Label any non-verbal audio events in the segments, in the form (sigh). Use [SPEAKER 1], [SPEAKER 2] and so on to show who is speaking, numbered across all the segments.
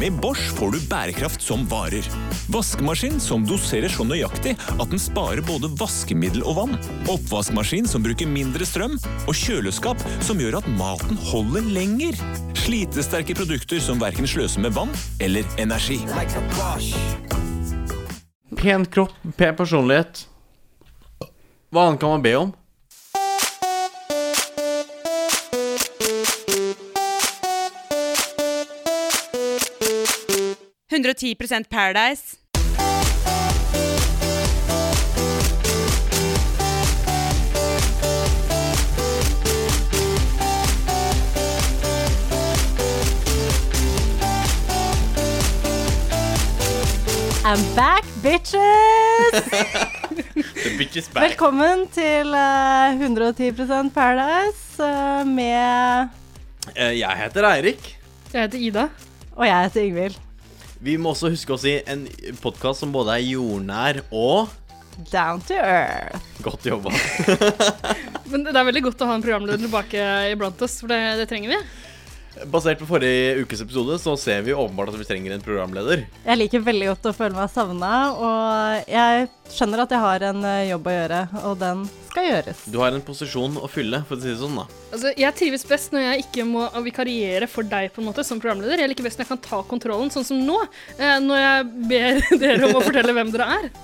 [SPEAKER 1] Med Bosch får du bærekraft som varer. Vaskemaskin som doserer så nøyaktig at den sparer både vaskemiddel og vann. Oppvaskmaskin som bruker mindre strøm. Og kjøleskap som gjør at maten holder lenger. Slitesterke produkter som verken sløser med vann eller energi.
[SPEAKER 2] Pen kropp, pen personlighet. Hva annet kan man be om?
[SPEAKER 3] det. 110 Paradise.
[SPEAKER 4] I'm back, bitches! Velkommen til eh, 110 Paradise eh, med
[SPEAKER 2] Eh, Jeg heter Eirik.
[SPEAKER 5] Jeg heter Ida.
[SPEAKER 4] Og jeg heter Yngvild.
[SPEAKER 2] Vi må også huske å si en podkast som både er jordnær og
[SPEAKER 4] Down to earth.
[SPEAKER 2] Godt jobba. (laughs)
[SPEAKER 5] Men det er veldig godt å ha en programleder tilbake iblant oss, for det, det trenger vi.
[SPEAKER 2] Basert på forrige ukes episode så ser vi åpenbart at vi trenger en programleder.
[SPEAKER 4] Jeg liker veldig godt å føle meg savna, og jeg skjønner at jeg har en eh, jobb å gjøre, og den skal gjøres.
[SPEAKER 2] Du har en posisjon å fylle, for å si det sånn, da.
[SPEAKER 5] Altså, jeg trives best når jeg ikke må vikariere for deg på en måte som programleder. Jeg liker best når jeg kan ta kontrollen, sånn som nå, eh, når jeg ber (laughs) dere om å fortelle hvem dere er. (laughs)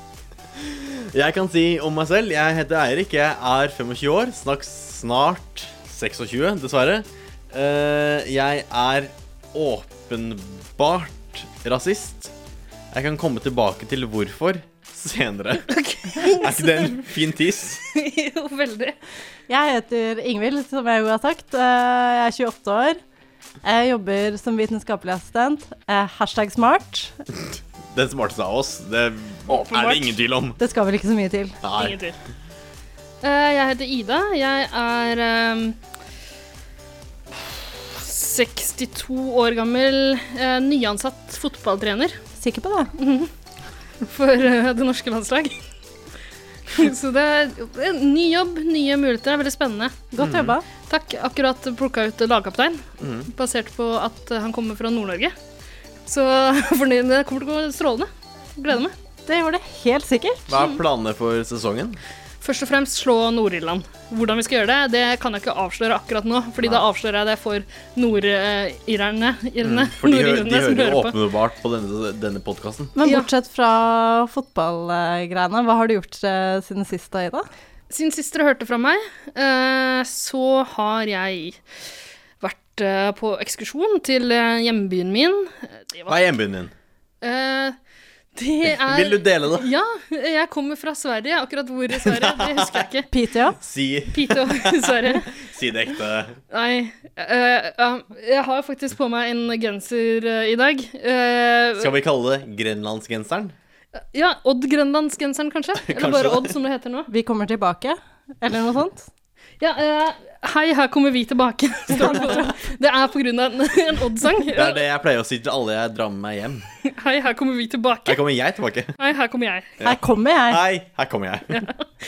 [SPEAKER 2] Jeg kan si om meg selv. Jeg heter Eirik. Jeg er 25 år. Snakk snart 26, dessverre. Eh, jeg er åpenbart rasist. Jeg kan komme tilbake til hvorfor senere.
[SPEAKER 5] (laughs)
[SPEAKER 2] Er ikke det en fin tiss?
[SPEAKER 5] jo, veldig.
[SPEAKER 4] Jeg heter Ingvild, som jeg jo har sagt. Eh, Jeg er 28 år. Jeg jobber som vitenskapelig assistent. Eh, Hashtag smart.
[SPEAKER 2] Den smarteste av oss. Det er
[SPEAKER 5] Åpenbart.
[SPEAKER 2] det ingen tvil om.
[SPEAKER 4] Det skal vel ikke så mye til.
[SPEAKER 2] Nei.
[SPEAKER 5] Ingen tvil. Eh, jeg heter Ida. Jeg er ehm, 62 år gammel, eh, nyansatt fotballtrener
[SPEAKER 4] Sikker på det?
[SPEAKER 5] for eh, det norske landslag. (laughs) Så det er en ny jobb, nye muligheter. Det er veldig spennende.
[SPEAKER 4] Godt jobba.
[SPEAKER 5] Takk. Akkurat plukka ut lagkaptein,
[SPEAKER 2] Mm.
[SPEAKER 5] basert på at han kommer fra Nord-Norge. Så (laughs) fornøyd. Det kommer til å gå strålende. Gleder meg.
[SPEAKER 4] Det gjorde det helt sikkert.
[SPEAKER 2] Hva er planene for sesongen?
[SPEAKER 5] Først og fremst slå Nord-Irland. Hvordan vi skal gjøre det, det kan jeg ikke avsløre akkurat nå, fordi da avslører jeg det for nord-irerne. irerne,
[SPEAKER 2] Mm, For de, hø
[SPEAKER 5] nordirerne
[SPEAKER 2] de
[SPEAKER 5] som
[SPEAKER 2] hører jo
[SPEAKER 5] hører på.
[SPEAKER 2] åpenbart på denne, denne podkasten.
[SPEAKER 4] Men
[SPEAKER 5] Ja.
[SPEAKER 4] bortsett fra fotballgreiene, hva har du gjort eh, siden sist da, Ida?
[SPEAKER 5] Siden sist dere hørte fra meg, eh, så har jeg vært eh, på ekskursjon til eh, hjembyen min. Det
[SPEAKER 2] Hva
[SPEAKER 5] var
[SPEAKER 2] er hjembyen din?
[SPEAKER 5] eh, Det er
[SPEAKER 2] Vil du dele det?
[SPEAKER 5] Ja, jeg kommer fra Sverige. Akkurat hvor i Sverige, det husker jeg ikke.
[SPEAKER 4] Piteå?
[SPEAKER 2] Si,
[SPEAKER 5] Piteå, (laughs) Sverige.
[SPEAKER 2] si det ekte.
[SPEAKER 5] Nei. eh, ja, jeg har faktisk på meg en genser eh, i dag. Eh,
[SPEAKER 2] Skal vi kalle det grenlandsgenseren?
[SPEAKER 5] Ja, Odd-grønlandsgenseren,
[SPEAKER 2] (laughs)
[SPEAKER 5] kanskje? Eller bare
[SPEAKER 2] Kanskje.
[SPEAKER 5] Odd, som det heter nå.
[SPEAKER 4] Vi kommer tilbake, eller noe sånt.
[SPEAKER 5] Ja, eh, Hei, her kommer vi tilbake. (laughs) Står det,
[SPEAKER 2] (laughs)
[SPEAKER 5] på. det er på grunn av en, en Odd-sang.
[SPEAKER 2] Det er det jeg pleier å si til alle jeg drar med meg hjem.
[SPEAKER 5] Hei, her kommer vi tilbake.
[SPEAKER 2] Her kommer jeg tilbake.
[SPEAKER 5] Hei, her kommer jeg.
[SPEAKER 4] Her kommer jeg.
[SPEAKER 2] Hei, her kommer jeg.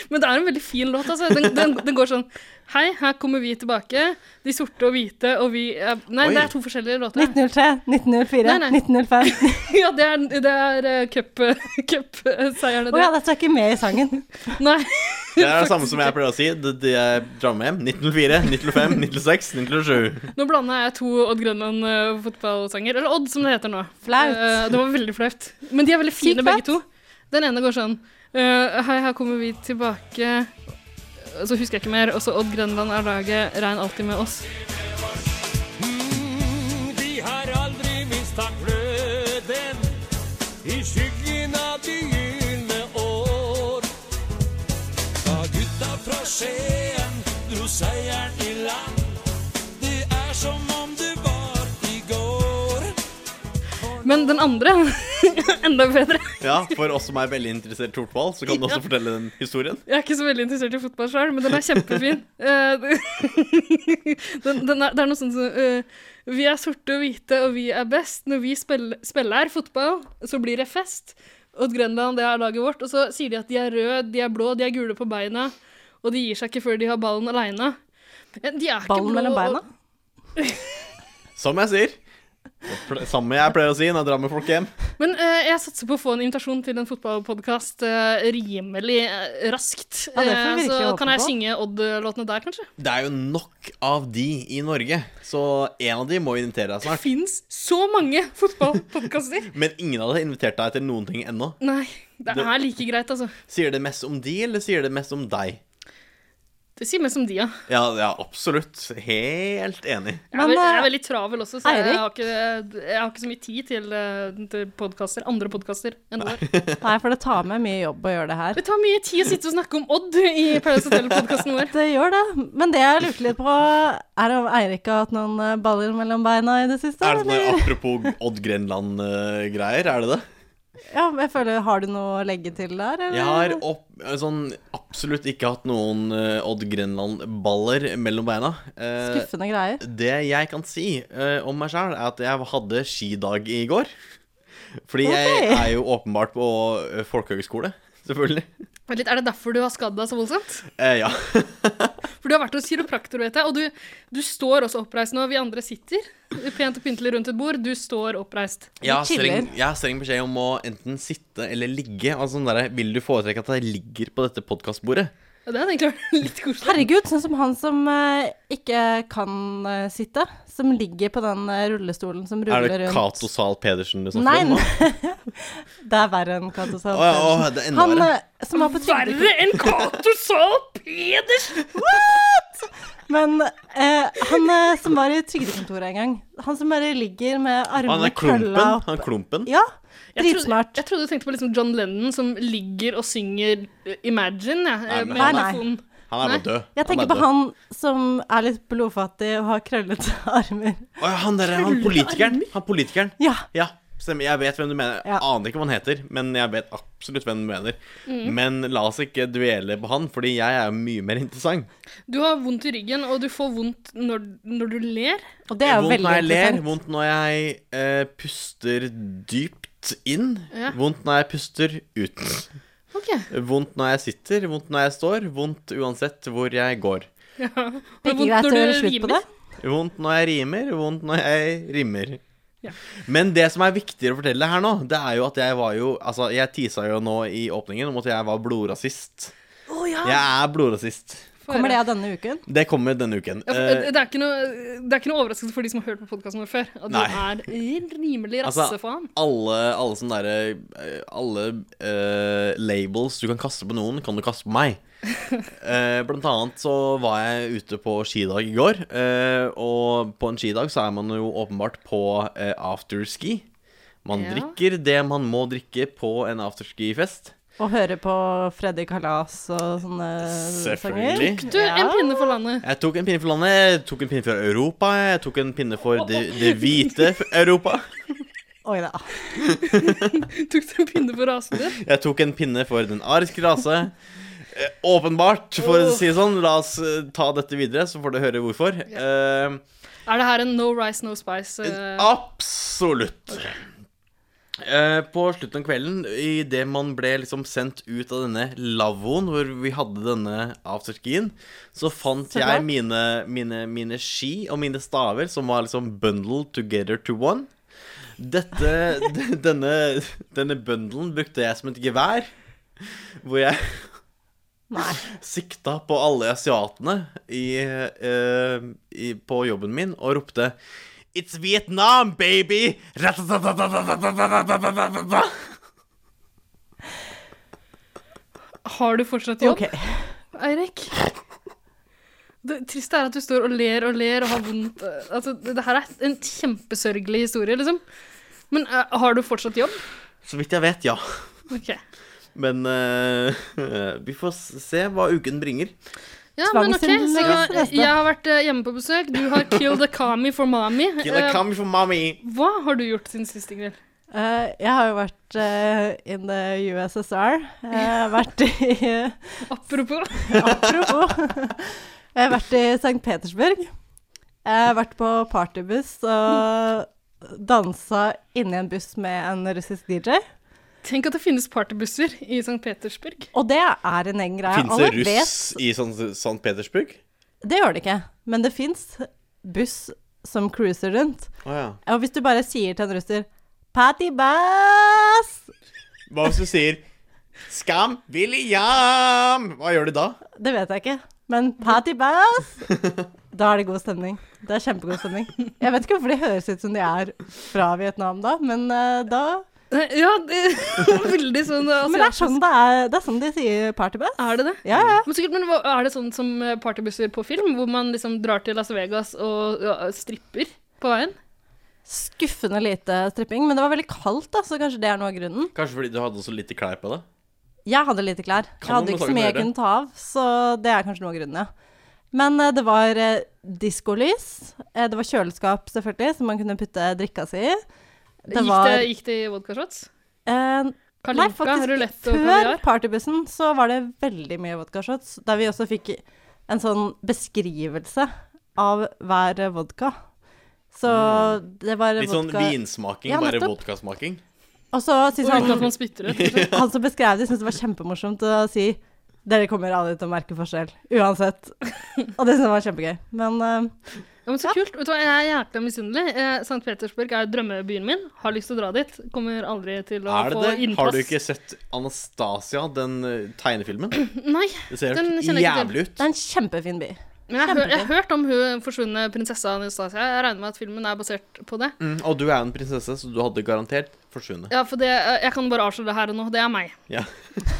[SPEAKER 5] Men det er en veldig fin låt, altså. Den, den, den går sånn Hei, her kommer vi tilbake. De sorte og hvite og vi eh, Nei,
[SPEAKER 2] Oi.
[SPEAKER 5] det er to forskjellige låter.
[SPEAKER 4] 1903, 1904,
[SPEAKER 5] Nei, nei.
[SPEAKER 4] 1905.
[SPEAKER 5] (laughs) Ja, det er, det er eh, cup- (laughs) cup-seierne,
[SPEAKER 4] Å ja, dette er ikke med i sangen.
[SPEAKER 5] det. Nei.
[SPEAKER 2] Det er det samme som jeg pleier å si. Det, det jeg drar med hjem. 1904, 1905, 1906, 1907.
[SPEAKER 5] Nå blanda jeg to Odd Grønland eh, fotballsanger. Eller Odd, som det heter nå.
[SPEAKER 4] Flaut.
[SPEAKER 5] Eh, det var veldig flaut. Men de er veldig
[SPEAKER 4] Sykt
[SPEAKER 5] fine, begge to. Den ene går sånn eh, Hei, her kommer vi tilbake. Eh, Så husker jeg ikke mer. Også Odd Grønland er laget. Regn alltid med oss.
[SPEAKER 6] De har aldri mista gløden i skyggen av de gylne år. Da gutta fra Skien dro seieren i land, det er som om det var i går.
[SPEAKER 5] Men den andre (laughs) Enda bedre.
[SPEAKER 2] Ja, for oss som er veldig interessert i Tortvoll, så kan du også fortelle den historien.
[SPEAKER 5] Jeg er ikke så veldig interessert i fotball sjøl, men den er kjempefin. Eh, (laughs) den, den er, det er noe sånt som eh, Vi er sorte og hvite, og vi er best. Når vi spiller, spiller fotball, så blir det fest. Odd Grønland, det er laget vårt. Og så sier de at de er røde, de er blå, de er gule på beina. Og de gir seg ikke før de har ballen aleine. De er ikke
[SPEAKER 4] Ballen
[SPEAKER 5] blå
[SPEAKER 4] mellom beina.
[SPEAKER 5] og-
[SPEAKER 2] Som jeg sier. Pl- Samme jeg pleier å si når jeg drar med folk hjem.
[SPEAKER 5] Men eh, jeg satser på å få en invitasjon til en fotballpodkast eh, rimelig eh, raskt.
[SPEAKER 4] Ja, det får vi
[SPEAKER 5] Eh,
[SPEAKER 4] virkelig
[SPEAKER 5] så
[SPEAKER 4] håpe
[SPEAKER 5] kan jeg
[SPEAKER 4] på.
[SPEAKER 5] synge Odd-låtene der, kanskje?
[SPEAKER 2] Det er jo nok av de i Norge, så en av de må invitere deg
[SPEAKER 5] Det
[SPEAKER 2] snart.
[SPEAKER 5] fins så
[SPEAKER 4] (laughs)
[SPEAKER 5] mange fotballpodkaster!
[SPEAKER 2] Men ingen av dem har invitert deg til noen ting ennå.
[SPEAKER 5] Nei, det
[SPEAKER 2] Det-
[SPEAKER 5] er like greit, altså.
[SPEAKER 2] Sier det mest om de, eller sier det mest om deg?
[SPEAKER 5] Det sier mest om de, ja.
[SPEAKER 2] Ja, ja absolutt. Helt enig.
[SPEAKER 5] Jeg er,
[SPEAKER 4] Men,
[SPEAKER 5] vel- jeg er
[SPEAKER 4] eh,
[SPEAKER 5] veldig travel også, så jeg
[SPEAKER 4] Eirik?
[SPEAKER 5] har, ikke, jeg har ikke så mye tid til, eh, til podkaster, andre podkaster enn vår.
[SPEAKER 4] Nei, for det tar meg mye jobb å gjøre det her.
[SPEAKER 5] Det tar mye tid å sitte og snakke om Odd i Paradise Hotel-podkasten
[SPEAKER 4] (laughs)
[SPEAKER 5] vår.
[SPEAKER 4] Det gjør det. Men det jeg lurte litt på, er om Eirik har hatt noen eh, baller mellom beina i det siste?
[SPEAKER 2] Er det sånn
[SPEAKER 4] eller?
[SPEAKER 2] apropos Odd Grenland-greier, er det det?
[SPEAKER 4] Ja, men jeg føler, Har du noe å legge til der? Eller?
[SPEAKER 2] Jeg har opp, sånn, absolutt ikke hatt noen eh, Odd Grenland-baller mellom beina. Eh,
[SPEAKER 4] Skuffende greier.
[SPEAKER 2] det jeg kan si eh, om meg sjæl, er at jeg hadde skidag i går. Fordi jeg
[SPEAKER 4] Ok.
[SPEAKER 2] er jo åpenbart på eh, folkehøgskole, selvfølgelig.
[SPEAKER 5] Vent litt, Er det derfor du har skadd deg så voldsomt?
[SPEAKER 2] Eh, ja.
[SPEAKER 5] For du har vært hos kiropraktor, vet jeg, og du, du står også oppreist nå. Vi andre sitter pent og pyntelig rundt et bord. Du står oppreist.
[SPEAKER 2] Jeg har, streng,
[SPEAKER 4] chiller.
[SPEAKER 2] jeg har streng beskjed om å enten sitte eller ligge. Altså sånn derre, Vil du foretrekke at jeg ligger på dette podkastbordet?
[SPEAKER 5] Ja, det hadde egentlig vært (laughs) litt koselig.
[SPEAKER 4] Herregud, sånn som han som eh, ikke kan eh, sitte. Som ligger på den eh, rullestolen som
[SPEAKER 2] Er
[SPEAKER 4] ruller rundt.
[SPEAKER 2] det Cato Zahl Pedersen du
[SPEAKER 4] Nei,
[SPEAKER 2] snakker om? nå?
[SPEAKER 4] nei. (laughs) det er verre enn Cato Zahl.
[SPEAKER 2] Å, ja, å, det er enda
[SPEAKER 4] han
[SPEAKER 2] verre.
[SPEAKER 4] eh, som var på trygdekur-
[SPEAKER 5] Verre enn Cato Zahl Pedersen!
[SPEAKER 4] Men eh, han eh, som var i trygdekontoret en gang, han som bare ligger med
[SPEAKER 2] Han
[SPEAKER 4] armene
[SPEAKER 2] er
[SPEAKER 4] krølla
[SPEAKER 2] klumpen.
[SPEAKER 4] opp
[SPEAKER 2] Han er klumpen.
[SPEAKER 4] Ja,
[SPEAKER 5] Jeg trodde,
[SPEAKER 4] dritsmart.
[SPEAKER 5] jeg trodde du tenkte på liksom John Lennon som ligger og synger eh, Imagine ja, eh,
[SPEAKER 2] Nei, men
[SPEAKER 5] med
[SPEAKER 4] han er-
[SPEAKER 5] mikrofonen.
[SPEAKER 2] Han er
[SPEAKER 5] Nei,
[SPEAKER 2] bare død.
[SPEAKER 4] Jeg tenker på han som er litt blodfattig og har krøllete (laughs) armer.
[SPEAKER 2] Å, ja, han derre han politikeren. Han politikeren.
[SPEAKER 4] Ja.
[SPEAKER 2] Ja, stemmer. Jeg vet hvem du mener.
[SPEAKER 4] Ja.
[SPEAKER 2] Aner ikke hva han heter, men jeg vet absolutt hvem du mener. Men la oss ikke dvele på han, fordi jeg er jo mye mer interessant.
[SPEAKER 5] Du har vondt i ryggen, og du får vondt når, når du ler.
[SPEAKER 4] Og det er jo
[SPEAKER 2] vondt
[SPEAKER 4] veldig
[SPEAKER 2] når jeg ler,
[SPEAKER 4] interessant.
[SPEAKER 2] vondt når jeg eh, puster dypt inn,
[SPEAKER 5] Ja.
[SPEAKER 2] vondt når jeg puster ut.
[SPEAKER 5] Ok,
[SPEAKER 2] Vondt når jeg sitter, vondt når jeg står, vondt uansett hvor jeg går.
[SPEAKER 4] Det er
[SPEAKER 5] vondt
[SPEAKER 4] ikke greit
[SPEAKER 5] når
[SPEAKER 4] å
[SPEAKER 5] du
[SPEAKER 4] gjøre eh, slutt på det.
[SPEAKER 5] rimer.
[SPEAKER 2] Vondt når jeg rimer, vondt når jeg rimer.
[SPEAKER 5] Ja.
[SPEAKER 2] Men det som er viktigere å fortelle her nå, det er jo at jeg var jo Altså, jeg tisa jo nå i åpningen om at jeg var blodrasist.
[SPEAKER 5] Å ja,
[SPEAKER 2] Jeg er blodrasist.
[SPEAKER 5] får
[SPEAKER 4] Kommer det
[SPEAKER 5] høre.
[SPEAKER 4] av denne uken?
[SPEAKER 2] Det kommer denne uken.
[SPEAKER 5] Ja, for,
[SPEAKER 2] Eh,
[SPEAKER 5] eh, det, er ikke noe, det er ikke noe overraskelse for de som har hørt på podkasten vår før, at
[SPEAKER 2] Nei.
[SPEAKER 5] du er rimelig
[SPEAKER 2] Altså,
[SPEAKER 5] rassefaen.
[SPEAKER 2] alle, alle sånne derre eh, Alle eh, labels du kan kaste på noen, kan du kaste på meg. Eh, blant annet så var jeg ute på skidag i går, eh, og på en skidag så er man jo åpenbart på eh, afterski. Man
[SPEAKER 5] Ja.
[SPEAKER 2] drikker det man må drikke på en afterski-fest.
[SPEAKER 4] Å høre på Freddy Kalas og sånne sanger?
[SPEAKER 5] Du, en pinne for landet.
[SPEAKER 2] Jeg tok en pinne for landet, jeg tok en pinne for Europa, jeg tok en pinne for det, det hvite Europa.
[SPEAKER 4] Oi da.
[SPEAKER 5] (laughs) Tok du en pinne for rasen din?
[SPEAKER 2] Jeg tok en pinne for den ariske rase. Eh, Åpenbart, for å si det sånn. La oss eh, ta dette videre, så får du høre hvorfor. Eh,
[SPEAKER 5] Er det her en no rice, no spice? eh,
[SPEAKER 2] absolutt. Eh, på slutten av kvelden, idet man ble liksom sendt ut av denne lavvoen hvor vi hadde denne afterskien, så fant
[SPEAKER 4] Så
[SPEAKER 2] jeg
[SPEAKER 4] klart.
[SPEAKER 2] mine, mine, mine ski og mine staver, som var liksom bundled together to one. Dette, (laughs) d- denne, denne bundlen brukte jeg som et gevær, hvor jeg
[SPEAKER 4] Nei.
[SPEAKER 2] sikta på alle asiatene i, eh, i, på jobben min og ropte It's Vietnam, baby! Ratatatatatatatatatatata.
[SPEAKER 5] Har du fortsatt jobb,
[SPEAKER 4] Ok.
[SPEAKER 5] Eirik? Det triste er at du står og ler og ler og har vondt eh, Altså, det det her er en kjempesørgelig historie, liksom. Men eh, har du fortsatt jobb?
[SPEAKER 2] Så vidt jeg vet, ja.
[SPEAKER 5] Ok.
[SPEAKER 2] Men eh, vi får s- se hva uken bringer.
[SPEAKER 5] Ja, men ok, så
[SPEAKER 4] Tvangsindlegges til neste.
[SPEAKER 5] jeg har vært eh, hjemme på besøk. Du har kill the kami for mami.
[SPEAKER 2] Kill a
[SPEAKER 5] Eh,
[SPEAKER 2] kami for mommy.
[SPEAKER 5] Hva har du gjort siden sist, Ingvild?
[SPEAKER 4] Eh, jeg har jo vært eh, in the USSR. Jeg har vært i (laughs)
[SPEAKER 5] Apropos.
[SPEAKER 4] Apropos. Jeg har vært i St. Petersburg. Jeg har vært på partybuss og dansa inni en buss med en russisk DJ.
[SPEAKER 5] Tenk at det finnes partybusser i St. (laughs) Petersburg.
[SPEAKER 4] Og det er en egen greie.
[SPEAKER 2] Fins det
[SPEAKER 4] Alle
[SPEAKER 2] russ
[SPEAKER 4] vet-
[SPEAKER 2] i San- St. Petersburg?
[SPEAKER 4] Det gjør det ikke, men det fins buss som cruiser rundt.
[SPEAKER 2] Å ja.
[SPEAKER 4] Og hvis du bare sier til en russer 'Patty Bass',
[SPEAKER 2] Hva hvis du sier Skam William? Hva gjør du da?
[SPEAKER 4] det vet jeg ikke, men 'Patty Bass', da er det god stemning. Det er kjempegod stemning. Jeg vet ikke hvorfor de høres ut som de er fra Vietnam da, men eh, da
[SPEAKER 5] Nei, Ja, det (laughs) veldig sånn eh,
[SPEAKER 4] Men det er
[SPEAKER 5] asiatisk.
[SPEAKER 4] sånn, det er, det er sånn de sier 'Party Bass'.
[SPEAKER 5] Er det det?
[SPEAKER 4] Ja, ja.
[SPEAKER 5] Men sikkert, men hva- Er det sånn som eh, partybusser på film, hvor man liksom drar til Las Vegas og ja, stripper på veien?
[SPEAKER 4] Skuffende lite stripping, men det var veldig kaldt, da, så kanskje det er noe av grunnen.
[SPEAKER 2] Kanskje fordi du hadde så lite klær på deg?
[SPEAKER 4] Jeg hadde lite klær. Jeg
[SPEAKER 2] Kan man
[SPEAKER 4] hadde ikke
[SPEAKER 2] lage
[SPEAKER 4] så mye jeg
[SPEAKER 2] flere?
[SPEAKER 4] kunne ta av, så det er kanskje noe av grunnen, ja. Men eh, det var eh, diskolys. Eh, det var kjøleskap, selvfølgelig, som man kunne putte drikka si i. Det
[SPEAKER 5] gikk,
[SPEAKER 4] var
[SPEAKER 5] det, gikk det i vodkashots?
[SPEAKER 4] eh, Nei,
[SPEAKER 5] Kalinka,
[SPEAKER 4] faktisk,
[SPEAKER 5] rulett og
[SPEAKER 4] før
[SPEAKER 5] kaviar?
[SPEAKER 4] partybussen så var det veldig mye vodkashots, der vi også fikk en sånn beskrivelse av hver eh, vodka. Så det var
[SPEAKER 2] Litt sånn
[SPEAKER 4] vodka
[SPEAKER 2] vinsmaking,
[SPEAKER 4] Ja,
[SPEAKER 2] bare
[SPEAKER 4] nettopp.
[SPEAKER 2] vodkasmaking.
[SPEAKER 4] Og så
[SPEAKER 5] Og
[SPEAKER 4] synes han
[SPEAKER 5] uten at man spytter ut.
[SPEAKER 4] Han som beskrev det, syntes det var kjempemorsomt å si dere kommer aldri til å merke forskjell, uansett. Og det syntes jeg var kjempegøy. Men eh,
[SPEAKER 5] Ja, men så kult. Vet du hva, Jeg er jækla misunnelig. Eh, St. Petersburg er drømmebyen min. Har lyst til å dra dit. Kommer aldri til å
[SPEAKER 2] Er det
[SPEAKER 5] få
[SPEAKER 2] det?
[SPEAKER 5] innpass.
[SPEAKER 2] Har du ikke sett Anastasia, den eh, tegnefilmen?
[SPEAKER 5] Nei.
[SPEAKER 2] Det ser
[SPEAKER 5] Den
[SPEAKER 2] helt
[SPEAKER 5] kjenner jeg ikke til.
[SPEAKER 2] jævlig ut.
[SPEAKER 4] det er en kjempefin by.
[SPEAKER 5] Men jeg, hør,
[SPEAKER 4] Kjempefin.
[SPEAKER 5] jeg har hørt om hun forsvunne prinsessa Anastasia. Jeg regner med at filmen er basert på det.
[SPEAKER 2] Mm, og du er en prinsesse, så du hadde garantert forsvunnet.
[SPEAKER 5] Ja, for det, eh, Jeg kan bare avsløre det her og nå. Det er meg.
[SPEAKER 2] Ja.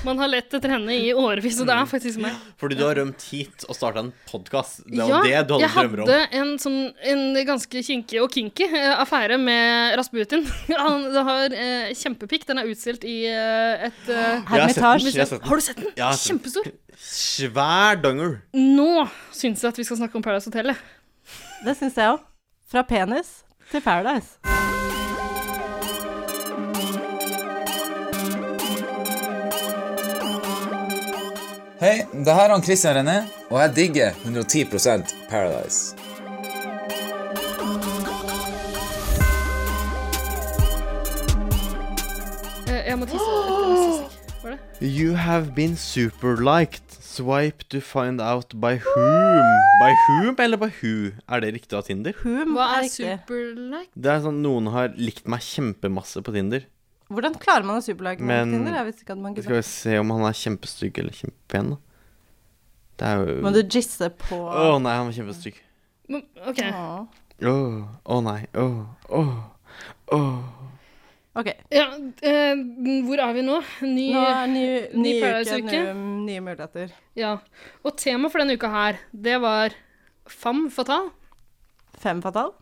[SPEAKER 5] Man har lett etter henne i årevis, og det
[SPEAKER 2] Mm.
[SPEAKER 5] er faktisk meg.
[SPEAKER 2] Fordi du har rømt hit og starta en podkast. Det var
[SPEAKER 5] Ja,
[SPEAKER 2] det du hadde
[SPEAKER 5] jeg
[SPEAKER 2] drømmer om.
[SPEAKER 5] hadde en, sånn, en ganske kinkig og kinky eh, affære med Rasputin. (laughs) Han det har eh, kjempepikk. Den er utstilt i eh, et eh,
[SPEAKER 2] Jeg har sett den,
[SPEAKER 4] Hermitage.
[SPEAKER 2] jeg har sett den.
[SPEAKER 5] Har du sett den?
[SPEAKER 2] Jeg har sett den.
[SPEAKER 5] Kjempestor.
[SPEAKER 2] Svær donger.
[SPEAKER 5] Nå syns jeg at vi skal snakke om Paradise Hotel. jeg.
[SPEAKER 4] Det syns jeg òg. Fra penis til Paradise.
[SPEAKER 7] Hei, det her er han Christian René, og jeg digger 110 Paradise.
[SPEAKER 5] Eh, Jeg må tisse. etter neste stikk. Var det?
[SPEAKER 2] You have been superliked. Swipe to find out by whom. By whom eller by who? Er det riktig av Tinder?
[SPEAKER 4] Boom
[SPEAKER 5] Hva
[SPEAKER 4] er
[SPEAKER 5] er
[SPEAKER 4] riktig.
[SPEAKER 5] superlike?
[SPEAKER 2] Det er sånn Noen har likt meg kjempemasse på Tinder.
[SPEAKER 4] Hvordan klarer man å superlage
[SPEAKER 2] Men-
[SPEAKER 4] med Tinder? Jeg visste ikke at man
[SPEAKER 2] Skal
[SPEAKER 4] kunne
[SPEAKER 2] vi se om han er kjempestygg eller kjempepen, da. Det er jo
[SPEAKER 4] Må du jizze på
[SPEAKER 2] Å nei, han var kjempestygg.
[SPEAKER 5] Men, OK.
[SPEAKER 4] Åh.
[SPEAKER 2] Å å nei. Å å å.
[SPEAKER 4] OK.
[SPEAKER 5] Ja, eh, hvor er vi nå? Ny
[SPEAKER 4] Nå er ny, ny,
[SPEAKER 5] Ny
[SPEAKER 4] uke,
[SPEAKER 5] Paradise-uke.
[SPEAKER 4] nye, nye muligheter.
[SPEAKER 5] Ja. Og temaet for denne uka her, det var femme fatale.
[SPEAKER 4] Fem fatal?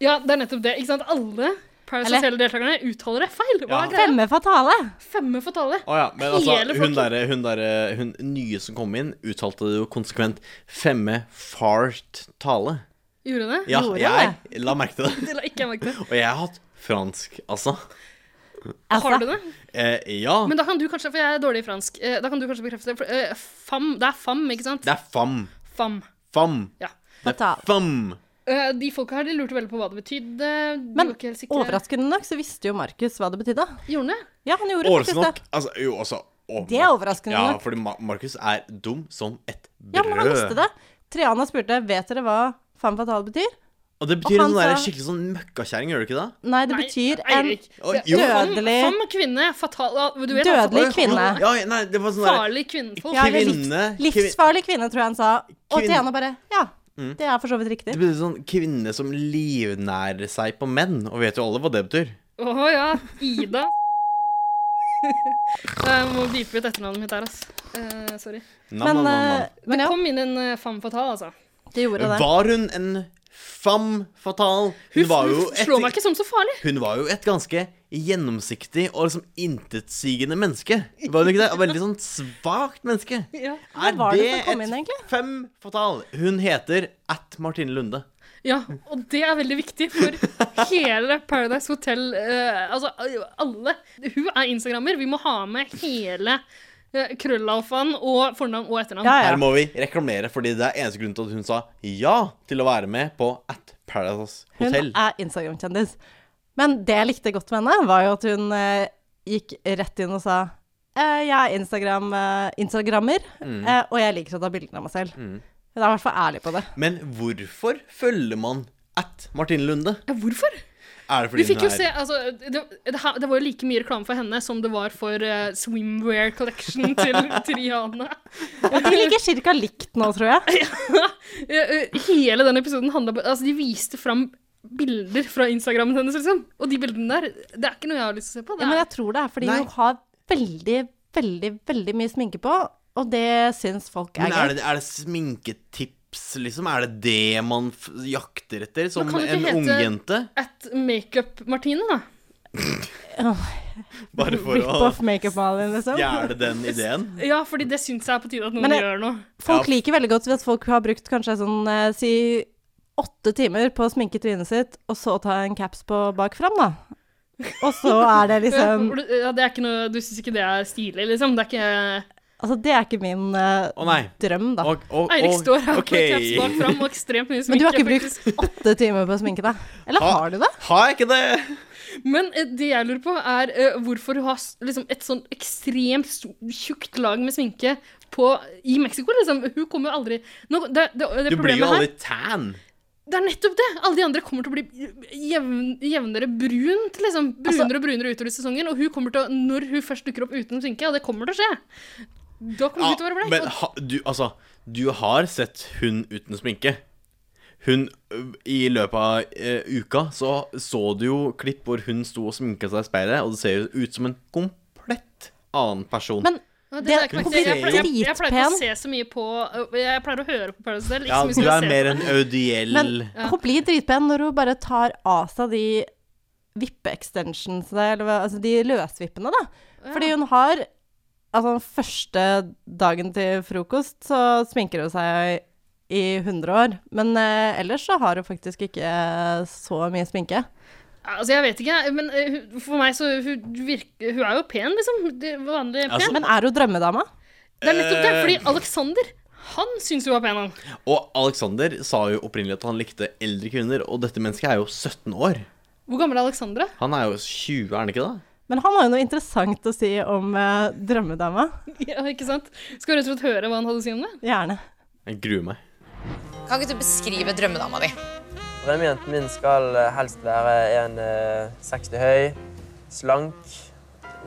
[SPEAKER 5] Ja, det er nettopp det. Ikke sant? Alle Paradise
[SPEAKER 4] Eller-
[SPEAKER 5] Hotel-deltakerne uttaler det feil. Hva
[SPEAKER 2] Ja.
[SPEAKER 5] er greia?
[SPEAKER 4] Femme fatale!
[SPEAKER 5] Femme fatale.
[SPEAKER 2] Å ja, men altså,
[SPEAKER 5] Hele
[SPEAKER 2] hun
[SPEAKER 5] folket.
[SPEAKER 2] derre hun, der, hun nye som kom inn, uttalte det jo konsekvent femme fart tale.
[SPEAKER 5] Gjorde hun det?
[SPEAKER 2] Ja,
[SPEAKER 4] Gjorde
[SPEAKER 2] jeg la merke til det.
[SPEAKER 5] Det la ikke jeg merke til.
[SPEAKER 2] Og jeg har hatt fransk, altså.
[SPEAKER 5] Har
[SPEAKER 4] Altså,
[SPEAKER 5] du det?
[SPEAKER 2] Eh, ja.
[SPEAKER 5] Men da kan du kanskje, for jeg er dårlig i fransk, eh, da kan du kanskje bekrefte for, eh, Fam, det er fam, ikke sant?
[SPEAKER 2] Det er fam.
[SPEAKER 5] Fam.
[SPEAKER 2] Fam.
[SPEAKER 5] Ja.
[SPEAKER 4] fatal.
[SPEAKER 2] Fam.
[SPEAKER 5] Eh, de folka her de lurte veldig på hva det betydde. De
[SPEAKER 4] Men
[SPEAKER 5] var ikke helt sikre.
[SPEAKER 4] overraskende nok så visste jo Markus hva det betydde.
[SPEAKER 5] Gjorde det?
[SPEAKER 4] Ja, han gjorde
[SPEAKER 2] Overraskende
[SPEAKER 4] faktisk det.
[SPEAKER 2] nok. Altså, jo, altså. åpenbart.
[SPEAKER 4] Det er overraskende
[SPEAKER 2] Ja,
[SPEAKER 4] nok.
[SPEAKER 2] fordi Ma Markus er dum som et brød.
[SPEAKER 4] Ja, men han visste det. Triana spurte vet dere hva femme fatale betyr.
[SPEAKER 2] Og det betyr
[SPEAKER 4] Og han
[SPEAKER 2] sånn der
[SPEAKER 4] sa-
[SPEAKER 2] skikkelig sånn møkkakjerring, gjør det ikke det?
[SPEAKER 4] Nei, det
[SPEAKER 5] Nei,
[SPEAKER 4] betyr en
[SPEAKER 5] Eirik.
[SPEAKER 2] Å,
[SPEAKER 5] Det-
[SPEAKER 2] jo.
[SPEAKER 5] Fam-
[SPEAKER 4] Dødelig-
[SPEAKER 5] Fam kvinne. Fatal ah, du vet,
[SPEAKER 4] Dødelig
[SPEAKER 5] altså,
[SPEAKER 4] kvinne.
[SPEAKER 2] Ja, ja, nei, det var sånn der
[SPEAKER 5] Farlig kvinnfolk.
[SPEAKER 4] Ja, eller livs-
[SPEAKER 2] Kvinne kvin-
[SPEAKER 4] livsfarlig kvinne, tror jeg han sa. Og
[SPEAKER 2] Kvinne.
[SPEAKER 4] Triana bare ja, det er for så vidt riktig.
[SPEAKER 2] Det betyr sånn kvinne som livnærer seg på menn. Og vet jo alle hva det betyr.
[SPEAKER 5] Å ja. Ida. (laughs) jeg må beepe ut etternavnet mitt der, altså. Eh, sorry.
[SPEAKER 2] Nam,
[SPEAKER 4] Men,
[SPEAKER 2] nam, nam,
[SPEAKER 4] eh,
[SPEAKER 2] nam.
[SPEAKER 4] men ja,
[SPEAKER 5] Kom inn en eh, femme fatale, altså.
[SPEAKER 4] det gjorde det.
[SPEAKER 2] Var hun en femme fatale? Hun
[SPEAKER 5] Hun
[SPEAKER 2] var jo et,
[SPEAKER 5] slår meg ikke som så farlig.
[SPEAKER 2] hun var jo et ganske gjennomsiktig og liksom intetsigende menneske. Var hun ikke det? Og Veldig sånn svakt menneske.
[SPEAKER 5] Ja.
[SPEAKER 2] Er
[SPEAKER 4] var det som kom
[SPEAKER 2] et
[SPEAKER 4] inn, egentlig?
[SPEAKER 2] fem fatal? Hun heter at Martine Lunde.
[SPEAKER 5] og det er veldig viktig for hele Paradise Hotel. eh, altså alle. Hun er instagrammer. Vi må ha med hele eh, krøllalfaen og fornavn og etternavn.
[SPEAKER 4] Ja,
[SPEAKER 2] Her
[SPEAKER 4] ja.
[SPEAKER 2] må vi reklamere, fordi det er eneste grunn til at hun sa ja til å være med på At Paradise
[SPEAKER 4] Hun
[SPEAKER 2] Hotel.
[SPEAKER 4] er Instagram-kjendis. Men det jeg likte godt med henne, var jo at hun eh, gikk rett inn og sa eh, jeg er Instagram, eh, Instagrammer, eh,
[SPEAKER 5] (laughs)
[SPEAKER 4] og jeg liker å ta bilder av meg selv. Hun er i hvert fall ærlig på det.
[SPEAKER 2] Men hvorfor følger man at Martine Lunde.
[SPEAKER 5] Ja, hvorfor?
[SPEAKER 2] Er det fordi
[SPEAKER 5] Vi fikk jo
[SPEAKER 2] hun er
[SPEAKER 5] se, altså, det, det, her- det var jo like mye reklame for henne som det var for eh, swimwear collection (laughs) til Triana.
[SPEAKER 4] Og de ligger cirka likt nå, tror jeg.
[SPEAKER 5] (laughs) Eh, eh, Hele den episoden handla Altså, de viste fram bilder fra Instagrammen hennes, liksom. Og de bildene der, det er ikke noe jeg har lyst til å se på.
[SPEAKER 4] Ja,
[SPEAKER 5] Det
[SPEAKER 4] men
[SPEAKER 5] er,
[SPEAKER 4] jeg tror det er fordi
[SPEAKER 2] Nei.
[SPEAKER 4] hun har veldig, veldig, veldig mye sminke på, og det syns folk er
[SPEAKER 2] Men er
[SPEAKER 4] gøy.
[SPEAKER 2] det, er det sminketips, liksom? Er det det man f jakter etter som
[SPEAKER 5] kan det
[SPEAKER 2] en
[SPEAKER 5] ikke hete-
[SPEAKER 2] ungjente?
[SPEAKER 5] At makeup-Martine, da.
[SPEAKER 2] Bare for
[SPEAKER 4] Rip
[SPEAKER 2] å
[SPEAKER 4] off makeup-malien, liksom.
[SPEAKER 2] stjele den ideen?
[SPEAKER 5] (laughs) Ja, fordi det syns jeg er på tide at noen
[SPEAKER 4] Men jeg-
[SPEAKER 5] gjør noe.
[SPEAKER 4] Folk
[SPEAKER 2] Ja.
[SPEAKER 4] liker veldig godt hvis folk har brukt kanskje sånn eh, si åtte timer på å sminke trynet sitt, og så ta en caps på bak fram, da. Og så er det
[SPEAKER 5] (laughs) Ja,
[SPEAKER 4] (laughs) liksom
[SPEAKER 5] hvor du- ja, det er ikke noe, du syns ikke det er stilig, liksom? Det er ikke
[SPEAKER 4] Altså, det er ikke min eh,
[SPEAKER 2] Å, nei.
[SPEAKER 4] drøm, da.
[SPEAKER 2] Og- og-
[SPEAKER 5] Eirik
[SPEAKER 2] og-
[SPEAKER 5] står her
[SPEAKER 2] ok.
[SPEAKER 5] med caps bak fram og ekstremt mye
[SPEAKER 4] (laughs) Men du
[SPEAKER 5] sminke.
[SPEAKER 4] har ikke
[SPEAKER 5] faktisk.
[SPEAKER 4] brukt åtte timer på å sminke deg? Eller
[SPEAKER 2] (laughs) Ha-
[SPEAKER 4] har du det?
[SPEAKER 2] Har jeg ikke det?
[SPEAKER 5] Men eh, det jeg lurer på, er eh, hvorfor du har s- liksom, et sånn ekstremt sto- tjukt lag med sminke på, i Mexico, liksom. Hun kommer jo aldri Nå, det, det, det
[SPEAKER 2] Du blir jo
[SPEAKER 5] problemet her
[SPEAKER 2] aldri tan.
[SPEAKER 5] Det er nettopp det! Alle de andre kommer til å bli jevn, jevnere brunt. Liksom.
[SPEAKER 4] Altså-
[SPEAKER 5] Brunere og brunere utover i sesongen. Og hun kommer til å, når hun først dukker opp uten sminke, og det kommer til å skje Da kommer
[SPEAKER 2] Ja,
[SPEAKER 5] hun til å være
[SPEAKER 2] men
[SPEAKER 5] bleik.
[SPEAKER 2] ha, du, altså, du har sett hun uten sminke. Hun ø, I løpet av eh, uka så så du jo klipp hvor hun sto og sminka seg i speilet, og det ser jo ut som en komplett annen person.
[SPEAKER 4] Men
[SPEAKER 5] Og- og
[SPEAKER 4] det-
[SPEAKER 5] la jeg ikke merke
[SPEAKER 4] hun
[SPEAKER 5] til.
[SPEAKER 4] blir
[SPEAKER 5] Jeg pleier- jeg- Jeg pleier ikke å se
[SPEAKER 4] dritpen.
[SPEAKER 5] så mye på øh, Jeg pleier å høre på Paradise Hotel.
[SPEAKER 2] ja,
[SPEAKER 5] Ikke
[SPEAKER 2] du
[SPEAKER 5] så mye som
[SPEAKER 2] er
[SPEAKER 5] jeg
[SPEAKER 2] mer
[SPEAKER 5] ser
[SPEAKER 2] en
[SPEAKER 5] på.
[SPEAKER 2] audiell
[SPEAKER 4] Men hun blir dritpen når hun bare tar av seg de vippe-extensionsene, eller hva- altså de løsvippene, da. Fordi hun har Altså, den første dagen til frokost så sminker hun seg i 100 år. Men eh, ellers så har hun faktisk ikke eh, så mye sminke.
[SPEAKER 5] Ja, Altså, jeg vet ikke, men øh, hun- for meg så hun, virker, hun er jo pen, liksom. Det- Vanlig pen.
[SPEAKER 2] Altså-
[SPEAKER 4] Men er hun drømmedama?
[SPEAKER 5] det er nettopp det,
[SPEAKER 2] Eh.
[SPEAKER 5] fordi Alexander, han syns hun var pen, han.
[SPEAKER 2] Og Alexander sa jo opprinnelig at han likte eldre kvinner, og dette mennesket er jo 17 år.
[SPEAKER 5] Hvor gammel er Alexander,
[SPEAKER 4] (laughs)
[SPEAKER 5] da?
[SPEAKER 2] Han er jo 20, er han ikke det?
[SPEAKER 4] Men han har jo noe interessant å si om eh, drømmedama.
[SPEAKER 5] Ja, ikke sant? Skal vi rett og slett høre hva han hadde å si om det?
[SPEAKER 4] Gjerne.
[SPEAKER 2] Jeg gruer meg.
[SPEAKER 8] Kan ikke du beskrive drømmedama di?
[SPEAKER 9] Drømmejenten min skal eh, helst være 1,60 høy, slank,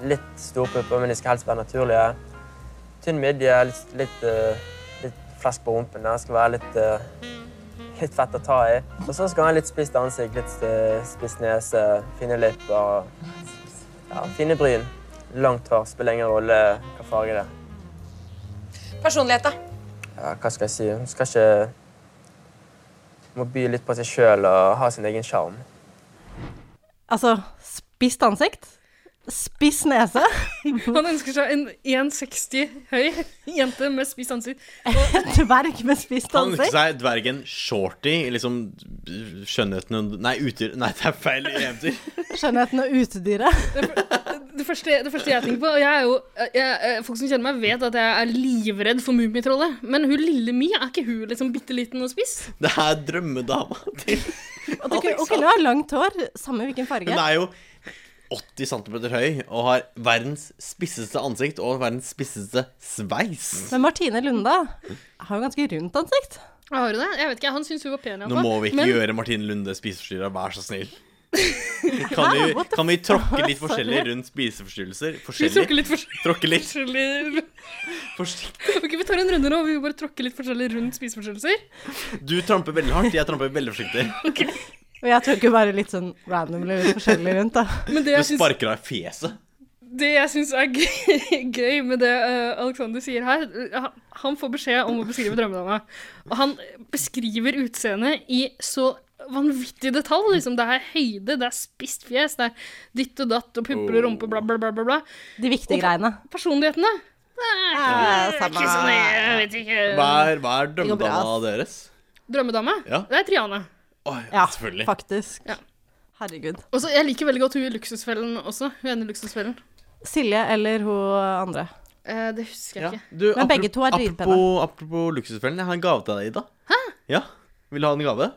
[SPEAKER 9] litt storpupper, men de skal helst være naturlige. Tynn midje, litt, litt, eh, litt flesk på rumpen. Den skal være litt, eh, litt fett å ta i. Og så skal han ha litt spist ansikt, litt eh, spist nese, fine lepper, ja, fine bryn. Langt hår, spiller ingen rolle hva farge det er.
[SPEAKER 8] Personlighet, da?
[SPEAKER 9] Ja, hva skal jeg si? Hun skal ikke Må by litt på seg sjøl og ha sin egen sjarm.
[SPEAKER 4] Altså, spisst ansikt. Spiss nese. (laughs)
[SPEAKER 5] Han ønsker seg en 1,60 høy (laughs) jente med spiss ansikt.
[SPEAKER 4] Dverg med spisst
[SPEAKER 2] Han ønsker
[SPEAKER 4] ansikt.
[SPEAKER 2] seg dvergen shorty, liksom skjønnheten hun Nei, utyr... Nei, det er feil eventyr.
[SPEAKER 4] Skjønnheten og utedyret.
[SPEAKER 5] Det første, det første jeg tenker på, og jeg er jo, jeg, eh, folk som kjenner meg, vet at jeg er livredd for Mummitrollet. Men hun lille Mi, er ikke hun liksom bitte liten og spiss?
[SPEAKER 2] Det er drømmedama til
[SPEAKER 4] Og det kunne- og kunne ha langt hår, samme hvilken farge.
[SPEAKER 2] Hun er jo 80 cm høy og har verdens spisseste ansikt og verdens spisseste sveis.
[SPEAKER 4] Men Martine Lunde har jo ganske rundt ansikt.
[SPEAKER 5] Har hun det? Jeg vet ikke, Han syns hun var pen. i hvert
[SPEAKER 2] Nå
[SPEAKER 5] fall.
[SPEAKER 2] må vi ikke
[SPEAKER 5] men,
[SPEAKER 2] gjøre Martine Lunde spiseforstyrra, vær så
[SPEAKER 4] (laughs)
[SPEAKER 2] snill. Kan vi,
[SPEAKER 4] what the
[SPEAKER 2] kan vi tråkke litt
[SPEAKER 4] fuck?
[SPEAKER 2] forskjellig rundt spiseforstyrrelser?
[SPEAKER 5] vi tråkker
[SPEAKER 2] Forskjellig?
[SPEAKER 5] litt forskjellig.
[SPEAKER 2] Tråkke litt
[SPEAKER 5] forskjellig-
[SPEAKER 2] forsiktig.
[SPEAKER 5] Ok, Vi tar en runde nå hvor vi bare tråkker litt forskjellig rundt spiseforstyrrelser.
[SPEAKER 2] Du tramper veldig hardt, jeg tramper veldig forsiktig.
[SPEAKER 4] Og (laughs) jeg tråkker bare litt sånn randomly litt forskjellig rundt, da.
[SPEAKER 5] Men det
[SPEAKER 2] Du
[SPEAKER 5] jeg syns
[SPEAKER 2] sparker deg i fjeset.
[SPEAKER 5] Det jeg syns er gøy, (laughs) gøy med det eh, Alexander sier her eh, han- Han får beskjed om å beskrive drømmedama. Og han beskriver utseendet i så vanvittig detalj. Liksom. Det er høyde, det er spist fjes, det er ditt og datt og pupper og rumpe, bla, bla, bla. bla, bla.
[SPEAKER 4] De viktige greiene.
[SPEAKER 5] Personligheten, da? Nei,
[SPEAKER 4] Ja,
[SPEAKER 5] det er ikke
[SPEAKER 4] samme.
[SPEAKER 5] så nøye, jeg vet ikke.
[SPEAKER 2] Hva er, hva er
[SPEAKER 4] går bra,
[SPEAKER 2] drømmedama deres?
[SPEAKER 5] Drømmedame?
[SPEAKER 2] Ja.
[SPEAKER 5] Det er Triana.
[SPEAKER 2] Åh,
[SPEAKER 4] Ja,
[SPEAKER 2] selvfølgelig.
[SPEAKER 4] faktisk.
[SPEAKER 5] Ja.
[SPEAKER 4] Herregud.
[SPEAKER 5] Og så Jeg liker veldig godt hun i Luksusfellen også. Hun ene i Luksusfellen.
[SPEAKER 4] Silje eller hun andre.
[SPEAKER 5] Eh, det husker jeg
[SPEAKER 2] Ja.
[SPEAKER 5] ikke.
[SPEAKER 2] Du,
[SPEAKER 4] Men begge
[SPEAKER 2] apro-
[SPEAKER 4] to er dritpene.
[SPEAKER 2] Apropos, apropos luksusfellen, jeg har en gave til deg, Ida. Hæ? Ja, Vil du ha en gave?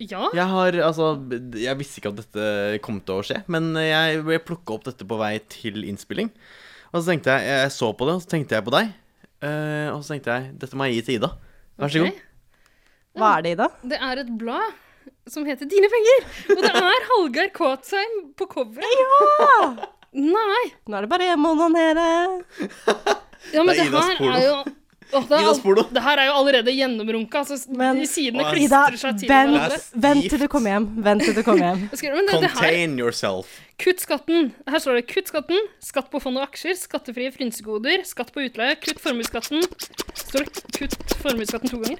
[SPEAKER 5] Ja?
[SPEAKER 2] Jeg har, altså, jeg visste ikke at dette kom til å skje, men jeg ble plukka opp dette på vei til innspilling. Og så tenkte jeg, jeg så på det, og så tenkte jeg på deg. Eh, og så tenkte jeg, dette må jeg gi til Ida. Vær så
[SPEAKER 5] Ok.
[SPEAKER 2] god.
[SPEAKER 4] Hva er det, Ida?
[SPEAKER 5] Det er et blad som heter Dine penger! Og det er Hallgeir Kåtsheim på coveret. Nei!
[SPEAKER 4] Nå er det bare hjemme og onanere.
[SPEAKER 5] Ja, men
[SPEAKER 2] Det er
[SPEAKER 5] det,
[SPEAKER 2] Idas
[SPEAKER 5] her
[SPEAKER 2] porno.
[SPEAKER 5] er jo Åh, det, er
[SPEAKER 2] Idas porno.
[SPEAKER 5] all, det her er jo allerede gjennomrunka. Altså,
[SPEAKER 4] Men-
[SPEAKER 5] de sidene
[SPEAKER 2] Åh,
[SPEAKER 4] Ida,
[SPEAKER 5] klistrer seg til hverandre.
[SPEAKER 4] vent, vent til du kommer hjem. Vent til du kommer hjem.
[SPEAKER 5] Jeg skriver, Men det, det her,
[SPEAKER 2] Contain yourself.
[SPEAKER 5] kutt skatten. Her står det kutt skatten, skatt på fond og aksjer, skattefrie frynsegoder, skatt på utleie, kutt formuesskatten. Står det kutt formuesskatten to ganger?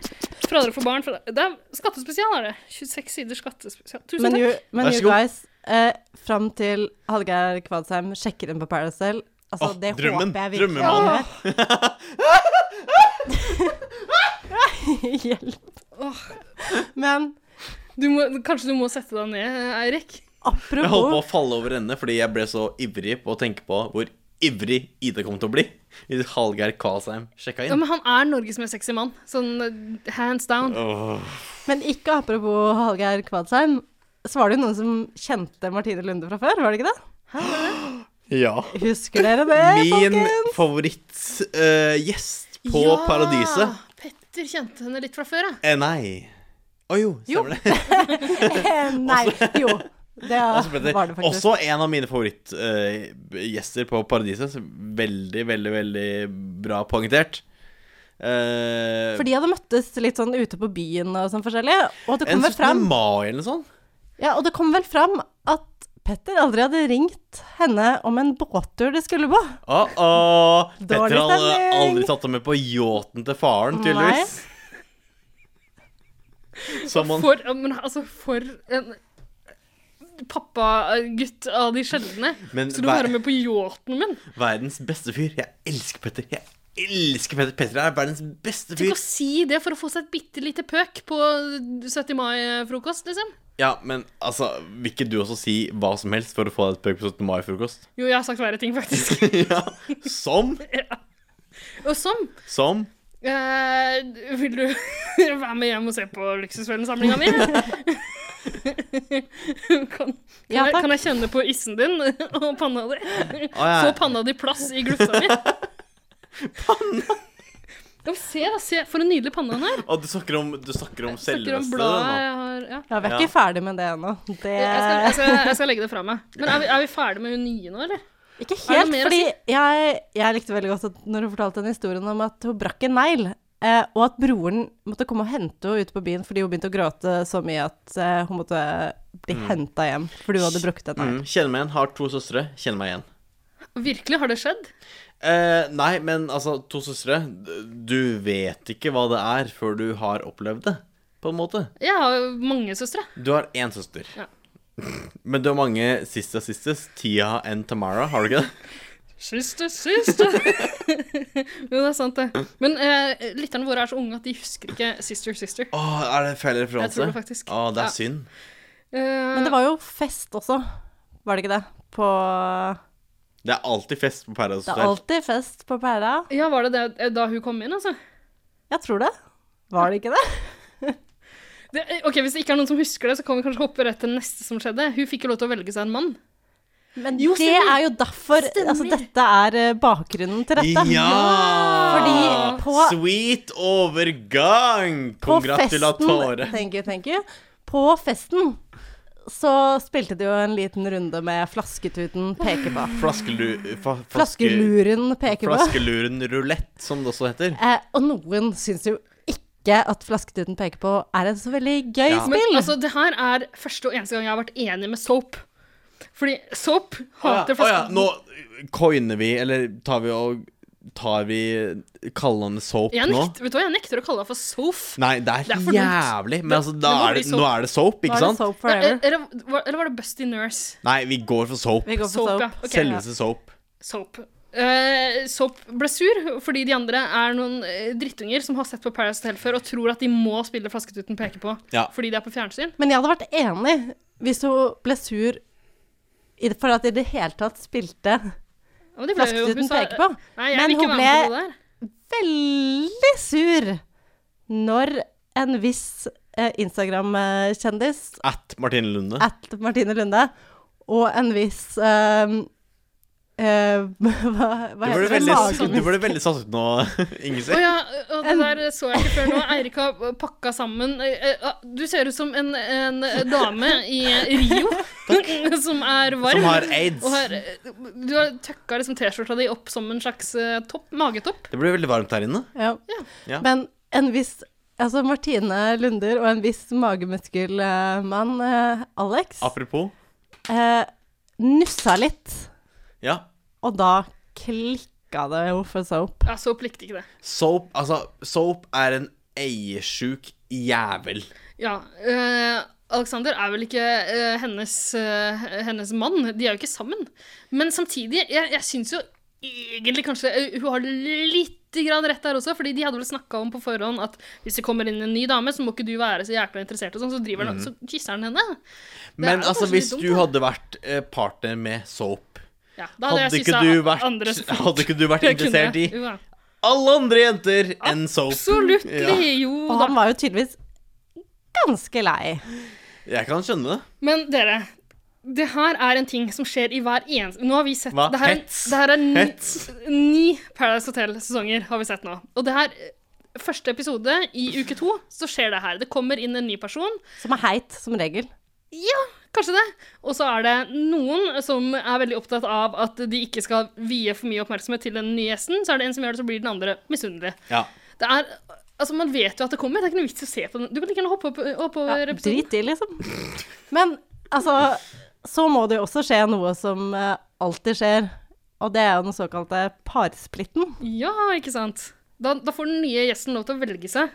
[SPEAKER 5] Fradrag for barn fra, Det er skattespesial, er det. 26 sider skattespesial. Tusen
[SPEAKER 4] Men
[SPEAKER 5] takk.
[SPEAKER 4] you, men
[SPEAKER 2] Vær så
[SPEAKER 4] you
[SPEAKER 2] god.
[SPEAKER 4] guys, eh, fram til Hallgeir Kvadsheim sjekker inn på Paracel altså,
[SPEAKER 2] Åh,
[SPEAKER 4] Det
[SPEAKER 2] drømmen.
[SPEAKER 4] håper jeg virkelig han
[SPEAKER 2] Drømmemannen.
[SPEAKER 4] gjør. (laughs) Hjelp. Men
[SPEAKER 5] Du må, kanskje du må sette deg ned, Eirik?
[SPEAKER 2] Jeg holdt på
[SPEAKER 4] apropos
[SPEAKER 2] å falle over ende fordi jeg ble så ivrig på å tenke på hvor ivrig Ida kom til å bli hvis Hallgeir Kvalsheim sjekka
[SPEAKER 5] Ja,
[SPEAKER 2] inn.
[SPEAKER 5] men han er Norges mest sexy mann. Sånn eh, hands down.
[SPEAKER 4] Men ikke apropos Hallgeir Kvadsheim, så var det jo noen som kjente Martine Lunde fra før, var det ikke det?
[SPEAKER 2] Ja.
[SPEAKER 4] Husker dere det,
[SPEAKER 2] Min (laughs)
[SPEAKER 4] folkens?
[SPEAKER 2] favorittgjest på Paradiset.
[SPEAKER 5] Petter kjente henne litt fra før, ja.
[SPEAKER 2] Eh, nei. Å jo, stemmer det. (laughs)
[SPEAKER 4] Eh, Nei,
[SPEAKER 2] Altså-
[SPEAKER 4] jo. Det
[SPEAKER 2] Og så ble det
[SPEAKER 4] (laughs) var det faktisk.
[SPEAKER 2] Altså, også en av mine favorittgjester på Paradiset. så Veldig, veldig, veldig bra poengtert. Eh,
[SPEAKER 4] For de hadde møttes litt sånn ute på byen og sånn forskjellig, og det
[SPEAKER 2] en
[SPEAKER 4] kom vel
[SPEAKER 2] 17.
[SPEAKER 4] fram
[SPEAKER 2] mai eller noe sånt.
[SPEAKER 4] Ja, og det kom vel fram at Petter aldri hadde ringt henne om en båttur de skulle på.
[SPEAKER 2] Åh, åh. Petter
[SPEAKER 4] Dårlig
[SPEAKER 2] hadde
[SPEAKER 4] stemning.
[SPEAKER 2] aldri tatt ham med på yachten til faren, tydeligvis. Som han
[SPEAKER 5] For, ja, men altså, for en pappagutt av de sjeldne.
[SPEAKER 2] Men
[SPEAKER 5] Skal du
[SPEAKER 2] vær-
[SPEAKER 5] være med på yachten min?
[SPEAKER 2] Verdens beste fyr. Jeg elsker Petter. Jeg elsker Petter. Petter er verdens beste
[SPEAKER 5] Tenk
[SPEAKER 2] fyr.
[SPEAKER 5] å si det for å få seg et bitte lite pøk på 70. mai-frokost, liksom.
[SPEAKER 2] Ja, men altså, vil ikke du også si hva som helst for å få deg et pøk på 17. mai-frokost?
[SPEAKER 5] Jo, jeg har sagt verre ting, faktisk.
[SPEAKER 2] (laughs) ja. Som
[SPEAKER 5] (laughs) Og som
[SPEAKER 2] Som
[SPEAKER 5] eh, Vil du (laughs) være med hjem og se på Luksusfellen-samlinga (laughs) mi? kan, kan,
[SPEAKER 4] Ja,
[SPEAKER 5] jeg,
[SPEAKER 4] takk.
[SPEAKER 5] kan jeg kjenne på issen din og panna di?
[SPEAKER 2] Å, jeg-
[SPEAKER 5] Få panna di plass i glufsa mi. panna! Ja, men se, da. Se, for en nydelig panne han er.
[SPEAKER 2] Å, du snakker om, du snakker om
[SPEAKER 5] Snakker om
[SPEAKER 2] selveste
[SPEAKER 5] bladet
[SPEAKER 2] nå.
[SPEAKER 5] jeg har ja.
[SPEAKER 4] Ja, vi er
[SPEAKER 2] Ja.
[SPEAKER 4] ikke ferdig med det ennå. Det
[SPEAKER 5] jeg, skal, jeg, skal, jeg skal legge det fra meg. Men er vi, er vi ferdig med hun nye nå, eller?
[SPEAKER 4] Ikke
[SPEAKER 5] Er det
[SPEAKER 4] helt,
[SPEAKER 5] mer å
[SPEAKER 4] fordi jeg, jeg likte veldig godt at når hun fortalte den historien om at hun brakk en negl, eh, og at broren måtte komme og hente henne ute på byen fordi hun begynte å gråte så mye at eh, hun måtte bli
[SPEAKER 5] Mm.
[SPEAKER 4] hentet henta hjem fordi hun hadde brukket en negl.
[SPEAKER 2] Mm, kjenner meg igjen. Har to søstre. Kjenner meg igjen.
[SPEAKER 5] Virkelig, har det skjedd?
[SPEAKER 2] Eh, nei, men altså, to søstre Du vet ikke hva det er før du har opplevd det, på en måte.
[SPEAKER 5] Jeg har jo mange søstre.
[SPEAKER 2] Du har én søster.
[SPEAKER 5] Ja.
[SPEAKER 2] (laughs) Men du har mange sist og sistest. Tia and Tamara, har du ikke det?
[SPEAKER 5] Søster, søster. (laughs) jo, det er sant, det. Men eh, lytterne våre er så unge at de husker ikke Sister Sister.
[SPEAKER 2] Å, er det feil referanse?
[SPEAKER 5] Jeg tror det faktisk.
[SPEAKER 2] Å, det
[SPEAKER 5] Ja. Eh,
[SPEAKER 2] er synd.
[SPEAKER 4] Men det var jo fest også, var det ikke det? På
[SPEAKER 2] Det er alltid fest på Paradise
[SPEAKER 4] Det er
[SPEAKER 2] Hotel.
[SPEAKER 4] alltid fest på Pæra.
[SPEAKER 5] Ja, var det det da hun kom inn, altså?
[SPEAKER 4] Jeg tror det. Var det ikke det?
[SPEAKER 5] Det, eh, ok, Hvis det ikke er noen som husker det, så kan vi kanskje hoppe rett til neste som skjedde. Hun fikk jo lov til å velge seg en mann.
[SPEAKER 4] Men
[SPEAKER 5] Jo,
[SPEAKER 4] det
[SPEAKER 5] stemmer.
[SPEAKER 4] er jo derfor Altså, dette er eh, bakgrunnen til dette.
[SPEAKER 2] Ja!
[SPEAKER 4] Fordi på-
[SPEAKER 2] Sweet overgang!
[SPEAKER 4] På festen
[SPEAKER 2] Kongratulatore.
[SPEAKER 4] Thank you, thank you. På festen så spilte de jo en liten runde med flasketuten peker på.
[SPEAKER 2] Flaskelu... Fa, flaske-
[SPEAKER 4] Flaskeluren peker på.
[SPEAKER 2] Flaskeluren rulett, som det også heter.
[SPEAKER 4] Eh, og noen syns jo ikke at flasketuten peker på er et så veldig gøy
[SPEAKER 2] Ja.
[SPEAKER 4] spill.
[SPEAKER 5] Men altså, det her er første og eneste gang jeg har vært enig med Soap. Fordi Soap
[SPEAKER 2] Å ja,
[SPEAKER 5] hater
[SPEAKER 2] å ja,
[SPEAKER 5] flasker.
[SPEAKER 2] nå coiner vi, eller tar vi og Tar vi kallende soap
[SPEAKER 5] jeg,
[SPEAKER 2] nå?
[SPEAKER 5] nekt, vet du hva, jeg nekter å kalle deg for Soap.
[SPEAKER 2] Nei, det er,
[SPEAKER 5] Det er for dumt.
[SPEAKER 2] jævlig. Men altså, da
[SPEAKER 5] det må
[SPEAKER 2] er det,
[SPEAKER 5] bli soap.
[SPEAKER 2] nå er det soap,
[SPEAKER 4] Nå
[SPEAKER 2] ikke
[SPEAKER 4] er det
[SPEAKER 2] sant?
[SPEAKER 4] Soap
[SPEAKER 5] Nei,
[SPEAKER 4] forever.
[SPEAKER 5] eller, var- eller var det Busty Nurse?
[SPEAKER 2] Nei, vi går for soap.
[SPEAKER 4] Vi går for
[SPEAKER 5] Soap,
[SPEAKER 4] soap.
[SPEAKER 5] ja. Ok.
[SPEAKER 2] Selveste soap.
[SPEAKER 5] Soap. Eh, soap ble sur fordi de andre er noen eh, drittunger som har sett på Paradise Hotel før og tror at de må spille Flasketuten peker på
[SPEAKER 2] Ja.
[SPEAKER 5] fordi de er på fjernsyn.
[SPEAKER 4] Men jeg hadde vært enig hvis hun ble sur i det- for at de i det hele tatt spilte
[SPEAKER 5] Og det ble jo- hun
[SPEAKER 4] Flasketuten
[SPEAKER 5] sa-
[SPEAKER 4] peker på.
[SPEAKER 5] Nei, jeg
[SPEAKER 4] Men
[SPEAKER 5] vil ikke
[SPEAKER 4] hun
[SPEAKER 5] være med på
[SPEAKER 4] ble-
[SPEAKER 5] det der.
[SPEAKER 4] Veldig sur når en viss eh, Instagram-kjendis
[SPEAKER 2] At Martine Lunde.
[SPEAKER 4] at Martine Lunde og en viss eh, eh, (laughs) hva,
[SPEAKER 2] Du
[SPEAKER 4] hva
[SPEAKER 2] ble
[SPEAKER 4] heter det?
[SPEAKER 2] veldig,
[SPEAKER 4] Magemus-
[SPEAKER 2] du ble veldig satt ut nå, (laughs)
[SPEAKER 5] Å
[SPEAKER 2] Ingrid.
[SPEAKER 5] ja, og det der så jeg ikke før nå. Eirik har pakka sammen Eh, eh, Du ser ut som en, en eh, dame i
[SPEAKER 2] (laughs)
[SPEAKER 5] Rio (laughs) som er varm.
[SPEAKER 2] Som har aids.
[SPEAKER 5] og har, eh, du har tøkka liksom T-skjorta di opp som en slags eh, topp, magetopp.
[SPEAKER 2] Det blir veldig varmt her inne.
[SPEAKER 4] Ja.
[SPEAKER 2] Ja.
[SPEAKER 4] Men en viss Altså Martine Lunder og en viss magemuskelmann, eh, Alex,
[SPEAKER 2] Apropos.
[SPEAKER 4] eh, nussa litt.
[SPEAKER 2] Ja.
[SPEAKER 4] Og da klikka det jo for soap.
[SPEAKER 5] Ja, så pliktig ikke det.
[SPEAKER 2] Soap, altså, soap er en eiesjuk jævel.
[SPEAKER 5] Ja. eh, Alexander er vel ikke eh, hennes, eh, hennes mann. De er jo ikke sammen. Men samtidig, jeg, jeg syns jo egentlig kanskje eh, hun har litt grann rett der også, fordi de hadde vel snakka om på forhånd at hvis det kommer inn en ny dame, så må ikke du være så jækla interessert, og sånn, så driver han, så kysser han henne. Det er
[SPEAKER 2] Mhm. Men
[SPEAKER 5] jo
[SPEAKER 2] altså,
[SPEAKER 5] kanskje
[SPEAKER 2] hvis
[SPEAKER 5] litt dumt,
[SPEAKER 2] du
[SPEAKER 5] da.
[SPEAKER 2] hadde vært eh, partner med Soap
[SPEAKER 5] Ja, da
[SPEAKER 2] Hadde
[SPEAKER 5] hadde, jeg
[SPEAKER 2] ikke
[SPEAKER 5] kyssa
[SPEAKER 2] du vært,
[SPEAKER 5] andre så fort
[SPEAKER 2] (laughs) hadde ikke du
[SPEAKER 5] (laughs)
[SPEAKER 2] vært
[SPEAKER 5] jeg kunne.
[SPEAKER 2] interessert i
[SPEAKER 5] Jo da.
[SPEAKER 2] alle andre jenter enn Soap?
[SPEAKER 5] Absolutt,
[SPEAKER 2] Ja.
[SPEAKER 5] jo
[SPEAKER 4] Og
[SPEAKER 5] da.
[SPEAKER 4] han var jo tydeligvis ganske lei.
[SPEAKER 2] Jeg kan skjønne det.
[SPEAKER 5] Men dere, det her er en ting som skjer i hver eneste Nå har vi sett
[SPEAKER 2] Hva?
[SPEAKER 5] Det her,
[SPEAKER 2] Hets?
[SPEAKER 5] Det her er ni,
[SPEAKER 2] Hets?
[SPEAKER 5] ni Paradise Hotel-sesonger har vi sett nå. Og det her Første episode i uke to, så skjer det her. Det kommer inn en ny person.
[SPEAKER 4] Som er heit, som regel.
[SPEAKER 5] Kanskje det. Og så er det noen som er veldig opptatt av at de ikke skal vie for mye oppmerksomhet til den nye gjesten. Så er det en som gjør det, så blir den andre misunnelig.
[SPEAKER 2] Ja.
[SPEAKER 5] Det er, altså Man vet jo at det kommer. Det er ikke noe vits i å se på den. Du kan like gjerne hoppe opp, oppover
[SPEAKER 4] Ja,
[SPEAKER 5] episoden.
[SPEAKER 4] drit i, liksom. Men altså, så må det jo også skje noe som eh, alltid skjer, og det er jo den såkalte parsplitten.
[SPEAKER 5] Ja, ikke sant. Da, da får den nye gjesten lov til å velge seg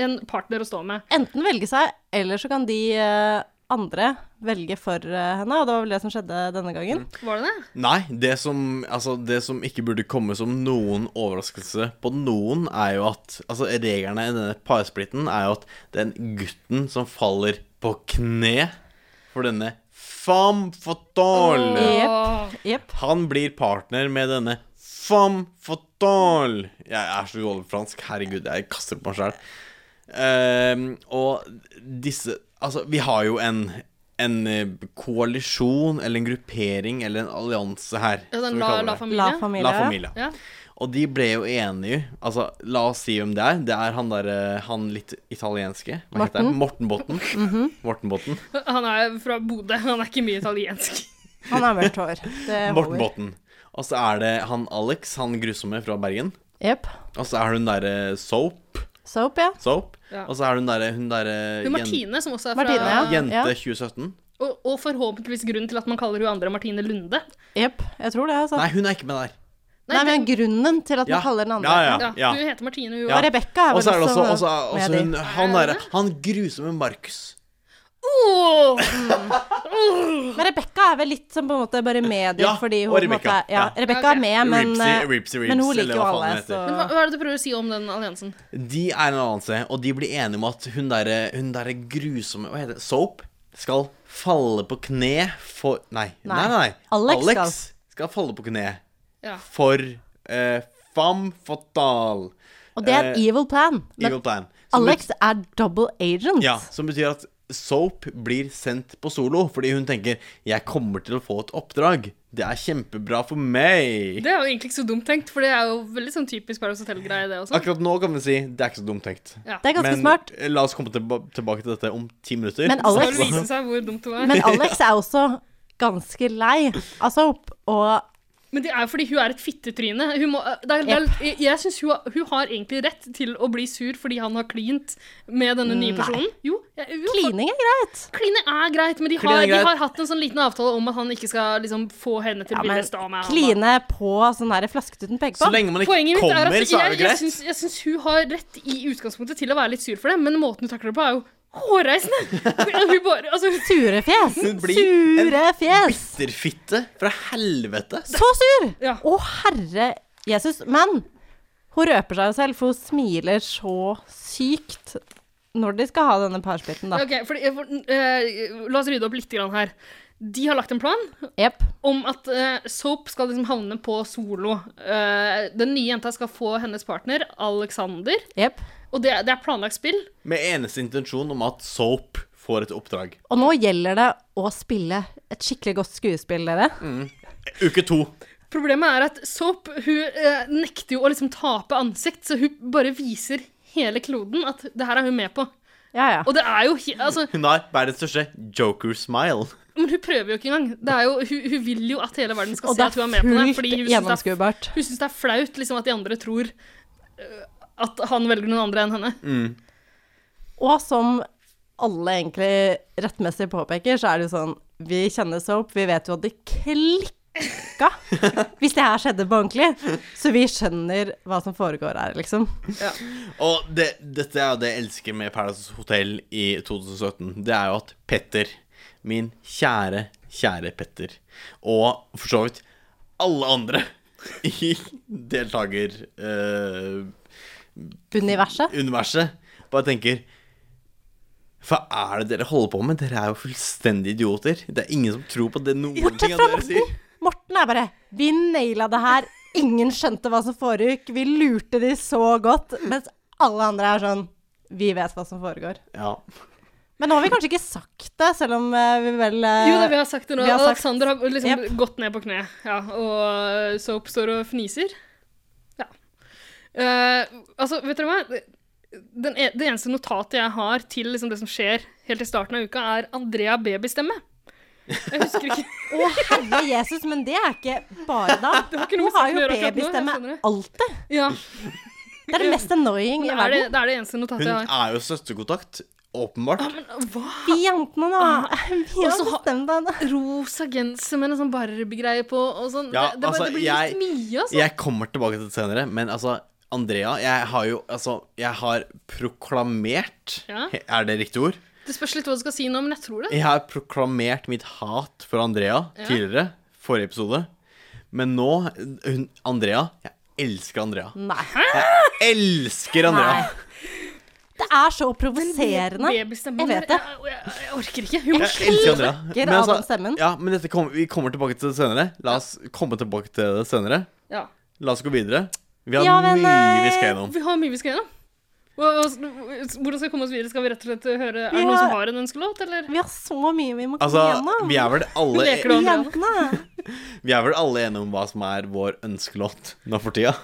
[SPEAKER 5] en partner å stå med.
[SPEAKER 4] Enten velge seg, eller så kan de eh, andre velge for eh, henne, og det var vel det som skjedde denne gangen.
[SPEAKER 2] Mm.
[SPEAKER 5] Var det det?
[SPEAKER 2] Nei, det som, altså, det som ikke burde komme som noen overraskelse på noen, er jo at Altså, reglene i denne parsplitten er jo at den gutten som faller på kne for denne femme fatale
[SPEAKER 4] Jepp. Jepp.
[SPEAKER 2] Han blir partner med denne femme fatale Jeg er så dårlig på fransk. Herregud, jeg kaster på meg sjæl. Ehm, og disse Altså, vi har jo en en eh, koalisjon eller en gruppering eller en allianse her.
[SPEAKER 5] Ja,
[SPEAKER 2] som
[SPEAKER 5] den
[SPEAKER 2] vi
[SPEAKER 5] la,
[SPEAKER 2] kaller
[SPEAKER 5] la
[SPEAKER 2] det.
[SPEAKER 5] familie.
[SPEAKER 4] La familie.
[SPEAKER 2] La familia.
[SPEAKER 5] Ja.
[SPEAKER 2] Og de ble jo enige. Altså, la oss si hvem det er. Det er han derre Han litt italienske. Hva heter han? Morten Botten.
[SPEAKER 5] Mhm.
[SPEAKER 2] Morten Botten.
[SPEAKER 5] Han er fra Bodø, han er ikke mye italiensk.
[SPEAKER 4] Han har mørkt
[SPEAKER 2] (laughs)
[SPEAKER 4] hår. Det
[SPEAKER 2] Morten
[SPEAKER 4] holder.
[SPEAKER 2] Botten. Og så er det han Alex, han grusomme fra Bergen.
[SPEAKER 4] Jepp.
[SPEAKER 2] Og så er det hun derre Soap.
[SPEAKER 4] Soap, ja.
[SPEAKER 2] Soap.
[SPEAKER 5] Ja.
[SPEAKER 2] Og så er det hun derre hun derre
[SPEAKER 5] Men
[SPEAKER 2] jen-
[SPEAKER 5] Martine, som også er fra
[SPEAKER 4] Martine, ja.
[SPEAKER 2] Jente 2017.
[SPEAKER 5] og, og forhåpentligvis grunnen til at man kaller hun andre Martine Lunde.
[SPEAKER 4] Jepp. Jeg tror det, altså.
[SPEAKER 2] Nei, hun er ikke med der.
[SPEAKER 4] Nei, men grunnen til at man
[SPEAKER 2] Ja.
[SPEAKER 4] kaller den andre
[SPEAKER 2] Ja, ja.
[SPEAKER 5] Ja, Du heter Martine, hun
[SPEAKER 4] Og
[SPEAKER 5] er-
[SPEAKER 4] Rebekka er
[SPEAKER 2] Og
[SPEAKER 4] vel
[SPEAKER 2] så er det
[SPEAKER 4] også,
[SPEAKER 2] også, også, også
[SPEAKER 4] med
[SPEAKER 2] hun,
[SPEAKER 4] de.
[SPEAKER 2] han derre Han grusomme Markus.
[SPEAKER 5] Åh!
[SPEAKER 4] Men Rebekka er vel litt som på en måte bare med dem
[SPEAKER 2] Ja,
[SPEAKER 4] fordi hun
[SPEAKER 2] og
[SPEAKER 4] på en måte
[SPEAKER 2] Rebecca,
[SPEAKER 4] Ja,
[SPEAKER 2] ja.
[SPEAKER 4] Rebekka
[SPEAKER 5] Ok.
[SPEAKER 4] er med, men, eh,
[SPEAKER 2] Ripsy, Ripsy, Rips,
[SPEAKER 4] men hun
[SPEAKER 2] eller
[SPEAKER 4] liker jo
[SPEAKER 2] hva faen
[SPEAKER 4] alle,
[SPEAKER 2] hun heter.
[SPEAKER 4] så
[SPEAKER 5] Men hva, hva er det du prøver å si om den alliansen?
[SPEAKER 2] De er en allianse, og de blir enige om at hun derre hun derre grusomme Hva heter det? Soap? Skal falle på kne for Nei. Nei, nei. nei.
[SPEAKER 4] Alex skal.
[SPEAKER 2] skal falle på kne
[SPEAKER 5] Ja.
[SPEAKER 2] for eh, femme fatale.
[SPEAKER 4] Og det er en
[SPEAKER 2] Eh,
[SPEAKER 4] evil plan. Men
[SPEAKER 2] Evil plan. Som
[SPEAKER 4] Alex er double agent.
[SPEAKER 2] bet- Ja, som betyr at Soap blir sendt på solo fordi hun tenker 'Jeg kommer til å få et oppdrag'. Det er kjempebra for meg.
[SPEAKER 5] Det er jo egentlig ikke så dumt tenkt, for det er jo veldig sånn typisk Paradise Hotel-greie, det også.
[SPEAKER 2] Akkurat nå kan vi si 'det er ikke så dumt tenkt'.
[SPEAKER 5] Ja.
[SPEAKER 4] Det er ganske
[SPEAKER 2] Men
[SPEAKER 4] smart.
[SPEAKER 2] la oss komme tilba tilbake til dette om ti minutter.
[SPEAKER 4] Men
[SPEAKER 5] Så har
[SPEAKER 4] Alex,
[SPEAKER 5] det vist seg hvor dumt det var.
[SPEAKER 2] (laughs)
[SPEAKER 5] Men,
[SPEAKER 4] men Alex er også ganske lei av soap. Og
[SPEAKER 5] det er jo fordi hun er et fittetryne. Hun må, eh, det er, det er, jeg jeg syns hun, har- hun har egentlig rett til å bli sur fordi han har klint med denne nye personen. Jo, jeg, jo, faktisk.
[SPEAKER 4] klining er greit.
[SPEAKER 5] Kline er greit, men de
[SPEAKER 2] Kline
[SPEAKER 5] har,
[SPEAKER 2] er
[SPEAKER 5] de
[SPEAKER 2] greit.
[SPEAKER 5] har hatt en sånn liten avtale om at han ikke skal liksom, få henne til å
[SPEAKER 4] Ja,
[SPEAKER 5] ville
[SPEAKER 4] men
[SPEAKER 5] stå med han, da.
[SPEAKER 4] kline på sånn der flasket uten
[SPEAKER 2] (laughs) Så
[SPEAKER 4] pekepinn.
[SPEAKER 2] lenge man ikke
[SPEAKER 5] Poenget mitt
[SPEAKER 2] kommer,
[SPEAKER 5] er at
[SPEAKER 2] så er
[SPEAKER 5] jeg,
[SPEAKER 2] det
[SPEAKER 5] jeg,
[SPEAKER 2] greit.
[SPEAKER 5] syns, jeg syns hun har rett i utgangspunktet til å være litt sur for det, men måten hun takler det på, er jo hårreisende! (laughs) Hun bare, altså, hun-
[SPEAKER 4] Sure fjes.
[SPEAKER 2] Hun blir
[SPEAKER 4] Sure fjes.
[SPEAKER 2] Bitterfitte fra helvete.
[SPEAKER 4] Så sur!
[SPEAKER 5] Ja.
[SPEAKER 4] Å, herre Jesus. Men hun røper seg jo selv, for hun smiler så sykt når de skal ha denne parsplitten, da.
[SPEAKER 5] Ok, fordi, eh, la oss rydde opp litt grann her. De har lagt en plan
[SPEAKER 4] Jepp.
[SPEAKER 5] om at eh, Soap skal liksom havne på solo. Eh, den nye jenta skal få hennes partner, Alexander.
[SPEAKER 4] Jepp.
[SPEAKER 5] Og det, er- det er planlagt spill.
[SPEAKER 2] Med eneste intensjon om at Soap får et oppdrag.
[SPEAKER 4] Og nå gjelder det å spille et skikkelig godt skuespill, dere.
[SPEAKER 2] Uke to.
[SPEAKER 5] Problemet er at Soap hun eh, nekter jo å liksom tape ansikt, så hun bare viser hele kloden at det her er hun med på.
[SPEAKER 4] Ja, ja.
[SPEAKER 5] Og det er jo he- altså,
[SPEAKER 2] Hun har verdens største joker-smile.
[SPEAKER 5] Men hun prøver jo ikke engang. Det er jo, hun, hun vil jo at hele verden skal
[SPEAKER 4] Og
[SPEAKER 5] se
[SPEAKER 4] det
[SPEAKER 5] at hun er
[SPEAKER 4] er
[SPEAKER 5] med på det.
[SPEAKER 4] fullt
[SPEAKER 5] Fordi hun syns det, er-
[SPEAKER 4] gjennomskuebart.
[SPEAKER 5] hun syns det er flaut liksom, at de andre tror eh, at han velger noen andre enn henne.
[SPEAKER 4] Og som alle egentlig rettmessig påpeker, så er det jo sånn Vi kjenner Soap, vi vet jo at det klikka hvis det her skjedde på ordentlig. Så vi skjønner hva som foregår her, liksom.
[SPEAKER 2] Og det, dette er jo det jeg elsker med Paradise Hotel i 2017. Det er jo at Petter, min kjære, kjære Petter, og for så vidt alle andre (laughs) i deltakeruniverset
[SPEAKER 4] Universet.
[SPEAKER 2] bare tenker Hva er det dere holder på med? Dere er jo fullstendig idioter. Det er ingen som tror på det noen ting
[SPEAKER 4] Bortsett
[SPEAKER 2] av det
[SPEAKER 4] fra
[SPEAKER 2] dere sier.
[SPEAKER 4] Morten. Morten er bare Vi naila det her. Ingen skjønte hva som foregikk. Vi lurte de så godt. Mens alle andre er sånn Vi vet hva som foregår.
[SPEAKER 2] Ja.
[SPEAKER 4] Men nå har vi kanskje ikke sagt det, selv om eh, vi vel eh,
[SPEAKER 5] Jo da, vi har sagt det nå.
[SPEAKER 4] vi har sagt-
[SPEAKER 5] Alexander har liksom
[SPEAKER 4] Jep.
[SPEAKER 5] gått ned på kne, ja, og Soap står og fniser. Ja. Eh, altså, vet dere hva? Den, e- det eneste notatet jeg har til liksom, det som skjer helt i starten av uka, er Andrea Babystemme. Jeg husker (laughs) ikke.
[SPEAKER 4] Å, herre Jesus, men det er ikke bare da.
[SPEAKER 5] har ikke noe
[SPEAKER 4] Hun har
[SPEAKER 5] med saken
[SPEAKER 4] jo
[SPEAKER 5] å gjøre akkurat nå, jeg
[SPEAKER 4] babystemme
[SPEAKER 5] skjønner det.
[SPEAKER 4] alltid.
[SPEAKER 5] Ja,
[SPEAKER 4] Det er det mest annoying
[SPEAKER 5] det
[SPEAKER 4] i
[SPEAKER 5] er det,
[SPEAKER 4] verden.
[SPEAKER 5] det er det eneste notatet
[SPEAKER 2] Hun
[SPEAKER 5] jeg har.
[SPEAKER 2] er jo søsterkontakt, åpenbart.
[SPEAKER 4] Vi jentene, da. (laughs) Vi
[SPEAKER 5] Ah. Og
[SPEAKER 4] har
[SPEAKER 5] så har-
[SPEAKER 4] bestemt det.
[SPEAKER 5] Rosa genser med en sånn Barbie-greie på og sånn.
[SPEAKER 2] Ja,
[SPEAKER 5] det, det, bare-
[SPEAKER 2] altså,
[SPEAKER 5] det blir
[SPEAKER 2] jeg-
[SPEAKER 5] litt mye, altså.
[SPEAKER 2] Jeg kommer tilbake til det senere, men altså Andrea, jeg har jo altså Jeg har proklamert
[SPEAKER 5] Ja.
[SPEAKER 2] Er det riktig ord?
[SPEAKER 5] Det spørs litt hva du skal si nå, men jeg tror det.
[SPEAKER 2] Jeg har proklamert mitt hat for Andrea
[SPEAKER 5] Ja.
[SPEAKER 2] tidligere, forrige episode. Men nå hun, Andrea Jeg elsker Andrea.
[SPEAKER 4] Nei.
[SPEAKER 2] Elsker Andrea!
[SPEAKER 4] Nei. Det er så provoserende.
[SPEAKER 5] Babystemmen,
[SPEAKER 4] Jeg vet det.
[SPEAKER 5] Jeg, jeg, jeg orker ikke. Hun må
[SPEAKER 2] Jeg elsker Andrea.
[SPEAKER 4] Klikker
[SPEAKER 2] Men altså,
[SPEAKER 4] av den stemmen.
[SPEAKER 2] ja, men dette kommer- vi kommer tilbake til det senere. La oss komme tilbake til det senere.
[SPEAKER 5] Ja.
[SPEAKER 2] La oss gå videre. Vi har
[SPEAKER 4] Ja, men,
[SPEAKER 2] mye vi skal
[SPEAKER 4] eh,
[SPEAKER 2] gjennom.
[SPEAKER 5] Vi har mye vi skal gjennom. Hva- hva- Hvordan skal vi komme oss videre? Skal vi rett og slett høre Er det
[SPEAKER 4] Ja.
[SPEAKER 5] noen som har en ønskelåt, eller?
[SPEAKER 4] Vi har så mye vi må komme
[SPEAKER 2] Altså,
[SPEAKER 4] gjennom.
[SPEAKER 2] vi er vel
[SPEAKER 5] Hun
[SPEAKER 2] alle
[SPEAKER 5] leker du Andrea?
[SPEAKER 4] Jentene.
[SPEAKER 2] Vi er vel alle enige om hva som er vår ønskelåt nå for tida?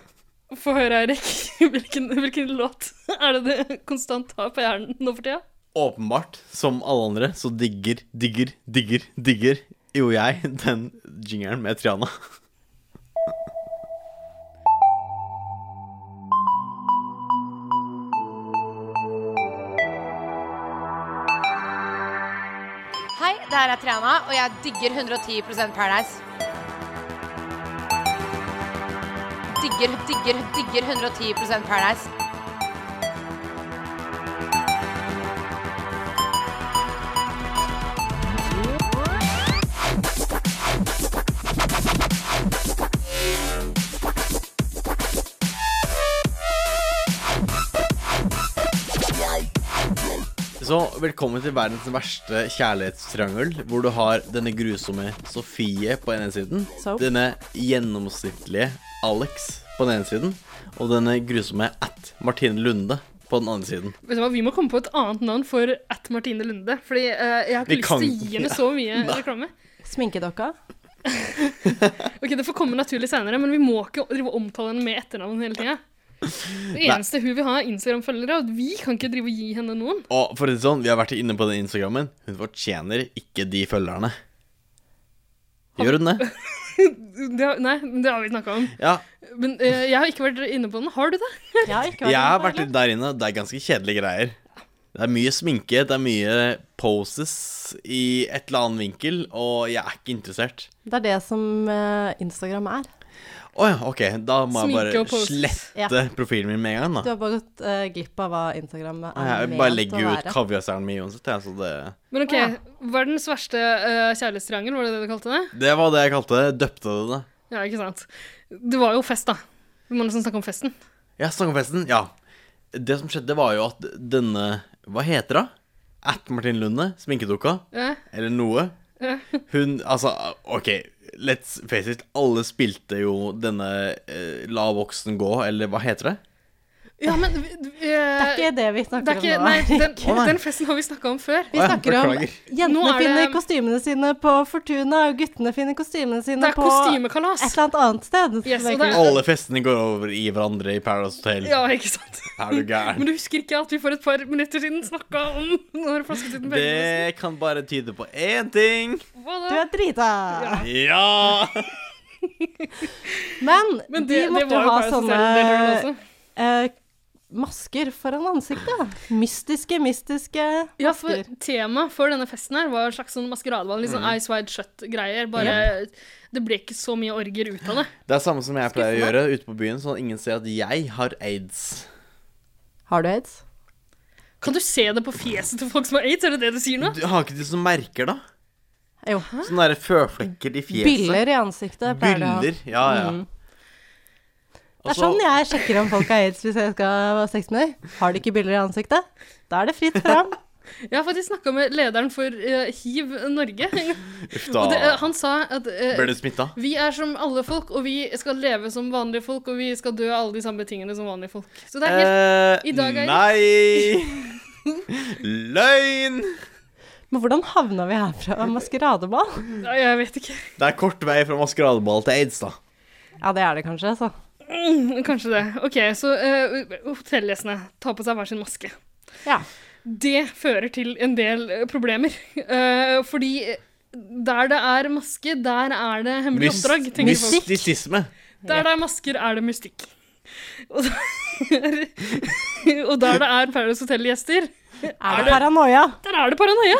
[SPEAKER 5] Få høre, Eirik. (laughs) Hvilken, hvilken låt er det du konstant har på hjernen nå for tida?
[SPEAKER 2] Åpenbart, som alle andre, så digger, digger, digger, digger jo jeg den jingeren med Triana.
[SPEAKER 8] Hei, det her er Triana, og jeg digger 110 Paradise. Digger, digger, digger 110 Paradise.
[SPEAKER 2] Så velkommen til verdens verste kjærlighetstriangel, hvor du har denne grusomme Sofie på den ene siden,
[SPEAKER 4] Soap.
[SPEAKER 2] denne gjennomsnittlige Alex på den ene siden, og denne grusomme at Martine Lunde på den andre siden.
[SPEAKER 5] Vet du hva, Vi må komme på et annet navn for at Martine Lunde. Fordi eh, jeg har
[SPEAKER 2] Vi
[SPEAKER 5] ikke lyst
[SPEAKER 2] kan
[SPEAKER 5] til å
[SPEAKER 2] ikke.
[SPEAKER 5] gi henne så mye reklame.
[SPEAKER 4] Sminkedokka.
[SPEAKER 5] Ok, Det får komme naturlig senere, men vi må ikke drive og omtale henne med etternavn hele tida. Det eneste hun vil ha, er Instagram-følgere, og vi kan ikke drive og gi henne noen.
[SPEAKER 2] Og for å si det sånn, vi har vært inne på den Instagrammen. Hun fortjener ikke de følgerne. Gjør hun det?
[SPEAKER 5] Det har, nei, men det har vi snakka om.
[SPEAKER 2] Ja.
[SPEAKER 5] Men eh, jeg har ikke vært inne på den. Har du det?
[SPEAKER 4] Jeg har ikke
[SPEAKER 2] Jeg har
[SPEAKER 4] inne på
[SPEAKER 2] vært
[SPEAKER 4] det.
[SPEAKER 2] litt der inne. Det er ganske kjedelige greier. Det er mye sminke, det er mye poses i et eller annet vinkel, og jeg er ikke interessert.
[SPEAKER 4] Det er det som eh, Instagram er.
[SPEAKER 2] Å ja, OK. Da må
[SPEAKER 5] Sminke
[SPEAKER 2] jeg
[SPEAKER 5] og
[SPEAKER 2] bare
[SPEAKER 5] poses.
[SPEAKER 2] slette profilen min med en gang,
[SPEAKER 4] Du
[SPEAKER 2] da.
[SPEAKER 4] har bare gått eh, glipp av hva Instagram er
[SPEAKER 2] Jeg
[SPEAKER 4] ment
[SPEAKER 2] bare
[SPEAKER 4] å
[SPEAKER 2] legger ut
[SPEAKER 4] være.
[SPEAKER 2] kaviarstjernen min uansett, jeg, så det
[SPEAKER 5] Men ok,
[SPEAKER 4] Ja.
[SPEAKER 5] verdens verste eh, kjærlighetstriangel, var det det du kalte det?
[SPEAKER 2] Det var det jeg kalte det. Døpte det det.
[SPEAKER 5] Ja, ikke sant. Det var jo fest, da. Vi må nesten snakke om festen.
[SPEAKER 2] Ja, Stangefesten. Ja. Det som skjedde, var jo at denne Hva heter hun? At Martin Lunde, sminkedukka,
[SPEAKER 5] Eh,
[SPEAKER 2] eller noe. Hun Altså, OK, let's face it. Alle spilte jo denne eh, La voksen gå, eller hva heter det?
[SPEAKER 5] Ja, men eh,
[SPEAKER 4] Det er ikke det vi
[SPEAKER 5] det er
[SPEAKER 4] snakker
[SPEAKER 5] ikke,
[SPEAKER 4] om
[SPEAKER 5] nei,
[SPEAKER 4] nå.
[SPEAKER 5] (laughs) den,
[SPEAKER 2] Å, nei.
[SPEAKER 5] den festen har vi snakka om før.
[SPEAKER 4] Vi
[SPEAKER 2] Å ja,
[SPEAKER 4] snakker om
[SPEAKER 2] beklager.
[SPEAKER 4] jentene
[SPEAKER 5] Nå er
[SPEAKER 4] finner
[SPEAKER 5] det-
[SPEAKER 4] kostymene sine på Fortuna, og guttene finner kostymene
[SPEAKER 5] Det
[SPEAKER 4] sine
[SPEAKER 5] er
[SPEAKER 4] på et
[SPEAKER 5] kostymekalas.
[SPEAKER 4] eller annet annet sted.
[SPEAKER 5] Yes, og
[SPEAKER 4] Virker
[SPEAKER 5] det er-
[SPEAKER 2] Alle festene går over i hverandre i Paradise Hotel.
[SPEAKER 5] Ja, ikke sant?
[SPEAKER 2] Er du gæren?
[SPEAKER 5] Men du husker ikke at vi for et par minutter siden snakka om når flasketiden begynte?
[SPEAKER 2] Det kan bare tyde på én ting.
[SPEAKER 5] Hva
[SPEAKER 4] Du
[SPEAKER 5] da?
[SPEAKER 4] er drita!
[SPEAKER 2] Ja!
[SPEAKER 4] Men,
[SPEAKER 5] Men
[SPEAKER 4] de
[SPEAKER 5] det, det
[SPEAKER 4] måtte
[SPEAKER 5] var
[SPEAKER 4] jo
[SPEAKER 5] jo
[SPEAKER 4] ha
[SPEAKER 5] bare
[SPEAKER 4] sånne
[SPEAKER 5] sånn
[SPEAKER 4] eh, masker foran ansiktet. da. Mystiske, mystiske
[SPEAKER 5] Ja, for
[SPEAKER 4] masker.
[SPEAKER 5] temaet for denne festen her var en slags sånn maskeradeball. Litt sånn Eyes Wide Shut-greier. Bare Det ble ikke så mye orger ut av det.
[SPEAKER 2] Det er samme som jeg pleier å gjøre ute på byen, sånn at ingen ser at jeg har aids.
[SPEAKER 4] Har du aids?
[SPEAKER 5] Kan du se det på fjeset til folk som har aids? Er det det du sier nå?
[SPEAKER 2] Du har ikke de som merker, da?
[SPEAKER 4] Jo.
[SPEAKER 2] Sånne der føflekker i fjeset.
[SPEAKER 4] Biller i ansiktet pleier det å ha.
[SPEAKER 2] Byller. Ja, ja.
[SPEAKER 5] Mm.
[SPEAKER 4] Det er sånn jeg sjekker om folk har aids hvis jeg skal ha sex med dem. Har de ikke biller i ansiktet, da er det fritt fram.
[SPEAKER 5] Jeg har faktisk snakka med lederen for eh, Hiv Norge.
[SPEAKER 2] Uff
[SPEAKER 5] Og det, eh,
[SPEAKER 2] da.
[SPEAKER 5] han sa at eh,
[SPEAKER 2] Ble du smitta?
[SPEAKER 5] vi er som alle folk, og vi skal leve som vanlige folk, og vi skal dø av alle de samme tingene som vanlige folk. Så det er helt
[SPEAKER 2] Eh,
[SPEAKER 5] I dag er-
[SPEAKER 2] Nei! Løgn!
[SPEAKER 4] Men hvordan havna vi her fra maskeradeball?
[SPEAKER 2] Eh.
[SPEAKER 5] Nei, Jeg vet ikke. (laughs)
[SPEAKER 2] Det er kort vei fra maskeradeball til aids, da.
[SPEAKER 4] Ja, det er det kanskje, altså.
[SPEAKER 5] Kanskje det. OK, så eh, hotellgjestene tar på seg hver sin maske.
[SPEAKER 4] Ja.
[SPEAKER 5] Det fører til en del eh, problemer. Eh, fordi eh, der det er maske, der er det hemmelig
[SPEAKER 2] Mys-
[SPEAKER 5] oppdrag, tenker folk.
[SPEAKER 2] Mystisisme.
[SPEAKER 5] Der det er masker, er det mystikk. Og der, og der det er Paradise Hotel-gjester,
[SPEAKER 4] Er det paranoia?
[SPEAKER 5] der er det paranoia!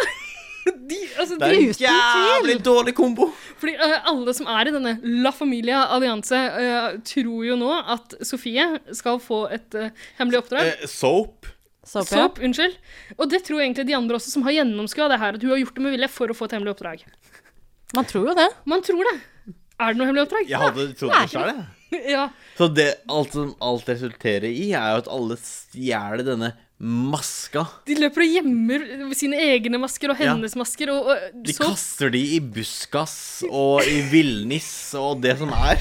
[SPEAKER 5] De, altså,
[SPEAKER 2] Det er en
[SPEAKER 4] Uten tvil.
[SPEAKER 2] jævlig dårlig kombo.
[SPEAKER 5] Fordi eh, alle som er i denne La Familia Allianse, eh, tror jo nå at Sofie skal få et eh, hemmelig oppdrag.
[SPEAKER 2] Eh, soap. Eh,
[SPEAKER 4] Såpe, ja.
[SPEAKER 5] Soap, unnskyld. Og det tror egentlig de andre også som har gjennomskua det her, at hun har gjort det med vilje for å få et hemmelig oppdrag.
[SPEAKER 4] Man tror jo det.
[SPEAKER 5] Man tror det. Er det noe hemmelig oppdrag?
[SPEAKER 2] Jeg hadde trodd det sjøl, jeg.
[SPEAKER 5] (laughs) Ja.
[SPEAKER 2] Så det, alt som alt resulterer i, er jo at alle stjeler denne maska.
[SPEAKER 5] De løper og gjemmer sine egne masker og
[SPEAKER 2] Ja.
[SPEAKER 5] hennes masker, og, og
[SPEAKER 2] De
[SPEAKER 5] så
[SPEAKER 2] kaster de i buskas og i villnis og det som er.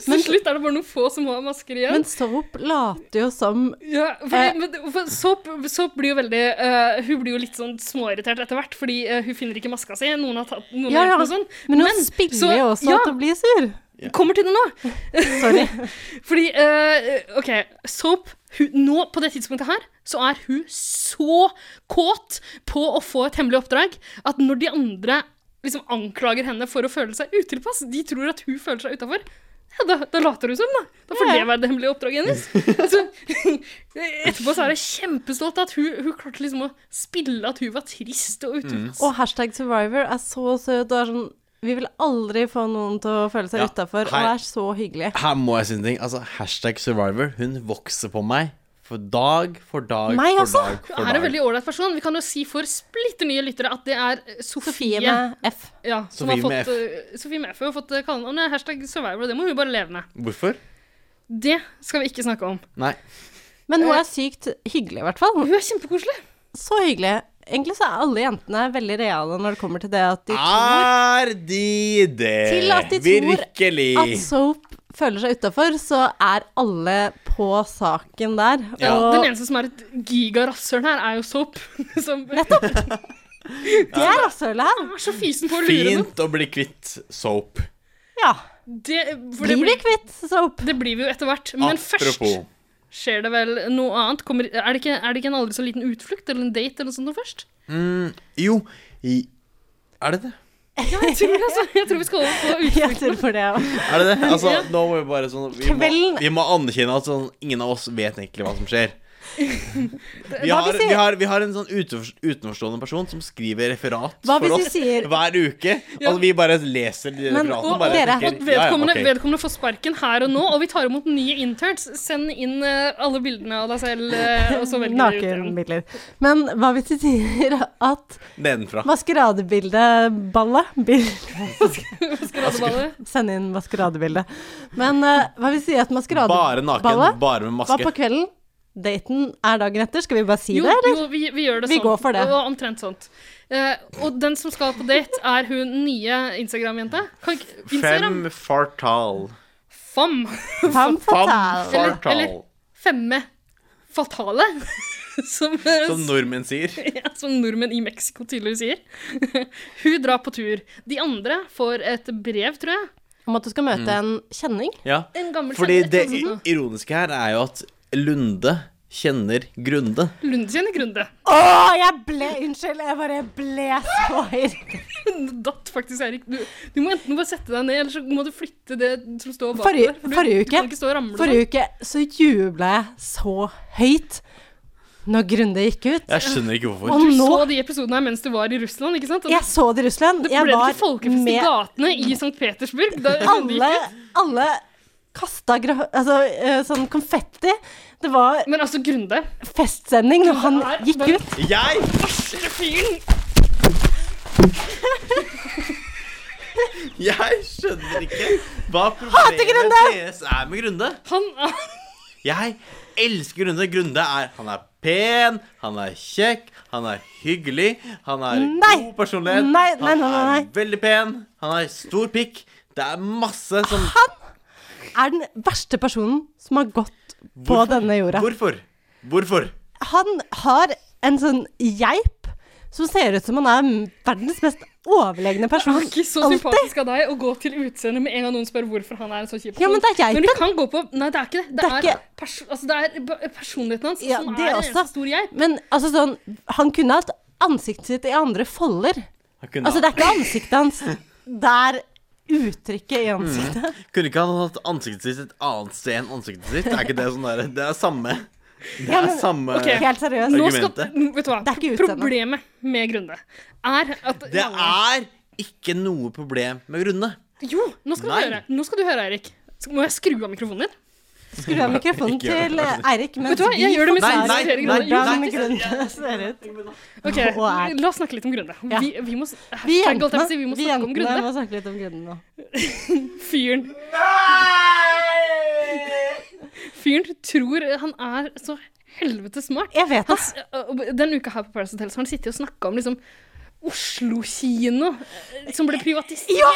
[SPEAKER 5] til slutt er det bare noen få som har masker igjen.
[SPEAKER 4] Men soap later jo som
[SPEAKER 5] Ja,
[SPEAKER 4] Eh.
[SPEAKER 5] fordi, men, for Soap, Soap blir jo veldig eh, Hun blir jo litt sånn småirritert etter hvert, fordi eh, hun finner ikke maska si. Noen har tatt noen
[SPEAKER 4] Ja,
[SPEAKER 5] har gjort
[SPEAKER 4] ja.
[SPEAKER 5] noe sånn.
[SPEAKER 4] Men hun
[SPEAKER 5] Men, så-
[SPEAKER 4] spiller jo også
[SPEAKER 5] ja.
[SPEAKER 4] at hun blir sur.
[SPEAKER 5] Kommer til det nå!
[SPEAKER 4] (laughs) Sorry.
[SPEAKER 5] (laughs) Fordi eh, OK, Soap hun, Nå, på det tidspunktet her, så er hun så kåt på å få et hemmelig oppdrag at når de andre liksom anklager henne for å føle seg utilpass, de tror at hun føler seg utafor. Ja, da, da later hun som, da. Da får
[SPEAKER 4] Ja, ja.
[SPEAKER 5] det være det hemmelige
[SPEAKER 4] (laughs)
[SPEAKER 5] oppdraget hennes. Altså, (laughs) etterpå så er jeg kjempestolt av at hun, hun klarte liksom å spille at hun var trist og utilpass.
[SPEAKER 4] Og hashtag survivor er så søt og er sånn Vi vil aldri få noen til å føle seg
[SPEAKER 2] Ja,
[SPEAKER 4] utenfor utafor, og
[SPEAKER 2] her-
[SPEAKER 4] er så hyggelig.
[SPEAKER 2] Her må jeg si en ting. Altså, hashtag survivor, hun vokser på meg. For dag for dag
[SPEAKER 4] Meg
[SPEAKER 2] for
[SPEAKER 4] også?
[SPEAKER 2] dag
[SPEAKER 5] Hun
[SPEAKER 2] for
[SPEAKER 5] er en
[SPEAKER 2] dag.
[SPEAKER 5] veldig ålreit person. Vi kan jo si for splitter nye lyttere at det er eh,
[SPEAKER 4] Sofie
[SPEAKER 5] Sofie,
[SPEAKER 4] med F.
[SPEAKER 5] ja, som
[SPEAKER 2] Sofie
[SPEAKER 5] har
[SPEAKER 2] med
[SPEAKER 5] fått, eh, Sofie Mefø har fått eh, kallenavnet hashtag survivor, og det må hun bare leve med.
[SPEAKER 2] Hvorfor?
[SPEAKER 5] Det skal vi ikke snakke om.
[SPEAKER 2] Nei.
[SPEAKER 4] Men hun er sykt hyggelig, i hvert fall.
[SPEAKER 5] Hun er kjempekoselig.
[SPEAKER 4] Så hyggelig. Egentlig så er alle jentene veldig reale når det kommer til det at de tror
[SPEAKER 2] Er de det?
[SPEAKER 4] Til at de tror
[SPEAKER 2] Virkelig.
[SPEAKER 4] at soap føler seg utafor, så er alle på saken der.
[SPEAKER 2] Ja.
[SPEAKER 4] Og
[SPEAKER 5] Den eneste som er et gigarasshøl her, er jo Soap. (laughs) Som
[SPEAKER 4] det er rasshølet her.
[SPEAKER 5] (laughs) er så fysen på å lure noen.
[SPEAKER 2] Fint å bli kvitt soap.
[SPEAKER 4] Ja.
[SPEAKER 5] Det, for
[SPEAKER 4] Blir
[SPEAKER 5] det
[SPEAKER 4] vi
[SPEAKER 5] blir-
[SPEAKER 4] kvitt soap? (laughs)
[SPEAKER 5] Det blir vi jo etter hvert. Men
[SPEAKER 2] Apropos.
[SPEAKER 5] først skjer det vel noe annet. Kommer, er, det ikke, er det ikke en aldri så liten utflukt eller en date eller noe sånt noe først?
[SPEAKER 2] Jo, i Er det det?
[SPEAKER 5] (laughs) Ja, jeg tror, altså, jeg tror vi skal over på
[SPEAKER 4] Jeg
[SPEAKER 5] utflukt.
[SPEAKER 4] tror for det òg.
[SPEAKER 2] Er det
[SPEAKER 4] (laughs)
[SPEAKER 2] det? Altså, nå må vi bare sånn Vi må,
[SPEAKER 4] Kvelden-
[SPEAKER 2] vi må anerkjenne at sånn, ingen av oss vet egentlig hva som
[SPEAKER 4] (laughs)
[SPEAKER 2] skjer. Vi
[SPEAKER 4] Hva
[SPEAKER 2] har,
[SPEAKER 4] hvis vi-
[SPEAKER 2] vi har, vi har en sånn utenfor, utenforstående person som skriver referat
[SPEAKER 4] Hva
[SPEAKER 2] for
[SPEAKER 4] hvis
[SPEAKER 2] oss
[SPEAKER 4] vi sier-
[SPEAKER 2] hver uke.
[SPEAKER 5] Ja.
[SPEAKER 2] Altså, vi bare leser de
[SPEAKER 4] Men-
[SPEAKER 2] referatene.
[SPEAKER 4] og-
[SPEAKER 2] bare
[SPEAKER 4] og dere-
[SPEAKER 2] tenker, ja, ja,
[SPEAKER 5] Vedkommende,
[SPEAKER 2] ok.
[SPEAKER 5] vedkommende får sparken her og nå, og vi tar imot nye interns. Send inn eh, alle bildene av deg selv, eh, og (laughs) så velger vi ut en.
[SPEAKER 4] Nakenbilder. Men hva hvis de sier at
[SPEAKER 2] Nedenfra.
[SPEAKER 4] maskeradebildeballet bil-
[SPEAKER 5] Maskeradeball.
[SPEAKER 4] (laughs) Send inn maskeradebilde. Men eh, hva hvis de sier at
[SPEAKER 2] Bare naken,
[SPEAKER 4] maskeradeballet
[SPEAKER 2] bare med
[SPEAKER 4] var
[SPEAKER 2] maske.
[SPEAKER 4] på kvelden? Daten er dagen etter, skal vi bare si
[SPEAKER 5] Jo,
[SPEAKER 4] det, eller?
[SPEAKER 5] jo vi, vi gjør det
[SPEAKER 4] Vi
[SPEAKER 5] sånn.
[SPEAKER 4] går for det.
[SPEAKER 5] Og omtrent sånt. Eh, og den som skal på date, er hun nye Instagram-jenta. Kan ikke Instagram?
[SPEAKER 2] Fem fartal.
[SPEAKER 5] Fam.
[SPEAKER 4] Fem
[SPEAKER 2] Fem
[SPEAKER 4] fatal.
[SPEAKER 5] Eller-
[SPEAKER 2] fartal.
[SPEAKER 5] eller- Femme. fatale, (laughs) som, eh,
[SPEAKER 2] Som nordmenn sier.
[SPEAKER 5] (laughs) ja, som nordmenn i Mexico tydeligvis sier. (laughs) Hun drar på tur. De andre får et brev, tror jeg.
[SPEAKER 4] Om at du skal møte en kjenning.
[SPEAKER 2] Ja.
[SPEAKER 5] En
[SPEAKER 2] (laughs)
[SPEAKER 5] gammel Altså, sånn
[SPEAKER 2] Fordi
[SPEAKER 5] kjenner,
[SPEAKER 2] det
[SPEAKER 5] et eller annet sånt
[SPEAKER 2] i- ironiske her er jo at Lunde kjenner Grunde.
[SPEAKER 5] noe. Lunde kjenner Grunde.
[SPEAKER 4] Å, jeg ble Unnskyld, jeg bare ble så irritert.
[SPEAKER 5] Hun datt faktisk, Erik. Du, du må enten bare sette deg ned, eller så må du flytte det som står bak
[SPEAKER 4] (laughs) Forrige-
[SPEAKER 5] der. for du-
[SPEAKER 4] forrige
[SPEAKER 5] Du kan
[SPEAKER 4] uke-
[SPEAKER 5] ikke stå og ramle. sånn.
[SPEAKER 4] Forrige uke så jubla jeg så høyt når Grunde gikk ut.
[SPEAKER 2] Jeg skjønner ikke hvorfor.
[SPEAKER 4] Og
[SPEAKER 5] Du
[SPEAKER 4] nå
[SPEAKER 5] så de episodene her mens du var i Russland, ikke sant? Og
[SPEAKER 4] Jeg så det i Russland.
[SPEAKER 5] det
[SPEAKER 4] Jeg
[SPEAKER 5] ble det ikke
[SPEAKER 4] var
[SPEAKER 5] folkefest i
[SPEAKER 4] med
[SPEAKER 5] gatene i St. Petersburg? Da Lunde
[SPEAKER 4] (laughs)
[SPEAKER 5] gikk
[SPEAKER 4] alle,
[SPEAKER 5] ut?
[SPEAKER 4] alle kasta gra altså, eh, sånn konfetti. Det var
[SPEAKER 5] Men altså, Grunde
[SPEAKER 4] festsending når han
[SPEAKER 5] Her,
[SPEAKER 4] gikk
[SPEAKER 5] bare-
[SPEAKER 4] ut.
[SPEAKER 2] Jeg
[SPEAKER 5] Varsler fyren!
[SPEAKER 2] Jeg skjønner ikke hva problemet
[SPEAKER 4] Grunde!
[SPEAKER 2] deres er med Grunde.
[SPEAKER 5] Han
[SPEAKER 2] Jeg elsker Grunde. Grunde er Han er pen, han er kjekk, han er hyggelig, han er
[SPEAKER 4] Nei!
[SPEAKER 2] god personlighet.
[SPEAKER 4] Nei, nei, nei, nei, nei.
[SPEAKER 2] Han er veldig pen, han har stor pikk. Det er masse som
[SPEAKER 4] Er den verste personen som har gått på
[SPEAKER 2] Hvorfor?
[SPEAKER 4] denne jorda.
[SPEAKER 2] Hvorfor? Hvorfor?
[SPEAKER 4] Han har en sånn geip som ser ut som han er m- verdens mest overlegne
[SPEAKER 5] Det
[SPEAKER 4] person.
[SPEAKER 5] er (laughs) ikke så
[SPEAKER 4] Alltid.
[SPEAKER 5] sympatisk av deg å gå til utseendet med en gang noen spør hvorfor han er en så kjip.
[SPEAKER 4] Ja, men det er
[SPEAKER 5] person.
[SPEAKER 4] geipen.
[SPEAKER 5] Men du kan gå på Nei, det er ikke det. Det,
[SPEAKER 4] Det er
[SPEAKER 5] er,
[SPEAKER 4] ikke-
[SPEAKER 5] perso altså, det er b- personligheten hans
[SPEAKER 4] Ja,
[SPEAKER 5] som
[SPEAKER 4] det
[SPEAKER 5] er en
[SPEAKER 4] også.
[SPEAKER 5] eneste stor geip.
[SPEAKER 4] Men altså sånn Han kunne hatt ansiktet sitt i andre folder.
[SPEAKER 2] Han kunne,
[SPEAKER 4] Altså, det er ikke ansiktet hans. Det er uttrykket i ansiktet.
[SPEAKER 2] kunne ikke han hatt ansiktet sitt et annet sted enn ansiktet sitt? Er ikke det sånn der, Det er samme. Det er samme
[SPEAKER 5] Ok.
[SPEAKER 4] Helt seriøst.
[SPEAKER 5] Nå skal,
[SPEAKER 2] argumentet.
[SPEAKER 5] Mm, vet du hva?
[SPEAKER 4] Det er ikke utseendet.
[SPEAKER 5] Problemet med Grunde er at
[SPEAKER 2] Det er ikke noe problem med Grunde.
[SPEAKER 5] Jo, nå skal,
[SPEAKER 2] Nei.
[SPEAKER 5] du høre. nå skal du høre, Eirik. Skal- Må jeg skru av mikrofonen din?
[SPEAKER 4] Skru av mikrofonen
[SPEAKER 2] Ikke gjør
[SPEAKER 4] til
[SPEAKER 2] det.
[SPEAKER 4] Eirik mens
[SPEAKER 5] Vet du hva, jeg
[SPEAKER 4] vi
[SPEAKER 5] gjør det mens
[SPEAKER 2] Nei,
[SPEAKER 5] vi
[SPEAKER 2] nei,
[SPEAKER 5] diskuterer
[SPEAKER 2] nei,
[SPEAKER 5] Grunde. Jo,
[SPEAKER 4] hvordan
[SPEAKER 2] nei.
[SPEAKER 4] grunnen ser ut.
[SPEAKER 5] Ok,
[SPEAKER 4] Nå er-
[SPEAKER 5] La oss snakke litt om Grunde.
[SPEAKER 4] Ja.
[SPEAKER 5] Vi, vi må, s-
[SPEAKER 4] Vi
[SPEAKER 5] hashtag, holdt jeg på
[SPEAKER 4] jentene,
[SPEAKER 5] å si, vi må
[SPEAKER 4] vi
[SPEAKER 5] snakke om
[SPEAKER 4] jentene
[SPEAKER 5] Grunde.
[SPEAKER 4] må snakke litt om grunnen nå.
[SPEAKER 5] Fyren Fyren tror han er så helvete smart.
[SPEAKER 4] Jeg vet det.
[SPEAKER 5] Altså, Den uka her på Paradise Hotel så har han sittet og snakka om liksom Oslo kino eh, som ble privatisert.
[SPEAKER 4] Ja!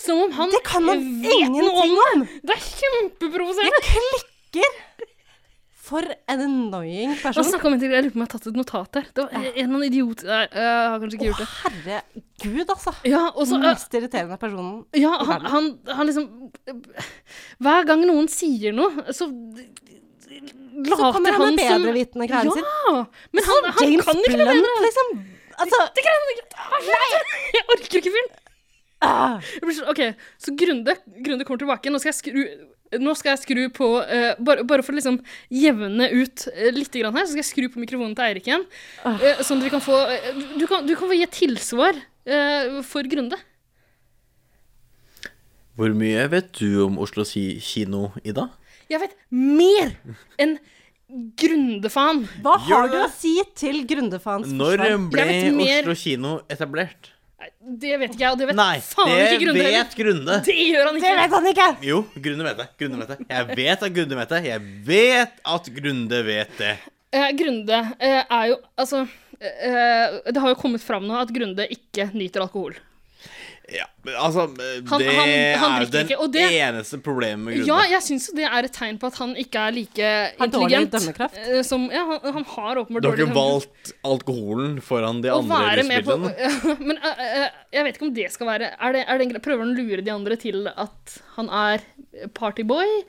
[SPEAKER 5] Som om han
[SPEAKER 4] Det kan man
[SPEAKER 5] vet noe
[SPEAKER 4] ingenting
[SPEAKER 5] om det.
[SPEAKER 4] om!
[SPEAKER 5] Det er kjempeprovoserende.
[SPEAKER 4] Jeg klikker! For en annoying
[SPEAKER 5] La oss
[SPEAKER 4] person.
[SPEAKER 5] snakke om en ting. Jeg lurer på om jeg har tatt et notat her. Det var en eller annen idiot Nei, eh, Jeg har kanskje ikke gjort det.
[SPEAKER 4] Herregud, altså.
[SPEAKER 5] Ja, og så øh, eh,
[SPEAKER 4] Den mest irriterende personen.
[SPEAKER 5] Ja,
[SPEAKER 4] i
[SPEAKER 5] han,
[SPEAKER 4] verden.
[SPEAKER 5] han, han liksom Hver gang noen sier noe, så
[SPEAKER 4] Så
[SPEAKER 5] later
[SPEAKER 4] kommer han med
[SPEAKER 5] som-
[SPEAKER 4] bedrevitende kraven sin.
[SPEAKER 5] Ja! Men han, han
[SPEAKER 4] James
[SPEAKER 5] kan ikke det
[SPEAKER 4] Blunt,
[SPEAKER 5] bedre.
[SPEAKER 4] liksom. Altså,
[SPEAKER 5] Det kan han ikke. Nei! Jeg orker ikke fyren.
[SPEAKER 4] ah,
[SPEAKER 5] Jeg blir så- OK, så Grunde, Grunde kommer tilbake. Nå skal jeg skru nå skal jeg skru på eh, bare, bare for å liksom jevne ut eh, litt grann her, så skal jeg skru på mikrofonen til Eirik igjen.
[SPEAKER 4] Ah.
[SPEAKER 5] eh, sånn at vi kan få eh, du- du, kan, du kan få gi et tilsvar eh, for Grunde.
[SPEAKER 2] Hvor mye vet du om Oslo si kino, Ida?
[SPEAKER 5] Jeg vet mer enn Grunde-faen.
[SPEAKER 4] hva
[SPEAKER 2] Gjør
[SPEAKER 4] har
[SPEAKER 2] du
[SPEAKER 4] du å
[SPEAKER 2] det?
[SPEAKER 4] si til Grundefans
[SPEAKER 2] Når um,
[SPEAKER 4] forsvar?
[SPEAKER 2] ble
[SPEAKER 5] Jeg vet mer-
[SPEAKER 2] Oslo kino etablert?
[SPEAKER 5] Nei, Det vet ikke jeg, og det vet
[SPEAKER 2] Nei,
[SPEAKER 5] faen
[SPEAKER 2] det
[SPEAKER 5] ikke Grunde heller.
[SPEAKER 2] vet Grunde.
[SPEAKER 5] Det gjør han
[SPEAKER 4] Det
[SPEAKER 5] ikke.
[SPEAKER 4] vet han ikke!
[SPEAKER 2] Jo, Grunde vet det. Grunde vet det. Jeg vet at Grunde vet det. Jeg vet at Grunde vet det.
[SPEAKER 5] Eh, Grunde eh, er jo Altså, eh, det har jo kommet fram nå at Grunde ikke nyter alkohol.
[SPEAKER 2] Ja, men altså
[SPEAKER 5] han-
[SPEAKER 2] Det
[SPEAKER 5] han
[SPEAKER 2] er jo
[SPEAKER 5] drikker
[SPEAKER 2] den
[SPEAKER 5] ikke, og det-
[SPEAKER 2] eneste problemet med
[SPEAKER 5] Ja,
[SPEAKER 2] Grunde.
[SPEAKER 5] jeg syns jo det er et tegn på at han ikke er like
[SPEAKER 4] Har dårlig
[SPEAKER 5] intelligent.
[SPEAKER 4] dømmekraft.
[SPEAKER 5] eh, som, ja, han, han har åpenbart
[SPEAKER 2] Du har
[SPEAKER 5] dårlig
[SPEAKER 2] ikke
[SPEAKER 5] dømmekraft.
[SPEAKER 2] valgt alkoholen foran de
[SPEAKER 5] Å
[SPEAKER 2] andre
[SPEAKER 5] være med på (laughs)
[SPEAKER 2] rusmidlene.
[SPEAKER 5] Men eh, eh, jeg vet ikke om det skal være er det, er det en, gre- Prøver han å lure de andre til at han er partyboy?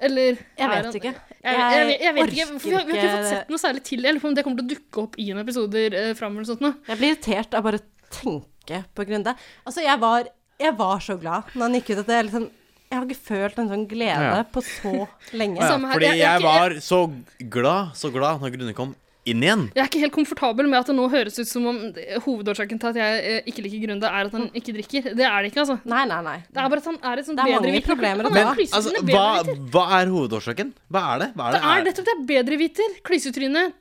[SPEAKER 5] Eller er
[SPEAKER 4] Jeg vet
[SPEAKER 5] han-
[SPEAKER 4] ikke.
[SPEAKER 5] Jeg, jeg, jeg, vet ikke,
[SPEAKER 4] orker
[SPEAKER 5] for vi har, vi har ikke fått
[SPEAKER 4] det.
[SPEAKER 5] sett noe særlig til. Jeg lurer på om det kommer til å dukke opp i en episoder eh, framover. eller sånt nå.
[SPEAKER 4] Jeg blir irritert av bare å tenke på Grunde. Altså, jeg var, jeg var så glad når han gikk ut at jeg liksom Jeg har ikke følt en sånn glede
[SPEAKER 2] Ja.
[SPEAKER 4] på så lenge.
[SPEAKER 5] Ja.
[SPEAKER 4] Så,
[SPEAKER 5] Samme her.
[SPEAKER 2] Fordi
[SPEAKER 5] Jeg- jeg
[SPEAKER 2] jeg
[SPEAKER 5] er ikke-
[SPEAKER 2] var så glad, så glad når Grunde kom inn igjen.
[SPEAKER 5] Jeg er ikke helt komfortabel med at det nå høres ut som om eh, hovedårsaken til at jeg eh, ikke liker Grunde, er at
[SPEAKER 4] Mm.
[SPEAKER 5] han ikke drikker. Det er det ikke, altså.
[SPEAKER 4] Nei, nei, nei.
[SPEAKER 5] Det er bare at han er et sånt
[SPEAKER 4] Det er mange
[SPEAKER 5] bedreviter.
[SPEAKER 4] problemer å
[SPEAKER 5] Han
[SPEAKER 4] ta
[SPEAKER 5] er
[SPEAKER 4] av.
[SPEAKER 5] klysete,
[SPEAKER 2] Altså,
[SPEAKER 5] han er
[SPEAKER 2] hva,
[SPEAKER 5] bedreviter.
[SPEAKER 2] hva er hovedårsaken? Hva er det? Hva er
[SPEAKER 5] Det er
[SPEAKER 2] det?
[SPEAKER 5] nettopp det. Bedreviter. Klysetryne.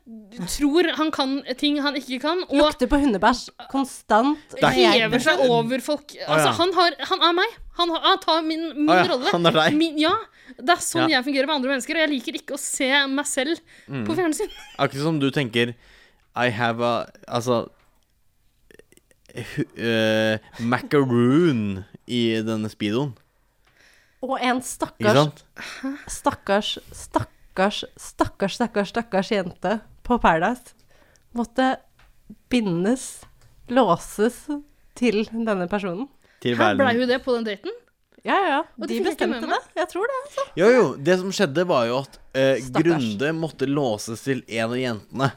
[SPEAKER 5] Tror han kan ting han ikke kan. Og
[SPEAKER 4] Lukter på hundebæsj konstant.
[SPEAKER 2] Det er ikke-
[SPEAKER 4] Jeg-
[SPEAKER 5] hever seg over folk. Altså,
[SPEAKER 2] ja.
[SPEAKER 5] han, har, han er meg. Han, har, han tar min, min
[SPEAKER 2] Å ja,
[SPEAKER 5] rolle.
[SPEAKER 2] han er deg.
[SPEAKER 5] Min, ja. Det er sånn
[SPEAKER 2] Ja. Mm.
[SPEAKER 5] jeg fungerer med andre mennesker, og jeg liker ikke å se meg selv på fjernsyn.
[SPEAKER 2] Akkurat som du tenker I have a Altså hu- eh, Macaroon i denne speedoen.
[SPEAKER 4] Og en
[SPEAKER 2] Ikke
[SPEAKER 4] stakkars,
[SPEAKER 2] sant?
[SPEAKER 4] stakkars, stakkars stakkars, stakkars, stakkars, stakkars jente på Paradise måtte bindes, låses til denne personen.
[SPEAKER 2] Til
[SPEAKER 5] Her blei
[SPEAKER 2] verden.
[SPEAKER 5] jo det på den daten.
[SPEAKER 4] Ja, ja,
[SPEAKER 5] Og
[SPEAKER 4] de
[SPEAKER 5] det fikk jeg ikke
[SPEAKER 4] bestemte
[SPEAKER 5] med meg.
[SPEAKER 4] det. Jeg tror det, altså.
[SPEAKER 2] Jo, jo. Det som skjedde, var jo at eh,
[SPEAKER 4] Stakkars.
[SPEAKER 2] Grunde måtte låses til en av jentene.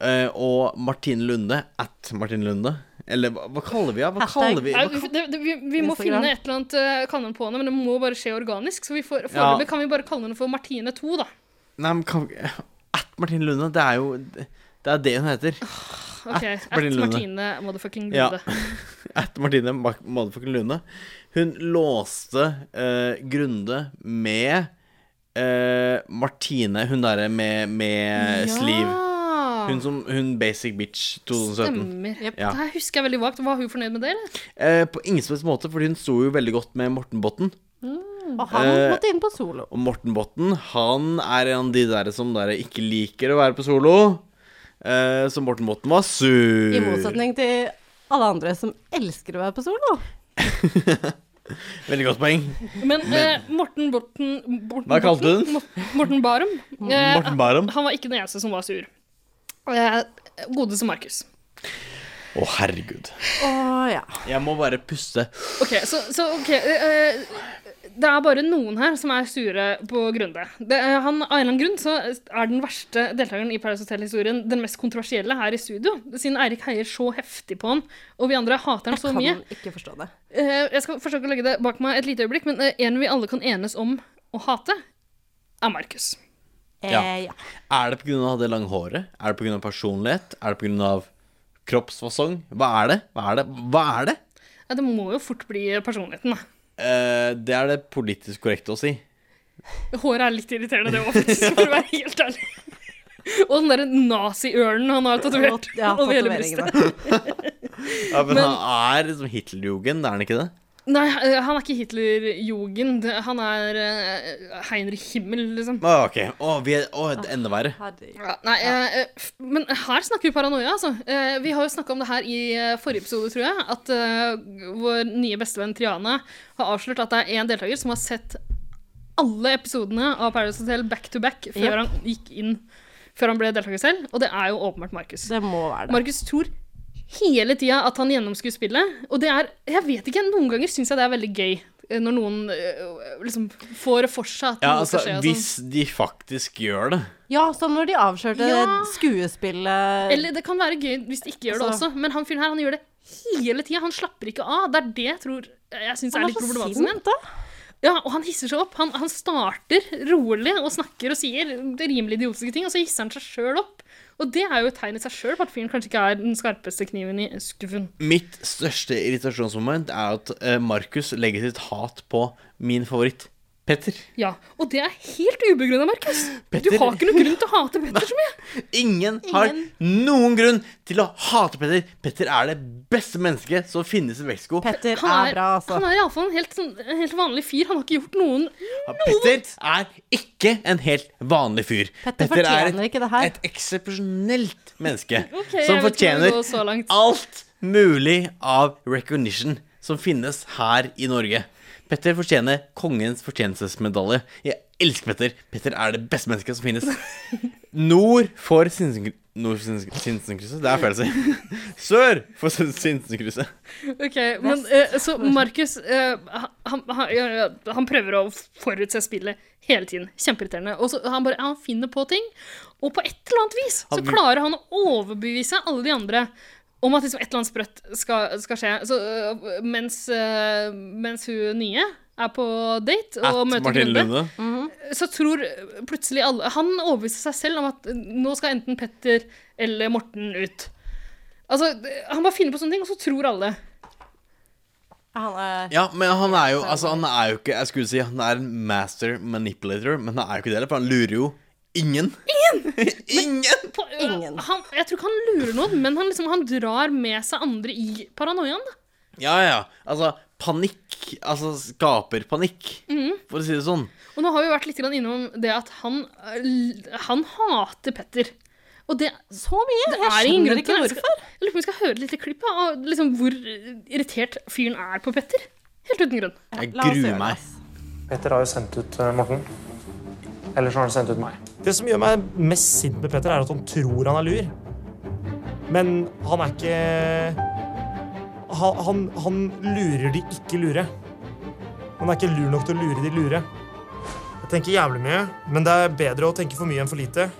[SPEAKER 2] Eh, og Martine Lunde At Martine Lunde. Eller hva, hva kaller vi henne? Hva
[SPEAKER 4] Hashtag.
[SPEAKER 2] kaller vi
[SPEAKER 5] Nei,
[SPEAKER 2] hva,
[SPEAKER 5] vi- det, det, vi, vi må
[SPEAKER 4] Instagram.
[SPEAKER 5] finne et eller annet uh, kallenavn på henne, men det må bare skje organisk. Så vi får,
[SPEAKER 2] Ja.
[SPEAKER 5] foreløpig kan vi bare kalle henne for Martine 2, da.
[SPEAKER 2] Nei, men kan vi At Martine Lunde, det er jo Det er det hun heter.
[SPEAKER 5] Ok,
[SPEAKER 2] At
[SPEAKER 5] At
[SPEAKER 2] Martine
[SPEAKER 5] Martine,
[SPEAKER 2] Lunde.
[SPEAKER 5] motherfucking
[SPEAKER 2] Ja.
[SPEAKER 5] Lunde.
[SPEAKER 2] (laughs) At Martine Mac- Motherfucking Lunde. Hun låste eh, Grunde med eh, Martine, hun derre med, med sliv. Hun som Hun basic bitch 2017.
[SPEAKER 5] Stemmer.
[SPEAKER 2] Ja.
[SPEAKER 5] Det her husker jeg veldig vagt. Var hun fornøyd med det, eller?
[SPEAKER 2] Eh, på ingen som helst måte, for hun sto jo veldig godt med Morten Botten.
[SPEAKER 5] Mm.
[SPEAKER 4] Og han
[SPEAKER 2] Eh,
[SPEAKER 4] måtte inn på solo.
[SPEAKER 2] Og Morten Botten, han er en av de der som der ikke liker å være på solo. Eh, så Morten Botten var sur.
[SPEAKER 4] I motsetning til alle andre som elsker å være på solo.
[SPEAKER 2] Veldig godt poeng.
[SPEAKER 5] Men, eh, Morten Borten Borten-
[SPEAKER 2] Hva kalte du den?
[SPEAKER 5] Mor- Morten Barum. Eh,
[SPEAKER 2] Morten Barum.
[SPEAKER 5] Han var ikke den eneste som var sur. Eh, Godeste Markus.
[SPEAKER 2] Å, herregud.
[SPEAKER 4] Å ja.
[SPEAKER 2] Jeg må bare puste.
[SPEAKER 5] OK, så, så OK eh, Det er bare noen her som er sure på Grunde. Det, eh, han, av en eller annen grunn så er den verste deltakeren i Paradise Hotel-historien den mest kontroversielle her i studio, siden Eirik heier så heftig på han, og vi andre hater han så
[SPEAKER 4] Kan
[SPEAKER 5] mye.
[SPEAKER 4] ikke forstå det.
[SPEAKER 5] Eh, jeg skal forsøke å legge det bak meg et lite øyeblikk, men eh, en vi alle kan enes om å hate, er Markus.
[SPEAKER 4] Eh,
[SPEAKER 2] Ja.
[SPEAKER 4] ja.
[SPEAKER 2] Er det pga. det lange håret? Er det pga. personlighet? Er det pga. kroppsfasong? Hva er det? Hva er det? Hva er det?
[SPEAKER 5] Ja, det må jo fort bli personligheten, da.
[SPEAKER 2] Eh, det er det politisk korrekte å si.
[SPEAKER 5] Håret er litt irriterende, det òg, faktisk, for å være helt ærlig. Og den derre nazi-ørnen han har tatovert
[SPEAKER 4] Og- ja,
[SPEAKER 5] (laughs) over hele
[SPEAKER 4] tatoveringene.
[SPEAKER 5] brystet.
[SPEAKER 2] Ja, men, han er liksom Hitlerjugend, er han ikke det?
[SPEAKER 5] Nei, eh, han er ikke Hitlerjugend. Han er eh, Heinrich Himmel, liksom.
[SPEAKER 2] Å, ok. Å, vi er, å det er enda verre.
[SPEAKER 4] Herregud.
[SPEAKER 5] Ja, nei, eh, eh, f- men her snakker vi paranoia, altså. Eh, vi har jo snakka om det her i eh, forrige episode, tror jeg. At eh, vår nye bestevenn Triana har avslørt at det er én deltaker som har sett alle episodene av Paradise Hotel back to back før
[SPEAKER 4] Yep.
[SPEAKER 5] han gikk inn Før han ble deltaker selv, og det er jo åpenbart Markus.
[SPEAKER 4] Det må være det.
[SPEAKER 5] Markus tror hele tida at han gjennomskuer spillet, og det er Jeg vet ikke, noen ganger syns jeg det er veldig gøy. eh, Når noen eh, liksom får for seg at
[SPEAKER 2] Ja,
[SPEAKER 5] noe
[SPEAKER 2] altså,
[SPEAKER 5] skal skje. og sånn.
[SPEAKER 2] hvis de faktisk gjør det.
[SPEAKER 4] Ja, som når de avslørte
[SPEAKER 5] Ja.
[SPEAKER 4] skuespillet
[SPEAKER 5] Eller det kan være gøy hvis de ikke gjør det
[SPEAKER 4] Altså-
[SPEAKER 5] også, men han fyren her han gjør det hele tida. Han slapper ikke av. Det er det jeg tror jeg syns er litt problematisk med han.
[SPEAKER 4] da.
[SPEAKER 5] Ja, og han hisser seg opp. Han, han starter rolig og snakker og sier rimelig idiotiske ting, og så hisser han seg sjøl opp. Og det er jo et tegn i seg sjøl på at fyren kanskje ikke er den skarpeste kniven i skuffen.
[SPEAKER 2] Mitt største irritasjonsmoment er at eh, Markus legger sitt hat på min favoritt Petter.
[SPEAKER 5] Ja, Og det er helt ubegrunna, Markus. Du
[SPEAKER 2] Petter-
[SPEAKER 5] har ikke noen grunn til å hate Petter så mye.
[SPEAKER 2] Ingen har noen grunn til å hate Petter. Petter er det beste mennesket som finnes i Mexico.
[SPEAKER 4] Petter
[SPEAKER 5] Han
[SPEAKER 4] er bra, altså.
[SPEAKER 5] han er iallfall en helt, sånn, en helt vanlig fyr. Han har ikke gjort noen
[SPEAKER 2] Petter er ikke en helt vanlig fyr.
[SPEAKER 4] Petter
[SPEAKER 2] er
[SPEAKER 4] fortjener
[SPEAKER 2] et,
[SPEAKER 4] ikke det her.
[SPEAKER 2] et eksepsjonelt menneske
[SPEAKER 5] (laughs) Ok, jeg
[SPEAKER 2] som
[SPEAKER 5] vet ikke om jeg
[SPEAKER 2] fortjener
[SPEAKER 5] går så langt.
[SPEAKER 2] alt mulig av recognition som finnes her i Norge. Petter fortjener kongens fortjenstmedalje. Jeg elsker Petter. Petter er det beste mennesket som finnes.
[SPEAKER 5] (laughs)
[SPEAKER 2] Nord for Sinsenkrysset Nord for Sinsen- Sinsenkrysset? Det er feil å si.
[SPEAKER 5] (laughs)
[SPEAKER 2] Sør for Sin- Sinsenkrysset.
[SPEAKER 5] Ok, men eh, så Markus eh, han, han, ja, ja, han prøver å forutse spillet hele tiden. Kjempeirriterende. Og så han bare han finner på ting, og på et eller annet vis så
[SPEAKER 2] Han-
[SPEAKER 5] klarer han å overbevise alle de andre om at liksom et eller annet sprøtt skal, skal skje. Så eh, mens, eh, mens hun nye er på date og
[SPEAKER 2] At
[SPEAKER 5] møter
[SPEAKER 2] Martin
[SPEAKER 5] Grunde,
[SPEAKER 2] Lunde.
[SPEAKER 5] så tror plutselig alle Han overbeviser seg selv om at eh, nå skal enten Petter eller Morten ut. Altså, Han bare finner på sånne ting, og så tror alle.
[SPEAKER 4] Han er
[SPEAKER 2] Ja, men han er jo Altså, han er jo ikke Jeg skulle si han er en master manipulator, men han er jo ikke det heller, for han lurer jo ingen. Ingen! (laughs) ingen!
[SPEAKER 5] på,
[SPEAKER 4] Ingen.
[SPEAKER 5] Han, jeg tror ikke han lurer noen, men han, liksom, han drar med seg andre i paranoiaen. da.
[SPEAKER 2] Ja, ja. Altså, panikk Altså, skaper panikk,
[SPEAKER 4] Mhm.
[SPEAKER 2] for å si det sånn.
[SPEAKER 5] Og nå har vi vært litt grann innom det at han, eh, l- han hater Petter. Og det,
[SPEAKER 4] så mye.
[SPEAKER 5] det
[SPEAKER 4] Jeg
[SPEAKER 5] er ingen
[SPEAKER 4] skjønner
[SPEAKER 5] grunn
[SPEAKER 4] ikke
[SPEAKER 5] til det. Jeg
[SPEAKER 4] hvorfor.
[SPEAKER 5] skal- Jeg lurer på om vi skal høre et lite klipp ja, av liksom, hvor irritert fyren er på Petter. Helt uten grunn.
[SPEAKER 2] Jeg
[SPEAKER 4] La oss
[SPEAKER 2] gruer
[SPEAKER 4] gjøre det,
[SPEAKER 2] meg.
[SPEAKER 4] ass.
[SPEAKER 9] Petter har jo sendt ut eh, Morten. Eller så har han sendt ut meg.
[SPEAKER 10] Det som gjør meg mest sint med Petter, er at han tror han er lur. Men han er ikke Han, han, han lurer de ikke lure. Han er ikke lur nok til å lure de lure. Jeg tenker jævlig mye, men det er bedre å tenke for mye enn for lite.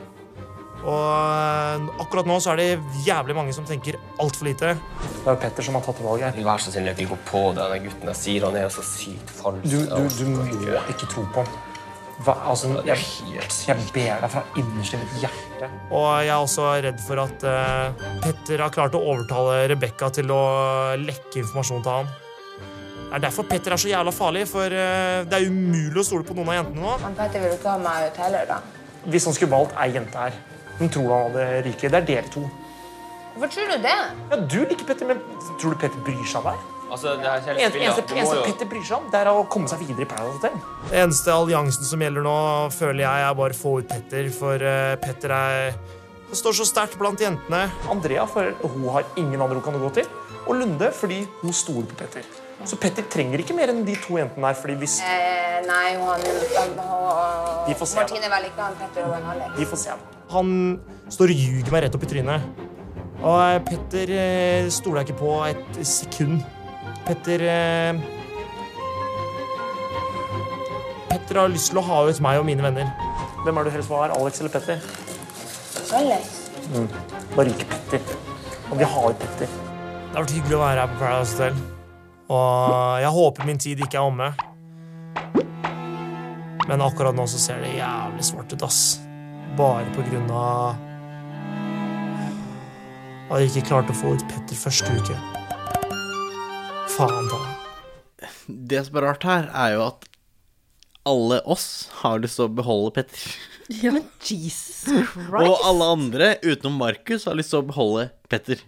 [SPEAKER 10] Og eh, akkurat nå så er det jævlig mange som tenker altfor lite.
[SPEAKER 9] Det er jo Petter som har tatt valget her.
[SPEAKER 11] vil være så snill å ikke gå på denne gutten. Jeg sier han er så sykt falsk.
[SPEAKER 9] Du, du, du må ikke tro på ham. Hva, altså, jeg, jeg ber deg fra innerste mitt hjerte.
[SPEAKER 10] Og jeg er også redd for at eh, Petter har klart å overtale Rebekka til å lekke informasjon til han. Det er derfor Petter er så jævla farlig, for eh, det er umulig å stole på noen av jentene nå.
[SPEAKER 12] Han Petter vil jo ta meg ut heller, da.
[SPEAKER 10] Hvis han skulle valgt ei jente her, hun tror han hadde ryket. Det er dere to.
[SPEAKER 12] Hvorfor tror du det?
[SPEAKER 10] Ja, du liker Petter, men tror du Petter bryr seg om deg?
[SPEAKER 11] Altså, det er
[SPEAKER 10] Eneste, eneste, eneste Petter bryr seg om, det er å komme seg videre i Paradise Hotel. Den eneste alliansen som gjelder nå, føler jeg er bare få ut Petter, for eh, Petter er han står så sterkt blant jentene. Andrea for hun har ingen andre hun kan gå til. Og Lunde fordi hun stoler på Petter. Så Petter trenger ikke mer enn de to jentene her. fordi hvis
[SPEAKER 12] Eh, nei, han, han, han
[SPEAKER 10] De får se, da.
[SPEAKER 12] Martine vil ikke han Petter og han Alex.
[SPEAKER 10] De får se. Han står og ljuger meg rett opp i trynet. Og eh, Petter eh, stoler jeg ikke på et sekund. Petter eh, Petter har lyst til å ha ut meg og mine venner. Hvem er du helst var, Alex eller Petter? Mm.
[SPEAKER 12] Alex.
[SPEAKER 10] Bare ikke Petter. Og vi har Petter. Det har vært hyggelig å være her på Paradise Hotel. Og jeg håper min tid ikke er omme. Men akkurat nå så ser det jævlig svart ut, ass. Bare på grunn av at jeg ikke klarte å få ut Petter første uke. Faen ta.
[SPEAKER 2] Det som er rart her, er jo at alle oss har lyst til å beholde Petter.
[SPEAKER 4] Men Jesus Christ!
[SPEAKER 2] Og alle andre utenom Markus har lyst til å beholde Petter.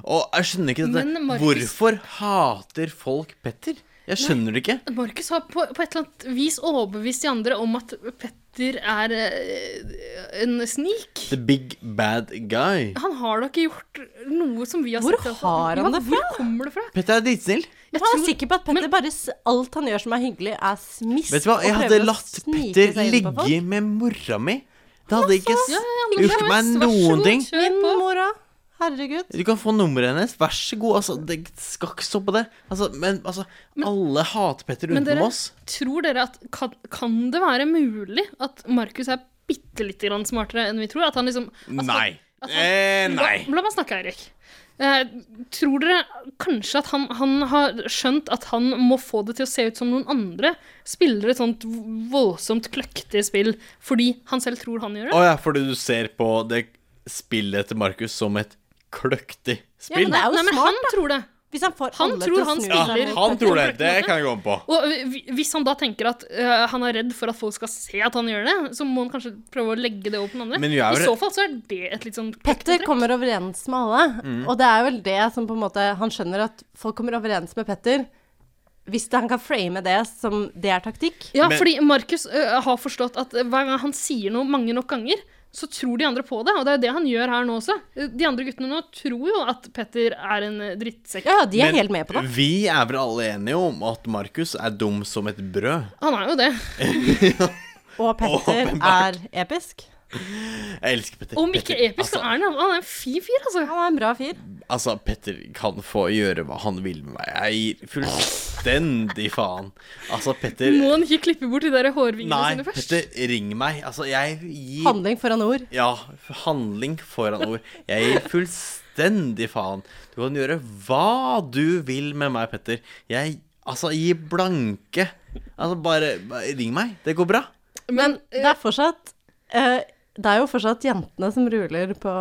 [SPEAKER 2] Og jeg skjønner ikke dette.
[SPEAKER 5] Men Markus-
[SPEAKER 2] Hvorfor hater folk Petter? Jeg skjønner det ikke.
[SPEAKER 5] Markus har på, på et eller annet vis overbevist de andre om at Petter er eh, en snik.
[SPEAKER 2] The big bad guy.
[SPEAKER 5] Han har da ikke gjort noe som vi har
[SPEAKER 4] Hvor
[SPEAKER 5] sett. altså.
[SPEAKER 4] har han
[SPEAKER 5] Ja,
[SPEAKER 4] det
[SPEAKER 5] Hvor kommer det fra?
[SPEAKER 2] Petter er dritsnill.
[SPEAKER 4] Jeg er sikker på at Petter bare s- alt han gjør som er hyggelig, er smisk.
[SPEAKER 2] Vet du hva, jeg
[SPEAKER 4] og
[SPEAKER 2] hadde
[SPEAKER 4] prøver å
[SPEAKER 2] latt
[SPEAKER 4] snike
[SPEAKER 2] Petter
[SPEAKER 4] seg inn på folk.
[SPEAKER 2] ligge med mora mi. Det hadde ikke s-
[SPEAKER 5] Ja, ja, men
[SPEAKER 2] gjort
[SPEAKER 5] Lars,
[SPEAKER 2] meg
[SPEAKER 5] vær så
[SPEAKER 2] noen
[SPEAKER 5] god,
[SPEAKER 2] ting.
[SPEAKER 5] Kjør på.
[SPEAKER 4] Min mora. Herregud.
[SPEAKER 2] Du kan få nummeret hennes, vær så god. Altså, det skal ikke stå på det. Altså, men altså, alle hater Petter
[SPEAKER 5] Men
[SPEAKER 2] utenom
[SPEAKER 5] dere,
[SPEAKER 2] oss.
[SPEAKER 5] tror dere at kan, kan det være mulig at Markus er bitte lite grann smartere enn vi tror? At han liksom
[SPEAKER 4] altså,
[SPEAKER 5] at
[SPEAKER 2] Nei.
[SPEAKER 5] at
[SPEAKER 2] Eh, nei.
[SPEAKER 5] La, la meg snakke, Eirik. Eh, tror dere kanskje at han, han har skjønt at han må få det til å se ut som noen andre? Spiller et sånt voldsomt kløktig spill fordi han selv tror han gjør
[SPEAKER 2] Å
[SPEAKER 5] det?
[SPEAKER 2] ja, fordi du ser på det spillet til Markus som et kløktig
[SPEAKER 4] Ja,
[SPEAKER 2] spill.
[SPEAKER 4] men det er jo
[SPEAKER 5] Nei, men
[SPEAKER 4] smart,
[SPEAKER 5] han tror det.
[SPEAKER 4] Hvis han får
[SPEAKER 5] Han
[SPEAKER 4] alle
[SPEAKER 5] tror
[SPEAKER 4] til å
[SPEAKER 5] han
[SPEAKER 4] snu
[SPEAKER 2] Ja,
[SPEAKER 4] seg
[SPEAKER 5] spiller-
[SPEAKER 4] mot
[SPEAKER 2] han
[SPEAKER 4] Petter.
[SPEAKER 2] tror det. Det kan jeg gå med på.
[SPEAKER 5] Og hvi- hvis han da tenker at øh, han er redd for at folk skal se at han gjør det, så må han kanskje prøve å legge det over på den andre.
[SPEAKER 2] Men vi er jo
[SPEAKER 5] I
[SPEAKER 2] re-
[SPEAKER 5] så fall så er det et litt sånn
[SPEAKER 4] Petter kommer overens med alle,
[SPEAKER 2] Mm.
[SPEAKER 4] og det er vel det som på en måte Han skjønner at folk kommer overens med Petter. Hvis det, han kan frame det som det er taktikk.
[SPEAKER 5] Ja,
[SPEAKER 2] Men-
[SPEAKER 5] fordi Markus øh, har forstått at øh, hver gang han sier noe mange nok ganger, så tror de andre på det, og det er jo det han gjør her nå også. De andre guttene nå tror jo at Petter er en øh, drittsekk.
[SPEAKER 4] Ja, ja, de er
[SPEAKER 2] Men
[SPEAKER 4] helt med på det.
[SPEAKER 2] Vi er vel alle enige om at Markus er dum som et brød.
[SPEAKER 5] Han er jo det.
[SPEAKER 4] Og Petter er episk.
[SPEAKER 2] Jeg elsker Petter.
[SPEAKER 5] Om ikke
[SPEAKER 2] Petter,
[SPEAKER 5] episk, så
[SPEAKER 2] altså,
[SPEAKER 5] er han, han er en fin fyr, altså.
[SPEAKER 4] Han er en bra fyr.
[SPEAKER 2] altså, Petter kan få gjøre hva han vil med meg. Jeg gir fullstendig faen. Altså, Petter
[SPEAKER 5] Må han ikke klippe bort de der hårvingene
[SPEAKER 2] Nei,
[SPEAKER 5] sine først?
[SPEAKER 2] Petter, ring meg. Altså, jeg gir
[SPEAKER 4] Handling foran ord.
[SPEAKER 2] Ja, handling foran ord. Jeg gir fullstendig faen. Du kan gjøre hva du vil med meg, Petter. Jeg Altså, gi blanke. Altså, bare, bare ring meg. Det går bra.
[SPEAKER 4] Men det er fortsatt eh, Det er jo fortsatt jentene som ruler på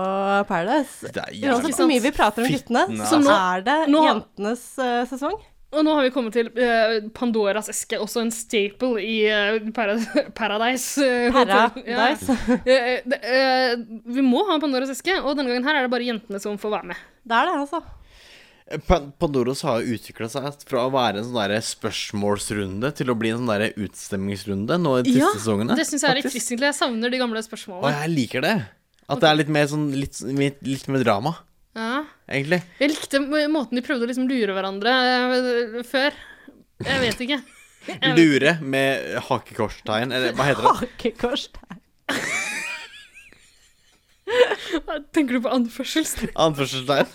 [SPEAKER 4] Paradise.
[SPEAKER 2] Det er jævlig
[SPEAKER 4] Uansett
[SPEAKER 2] bra.
[SPEAKER 4] hvor mye vi prater om guttene,
[SPEAKER 2] Fittene,
[SPEAKER 4] så
[SPEAKER 5] altså.
[SPEAKER 4] er det
[SPEAKER 5] Nå-
[SPEAKER 4] jentenes eh, sesong.
[SPEAKER 5] Og nå har vi kommet til eh, Pandoras eske, også en staple i eh, Parad- Paradise. eh, Hotel. Ja.
[SPEAKER 4] Paradise.
[SPEAKER 5] Eh, det, eh, vi må ha en Pandoras eske, og denne gangen her er det bare jentene som får være med.
[SPEAKER 4] (laughs) Det er det, altså.
[SPEAKER 2] Pan- Pandoros har jo utvikla seg fra å være en sånn der spørsmålsrunde til å bli en sånn der utstemmingsrunde nå i de siste sesongene.
[SPEAKER 5] Det syns jeg er litt
[SPEAKER 2] faktisk.
[SPEAKER 5] trist, egentlig. Jeg savner de gamle
[SPEAKER 2] Og
[SPEAKER 5] spørsmålene.
[SPEAKER 2] jeg liker det. At det er litt mer sånn litt, litt, litt mer drama,
[SPEAKER 5] Ja.
[SPEAKER 2] egentlig.
[SPEAKER 5] (laughs) Jeg likte m- måten de prøvde å liksom lure hverandre eh, før. Jeg vet ikke.
[SPEAKER 2] Lure med hakekorstegn, eller hva heter det?
[SPEAKER 4] Hakekorstegn.
[SPEAKER 5] Tenker du på (laughs) anførselstegn?
[SPEAKER 2] Anførselstegn.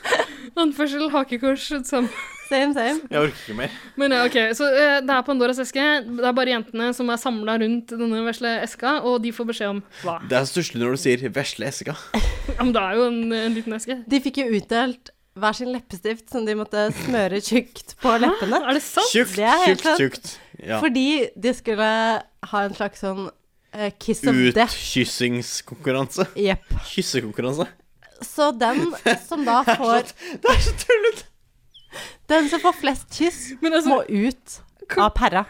[SPEAKER 5] Anførsel, hakekors, sammen.
[SPEAKER 4] Same, same.
[SPEAKER 2] Jeg orker ikke mer.
[SPEAKER 5] Men ja, ok, så eh, det er Pandoras eske. Det er bare jentene som er samla rundt denne vesle eska, og de får beskjed om hva.
[SPEAKER 2] Det er stusslig når du sier 'vesle eska'.
[SPEAKER 5] Ja, men det er jo en, en liten eske.
[SPEAKER 4] De fikk jo utdelt hver sin leppestift som de måtte smøre tjukt på leppene.
[SPEAKER 5] Er det sant?
[SPEAKER 2] Tjukt,
[SPEAKER 4] Det er helt
[SPEAKER 2] tjukt,
[SPEAKER 4] sant.
[SPEAKER 2] tjukt. Ja.
[SPEAKER 4] Fordi de skulle ha en slags sånn eh, kiss of death.
[SPEAKER 2] Utkyssingskonkurranse.
[SPEAKER 4] Jepp.
[SPEAKER 2] Kyssekonkurranse.
[SPEAKER 4] Så den som da får
[SPEAKER 2] Det er så tullete!
[SPEAKER 4] Den som får flest kyss,
[SPEAKER 5] altså,
[SPEAKER 4] må ut av perra.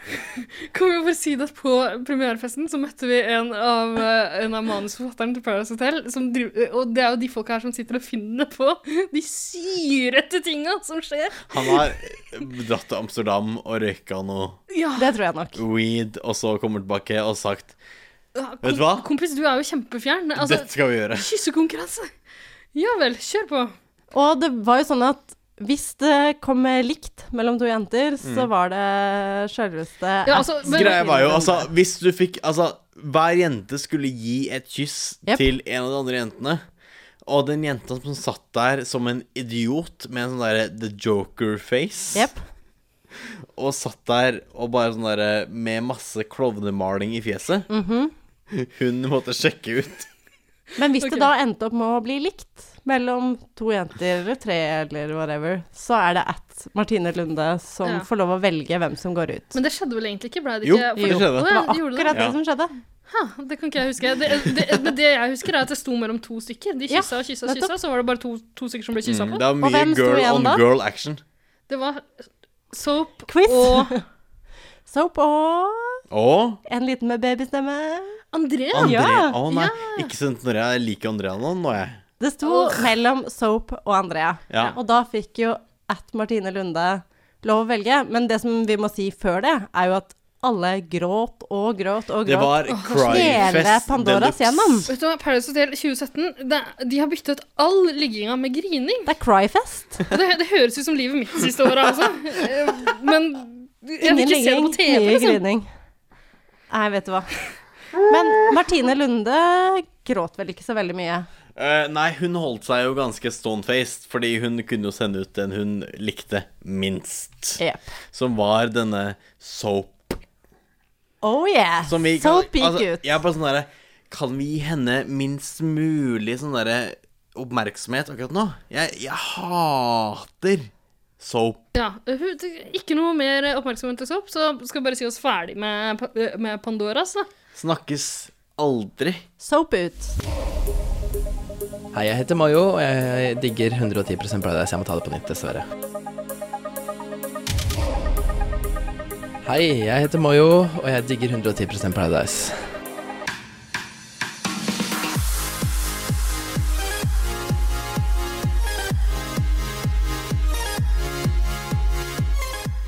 [SPEAKER 5] Kan vi bare si det at på premierefesten så møtte vi en av, eh, en av manusforfatterne til Paradise Hotel. Som driver, og det er jo de folka her som sitter og finner på de syrete tinga som skjer.
[SPEAKER 2] Han har dratt til Amsterdam og røyka noe
[SPEAKER 5] Ja.
[SPEAKER 4] Det tror jeg nok.
[SPEAKER 2] weed, og så kommer tilbake og sagt
[SPEAKER 5] Ja,
[SPEAKER 2] Vet du hva?
[SPEAKER 5] Kompis, du er jo kjempefjern. Altså,
[SPEAKER 2] Dette skal vi gjøre.
[SPEAKER 5] Kyssekonkurranse. Ja vel, kjør på.
[SPEAKER 4] Og det var jo sånn at hvis det kom likt mellom to jenter, så
[SPEAKER 2] Mm.
[SPEAKER 4] var det sjølveste
[SPEAKER 5] Ja, altså, men-
[SPEAKER 2] Greia var jo, altså, hvis du fikk Altså, hver jente skulle gi et kyss
[SPEAKER 4] Jep.
[SPEAKER 2] til en av de andre jentene. Og den jenta som satt der som en idiot med en sånn derre The Joker-face. Og satt der og bare sånn derre med masse klovnemaling i fjeset.
[SPEAKER 4] Mhm.
[SPEAKER 2] Hun måtte sjekke ut.
[SPEAKER 4] Men hvis det da endte opp med å bli likt mellom to jenter eller tre eller whatever, så er det at Martine Lunde som
[SPEAKER 5] Ja.
[SPEAKER 4] får lov å velge hvem som går ut.
[SPEAKER 5] Men det skjedde vel egentlig ikke? Ble det
[SPEAKER 4] Jo,
[SPEAKER 5] ikke?
[SPEAKER 4] det skjedde.
[SPEAKER 5] Å, ja,
[SPEAKER 4] Det var
[SPEAKER 5] gjorde
[SPEAKER 4] akkurat det som skjedde.
[SPEAKER 5] Ha, det kan ikke jeg huske. Det, det, men det jeg husker, er at det sto mellom to stykker. De
[SPEAKER 4] Ja,
[SPEAKER 5] kyssa og kyssa og
[SPEAKER 4] nettopp.
[SPEAKER 5] kyssa, så var det bare to, to stykker som ble kyssa
[SPEAKER 2] Mm,
[SPEAKER 5] på.
[SPEAKER 2] det var mye girl on girl action.
[SPEAKER 5] Det var soap
[SPEAKER 4] Quiz. (laughs)
[SPEAKER 5] og
[SPEAKER 4] Soap og
[SPEAKER 2] Og
[SPEAKER 4] en liten med babystemme.
[SPEAKER 2] André
[SPEAKER 5] Andrea.
[SPEAKER 2] Å
[SPEAKER 4] Ja.
[SPEAKER 2] nei, ikke sent når jeg liker Andrea nå, nå jeg.
[SPEAKER 4] Det sto mellom Soap og Andrea.
[SPEAKER 2] Ja.
[SPEAKER 4] Og da fikk jo at Martine Lunde lov å velge. Men det som vi må si før det, er jo at alle gråt og gråt og gråt.
[SPEAKER 2] Det var
[SPEAKER 4] Åh,
[SPEAKER 2] crying
[SPEAKER 4] Hele
[SPEAKER 2] fest
[SPEAKER 4] Pandoras
[SPEAKER 2] deluxe.
[SPEAKER 4] gjennom.
[SPEAKER 5] Vet du hva, Paradise Hotel 2017, det, de har byttet ut all ligginga med grining.
[SPEAKER 4] Det er cryfest.
[SPEAKER 5] Det, det høres ut som livet mitt siste året, altså. Eh, Men jeg vil
[SPEAKER 4] Ingen
[SPEAKER 5] ikke se det
[SPEAKER 4] ligging,
[SPEAKER 5] på TV,
[SPEAKER 4] mye
[SPEAKER 5] liksom.
[SPEAKER 4] grining. Nei, vet du hva. Men Martine Lunde gråt vel ikke så veldig mye.
[SPEAKER 2] Eh, nei, hun holdt seg jo ganske stone-faced, fordi hun kunne jo sende ut den hun likte minst.
[SPEAKER 4] Jep.
[SPEAKER 2] Som var denne soap.
[SPEAKER 4] Oh yeah.
[SPEAKER 2] Som vi
[SPEAKER 4] Soap gikk
[SPEAKER 2] altså,
[SPEAKER 4] ut.
[SPEAKER 2] Jeg er bare sånn derre Kan vi gi henne minst mulig sånn derre oppmerksomhet akkurat nå? Jeg, jeg hater soap.
[SPEAKER 5] Ja, hun- ikke noe mer oppmerksomhet til soap, så skal vi bare si oss ferdig med, Pa- med Pandoras, da.
[SPEAKER 2] Snakkes aldri.
[SPEAKER 4] Soap ut.
[SPEAKER 13] Hei, jeg heter Mayo, og jeg digger 110 Paradise. Jeg må ta det på nytt, dessverre. Hei, jeg heter Mayo, og jeg digger 110 Paradise.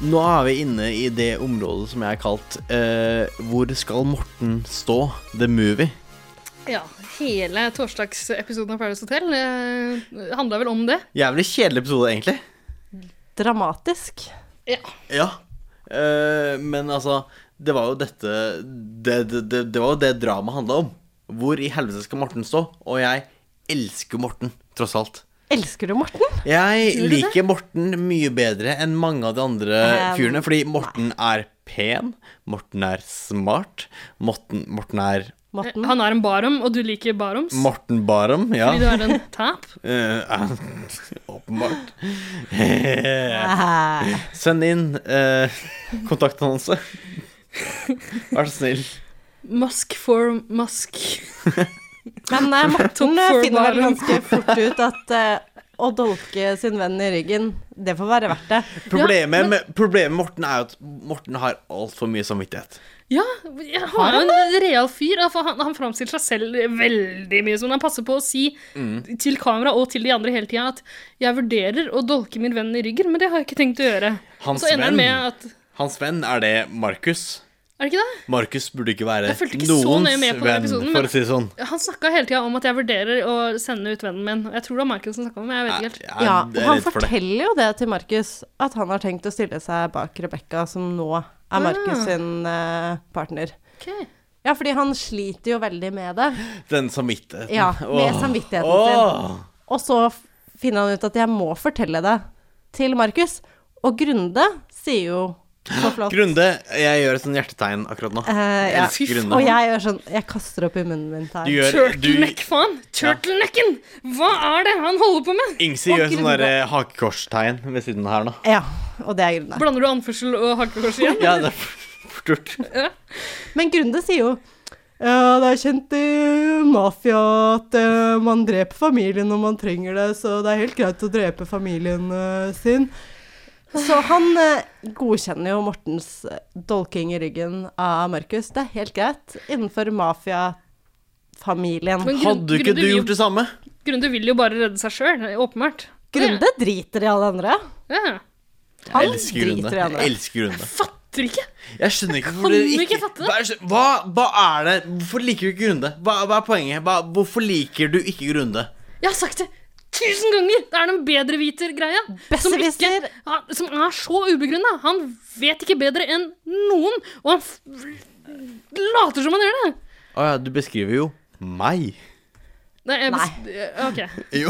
[SPEAKER 2] Nå er vi inne i det området som jeg har kalt eh, Hvor skal Morten stå? The movie.
[SPEAKER 5] Ja, hele torsdagsepisoden av Paradise Hotel eh, handla vel om det.
[SPEAKER 2] Jævlig kjedelig episode, egentlig.
[SPEAKER 4] Dramatisk.
[SPEAKER 5] Ja.
[SPEAKER 2] Ja. Eh, men altså, det var jo dette Det, det, det, det var jo det dramaet handla om. Hvor i helvete skal Morten stå? Og jeg elsker Morten, tross alt.
[SPEAKER 4] Elsker du Morten?
[SPEAKER 5] Eh,
[SPEAKER 2] Jeg
[SPEAKER 4] Gjør du det?
[SPEAKER 2] liker Morten mye bedre enn mange av de andre
[SPEAKER 4] Eh,
[SPEAKER 2] fyrene, fordi Morten er pen, Morten er smart, Morten, Morten er
[SPEAKER 5] Eh, Han er en barom, og du liker baroms.
[SPEAKER 2] Morten Barum, ja.
[SPEAKER 5] Fordi du er en tap.
[SPEAKER 2] Eh, (laughs) åpenbart.
[SPEAKER 5] Ah.
[SPEAKER 2] Send inn eh, (laughs) kontaktannonse. Vær så snill.
[SPEAKER 5] Musk for musk.
[SPEAKER 4] (laughs) Men eh, Morten
[SPEAKER 5] Top four
[SPEAKER 4] finner vel
[SPEAKER 5] bottom.
[SPEAKER 4] ganske fort ut at eh, å dolke sin venn i ryggen, det får være verdt det.
[SPEAKER 2] Problemet, med, problemet med Morten er jo at Morten har altfor mye samvittighet.
[SPEAKER 5] Ja, jeg har jo en real fyr. da, for Han, han framstiller seg selv veldig mye som han passer på å si
[SPEAKER 2] Mm.
[SPEAKER 5] til kamera og til de andre hele tida at 'jeg vurderer å dolke min venn i ryggen', men det har jeg ikke tenkt å gjøre.
[SPEAKER 2] Hans
[SPEAKER 5] og så ender han
[SPEAKER 2] venn.
[SPEAKER 5] med at
[SPEAKER 2] Hans venn, er det Markus?
[SPEAKER 5] Er det ikke det?
[SPEAKER 2] Markus burde ikke være
[SPEAKER 5] Jeg fulgte ikke så
[SPEAKER 2] noens
[SPEAKER 5] nøye med på den
[SPEAKER 2] venn,
[SPEAKER 5] episoden.
[SPEAKER 2] for å si det sånn.
[SPEAKER 5] Han snakka hele tida om at 'jeg vurderer å sende ut vennen min'. Jeg tror det var Michael som snakka om det. Jeg vet ikke helt.
[SPEAKER 4] Ja, og han
[SPEAKER 2] redd for det.
[SPEAKER 4] forteller jo det til Markus, at han har tenkt å stille seg bak Rebekka, som nå er
[SPEAKER 5] Ah.
[SPEAKER 4] Markus sin eh, partner.
[SPEAKER 5] Ok.
[SPEAKER 4] Ja, fordi han sliter jo veldig med det.
[SPEAKER 2] Den samvittigheten.
[SPEAKER 4] Ja, med
[SPEAKER 2] Åh.
[SPEAKER 4] samvittigheten
[SPEAKER 2] Åh.
[SPEAKER 4] sin. Og så f- finner han ut at jeg må fortelle det til Markus. Og Grunde sier jo så flott
[SPEAKER 2] Grunde, jeg gjør et sånt hjertetegn akkurat nå.
[SPEAKER 4] eh,
[SPEAKER 2] jeg
[SPEAKER 4] ja.
[SPEAKER 2] elsker Grunde.
[SPEAKER 4] Og jeg gjør sånn Jeg kaster opp i munnen min her.
[SPEAKER 2] Du gjør- du- Turtleneck,
[SPEAKER 5] faen! Turtlenecken! Hva er det han holder på med?
[SPEAKER 2] Ingsi
[SPEAKER 5] Og
[SPEAKER 2] gjør sånn
[SPEAKER 5] Grunde-
[SPEAKER 2] der eh, hakekorstegn ved siden her nå.
[SPEAKER 4] Ja, og det er Grunde.
[SPEAKER 5] Blander du anførsel og hakekors igjen?
[SPEAKER 2] Ja, det er fort gjort.
[SPEAKER 4] Men Grunde sier jo ja, det er kjent i mafia at eh, man dreper familien når man trenger det, så det er helt greit å drepe familien eh, sin. Så han eh, godkjenner jo Mortens eh, dolking i ryggen av Markus. Det er helt greit innenfor mafiafamilien.
[SPEAKER 5] Men Grun- (laughs) Hadde ikke Grunde du vil- gjort det
[SPEAKER 2] samme?
[SPEAKER 5] Grunde vil jo bare redde seg sjøl, åpenbart.
[SPEAKER 4] Grunde driter i alle andre.
[SPEAKER 5] Ja.
[SPEAKER 2] Jeg elsker Grunde. Jeg elsker Grunde.
[SPEAKER 5] Fatter ikke!
[SPEAKER 2] Jeg skjønner ikke
[SPEAKER 5] Kan
[SPEAKER 2] hvorfor dere
[SPEAKER 5] du
[SPEAKER 2] ikke
[SPEAKER 5] ikke fatte
[SPEAKER 2] hva, er- hva, hva er det Hvorfor liker du ikke Grunde? Hva, hva er poenget? Hva, hvorfor liker du ikke Grunde?
[SPEAKER 5] Jeg har sagt det tusen ganger! Det er den bedreviter-greia. Som, ikke- ja, som er så ubegrunna. Han vet ikke bedre enn noen, og han f later som han gjør det.
[SPEAKER 2] Å ja, du beskriver jo meg.
[SPEAKER 5] Nei. Jeg bes- OK.
[SPEAKER 2] Jo.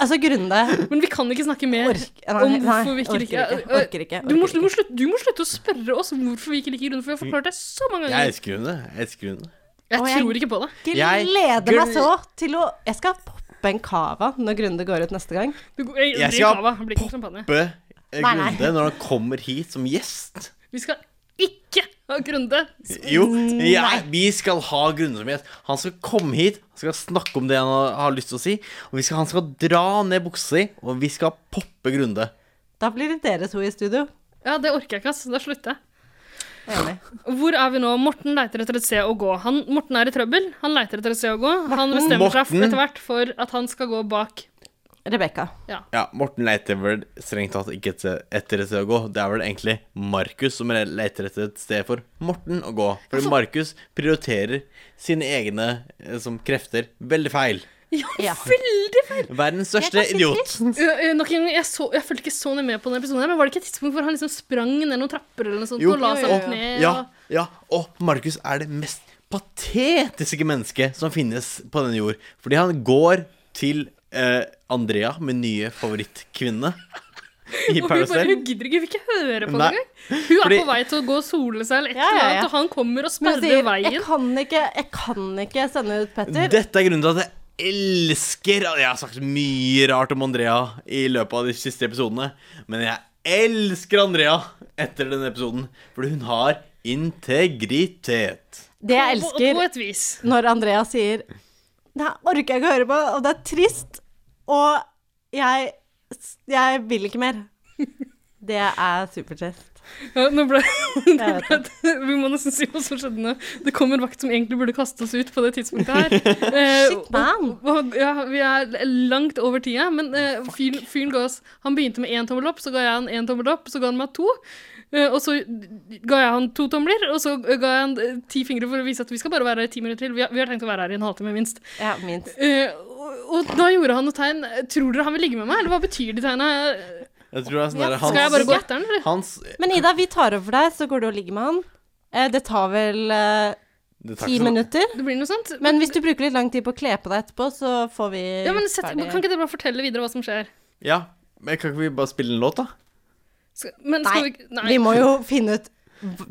[SPEAKER 4] Altså, Grunde
[SPEAKER 5] Men vi kan ikke snakke mer
[SPEAKER 4] nei,
[SPEAKER 5] om
[SPEAKER 4] nei,
[SPEAKER 5] hvorfor vi ikke
[SPEAKER 4] orker
[SPEAKER 5] liker
[SPEAKER 4] ikke, orker ikke,
[SPEAKER 5] Du, må, du, må slutte, du må slutte å spørre oss om hvorfor vi ikke liker Grunde, for jeg har forklart det så mange
[SPEAKER 2] Jeg
[SPEAKER 5] ganger.
[SPEAKER 2] elsker Grunde. Jeg elsker Grunde.
[SPEAKER 5] Jeg
[SPEAKER 4] Og jeg
[SPEAKER 5] tror ikke på det.
[SPEAKER 2] Jeg-
[SPEAKER 4] gleder meg
[SPEAKER 2] Grunde-
[SPEAKER 4] så til å Jeg skal poppe en cava når Grunde går ut neste gang.
[SPEAKER 5] Du, jeg,
[SPEAKER 2] Jeg
[SPEAKER 5] drikk
[SPEAKER 2] skal
[SPEAKER 5] kava, det blir ikke champagne.
[SPEAKER 2] Bø eh,
[SPEAKER 5] Nei, nei.
[SPEAKER 2] Grunde når han kommer hit som gjest.
[SPEAKER 5] Vi skal ikke ha Grunde.
[SPEAKER 2] Jo, jeg, vi skal ha Grunde som gjest. Han skal komme hit, han skal snakke om det han har- har lyst til å si. Og vi skal, han skal dra ned buksa si, og vi skal poppe Grunde.
[SPEAKER 4] Da blir det dere to i studio.
[SPEAKER 5] Ja, det orker jeg ikke, ass. Da slutter jeg. Hvor er vi nå? Morten leiter etter et sted å gå. Han, Morten er i trøbbel. Han leiter etter et sted å gå. Han bestemmer
[SPEAKER 2] Morten.
[SPEAKER 5] seg etter hvert for at han skal gå bak
[SPEAKER 4] Rebekka.
[SPEAKER 5] Ja.
[SPEAKER 2] Ja, Morten leter vel strengt tatt ikke etter- etter et sted å gå. Det er vel egentlig Markus som leter etter et sted for Morten å gå.
[SPEAKER 5] Altså-
[SPEAKER 2] For Markus prioriterer sine egne eh, som krefter veldig feil.
[SPEAKER 5] Ja, veldig feil!
[SPEAKER 2] Verdens største idiot.
[SPEAKER 5] Eh, eh, Nok en gang, jeg, så, jeg fulgte ikke så nøye med på denne episoden, her, men var det ikke et tidspunkt hvor han liksom sprang ned noen trapper eller noe sånt
[SPEAKER 2] Jo,
[SPEAKER 5] og la seg
[SPEAKER 2] og-
[SPEAKER 5] opp ned?
[SPEAKER 2] Ja, ja, og Markus er det mest patetiske mennesket som finnes på denne jord. Fordi han går til eh, Andrea, min nye favorittkvinne i
[SPEAKER 5] og hun,
[SPEAKER 2] Paradise
[SPEAKER 5] bare, hun
[SPEAKER 2] Hotel.
[SPEAKER 5] gidder ikke, hun vil ikke høre på det
[SPEAKER 2] Nei.
[SPEAKER 5] engang. Hun er
[SPEAKER 2] Fordi-
[SPEAKER 5] på vei til å gå og sole seg eller et
[SPEAKER 4] Ja, ja,
[SPEAKER 5] eller
[SPEAKER 4] ja.
[SPEAKER 5] annet, og han kommer
[SPEAKER 4] Men
[SPEAKER 5] og sperrer
[SPEAKER 4] sier,
[SPEAKER 5] veien.
[SPEAKER 4] Jeg kan, ikke, jeg kan ikke sende ut Petter.
[SPEAKER 2] Dette er grunnen til at jeg elsker Jeg har sagt mye rart om Andrea i løpet av de siste episodene, men jeg elsker Andrea etter denne episoden, fordi hun har integritet.
[SPEAKER 4] det jeg
[SPEAKER 5] På-
[SPEAKER 4] elsker
[SPEAKER 5] På et vis.
[SPEAKER 4] når Andrea sier Det her orker jeg ikke å høre på, og det er trist, og jeg, jeg vil ikke mer. (laughs) Det er supertrist.
[SPEAKER 5] Ja, nå ble, (laughs) nå
[SPEAKER 4] vet
[SPEAKER 5] ble det, vi må nesten si hva som skjedde nå. Det kom en vakt som egentlig burde kaste oss ut på det
[SPEAKER 2] (laughs)
[SPEAKER 5] tidspunktet her. Shit,
[SPEAKER 4] man!
[SPEAKER 5] Eh, Og, og, ja, vi er langt over tida, men eh, fyren fyren ga oss Han begynte med én tommel opp, så ga jeg han én tommel opp, så ga han meg to. eh, og så ga jeg han to tomler, og så ga jeg han eh, ti fingre for å vise at vi skal bare være her i ti minutter til. Vi har, vi har tenkt å være her i en halvtime, minst.
[SPEAKER 4] Ja, minst.
[SPEAKER 5] Eh, og, og da gjorde han noe tegn. Tror dere han vil ligge med meg, eller hva betyr de tegna?
[SPEAKER 2] Jeg tror det er sånn der,
[SPEAKER 5] Skal jeg bare gå etter den, eller?
[SPEAKER 2] Hans Eh,
[SPEAKER 4] Men Ida, vi tar over for deg, så går du og ligger med han. Eh, Det tar vel eh,
[SPEAKER 2] Det tar
[SPEAKER 4] ti
[SPEAKER 2] ikke så-
[SPEAKER 4] minutter.
[SPEAKER 5] Det blir noe sånt.
[SPEAKER 4] Men hvis du bruker litt lang tid på å kle på deg etterpå, så får vi
[SPEAKER 5] Ja, men sett,
[SPEAKER 4] ferdig-
[SPEAKER 5] Kan ikke dere bare fortelle videre hva som skjer?
[SPEAKER 2] Ja, men kan ikke vi bare spille en låt, da?
[SPEAKER 5] Skal, men skal
[SPEAKER 4] Nei,
[SPEAKER 5] vi,
[SPEAKER 4] vi må jo finne ut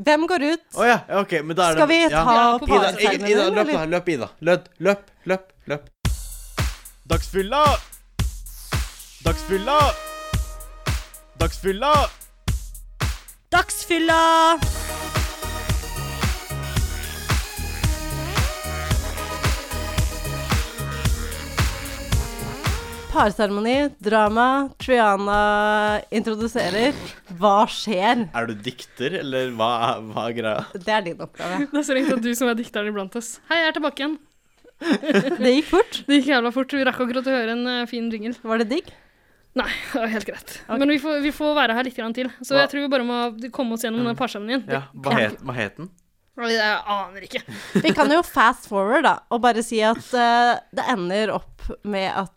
[SPEAKER 4] hvem går ut.
[SPEAKER 2] Å ja, ja, ok, men da er det
[SPEAKER 4] Skal vi ta
[SPEAKER 2] ja.
[SPEAKER 4] på
[SPEAKER 2] Ida,
[SPEAKER 4] pareterminen,
[SPEAKER 2] Ida, Ida, løp,
[SPEAKER 4] eller?
[SPEAKER 2] da, løp, Ida. Løp, løp, løp. løp. Dagsfylla! Dagsfylla! Dagsfylla!
[SPEAKER 4] Dagsfylla! Parseremoni, drama, Triana introduserer. Hva skjer?
[SPEAKER 2] Er du dikter, eller hva, er- hva er greia?
[SPEAKER 4] Det er din oppgave.
[SPEAKER 5] (laughs) Det er så lenge at du som er dikteren iblant oss. Hei, jeg er tilbake igjen.
[SPEAKER 4] Det gikk fort.
[SPEAKER 5] Det gikk jævla fort. Vi rakk akkurat å høre en eh, fin jingle.
[SPEAKER 4] Var det digg?
[SPEAKER 5] Nei, (laughs) det var helt greit. Men vi får, vi får være her litt grann til. Så
[SPEAKER 2] Hva-
[SPEAKER 5] jeg tror vi bare må komme oss gjennom den parsemien.
[SPEAKER 2] Ja, hva, het, hva het den?
[SPEAKER 5] Jeg aner ikke.
[SPEAKER 4] Vi kan jo fast forward, da, og bare si at eh, det ender opp med at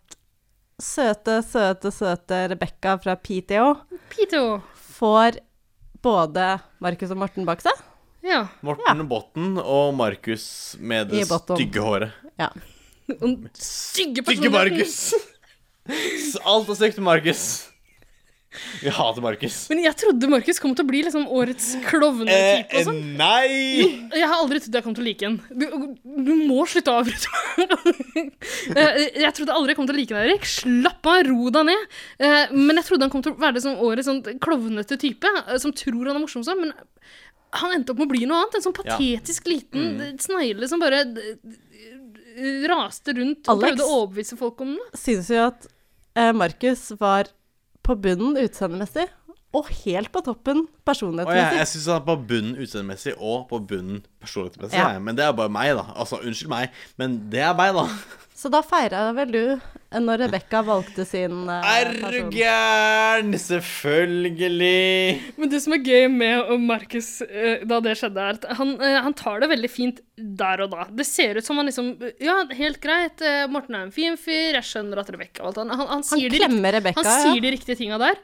[SPEAKER 4] søte, søte, søte Rebekka fra PTO
[SPEAKER 5] Pito.
[SPEAKER 4] får både Markus og Morten bak seg.
[SPEAKER 5] Ja.
[SPEAKER 2] Morten Botten og Markus med det
[SPEAKER 4] I botten.
[SPEAKER 2] stygge håret.
[SPEAKER 4] Ja.
[SPEAKER 5] Stygge
[SPEAKER 2] Stygge Markus! (laughs) Alt er stygt med Markus. Vi hater Markus.
[SPEAKER 5] Men jeg trodde Markus kom til å bli liksom årets klovnetype og sånn. Jo,
[SPEAKER 2] Eh, nei!
[SPEAKER 5] jeg har aldri trodd jeg kom til å like en. Du, du må slutte å avbryte meg. (laughs) Eh, jeg trodde aldri jeg kom til å like deg, Erik. Slapp av, ro deg ned. Eh, Men jeg trodde han kom til å være det som årets sånn klovnete type, eh, som tror han er morsom sånn, men han endte opp med å bli noe annet. En sånn
[SPEAKER 4] Ja.
[SPEAKER 5] patetisk liten
[SPEAKER 4] Mm.
[SPEAKER 5] snegle som bare eh, raste rundt og
[SPEAKER 4] Alex.
[SPEAKER 5] prøvde å overbevise folk om det.
[SPEAKER 4] Synes jo at eh, Markus var på bunnen utseendemessig, og helt på toppen
[SPEAKER 2] Og jeg, jeg
[SPEAKER 4] personlighetsmessig.
[SPEAKER 2] syns han er på bunnen utseendemessig og på bunnen personlighetsmessig.
[SPEAKER 4] Ja.
[SPEAKER 2] jeg. Men det er bare meg, da. Altså, unnskyld meg, men det er meg, da.
[SPEAKER 4] Så da feira vel du eh, når Rebekka valgte sin eh,
[SPEAKER 2] Er du
[SPEAKER 4] person.
[SPEAKER 2] gæren? Selvfølgelig.
[SPEAKER 5] Men det som er gøy med og Markus eh, da det skjedde, er at han, eh, han tar det veldig fint der og da. Det ser ut som han liksom Ja, helt greit. eh, Morten er en fin fyr. Jeg skjønner at Rebekka og alt han Han, han, sier, de
[SPEAKER 4] klemmer
[SPEAKER 5] rikt-
[SPEAKER 4] Rebekka,
[SPEAKER 5] han
[SPEAKER 4] ja.
[SPEAKER 5] sier de riktige tinga der.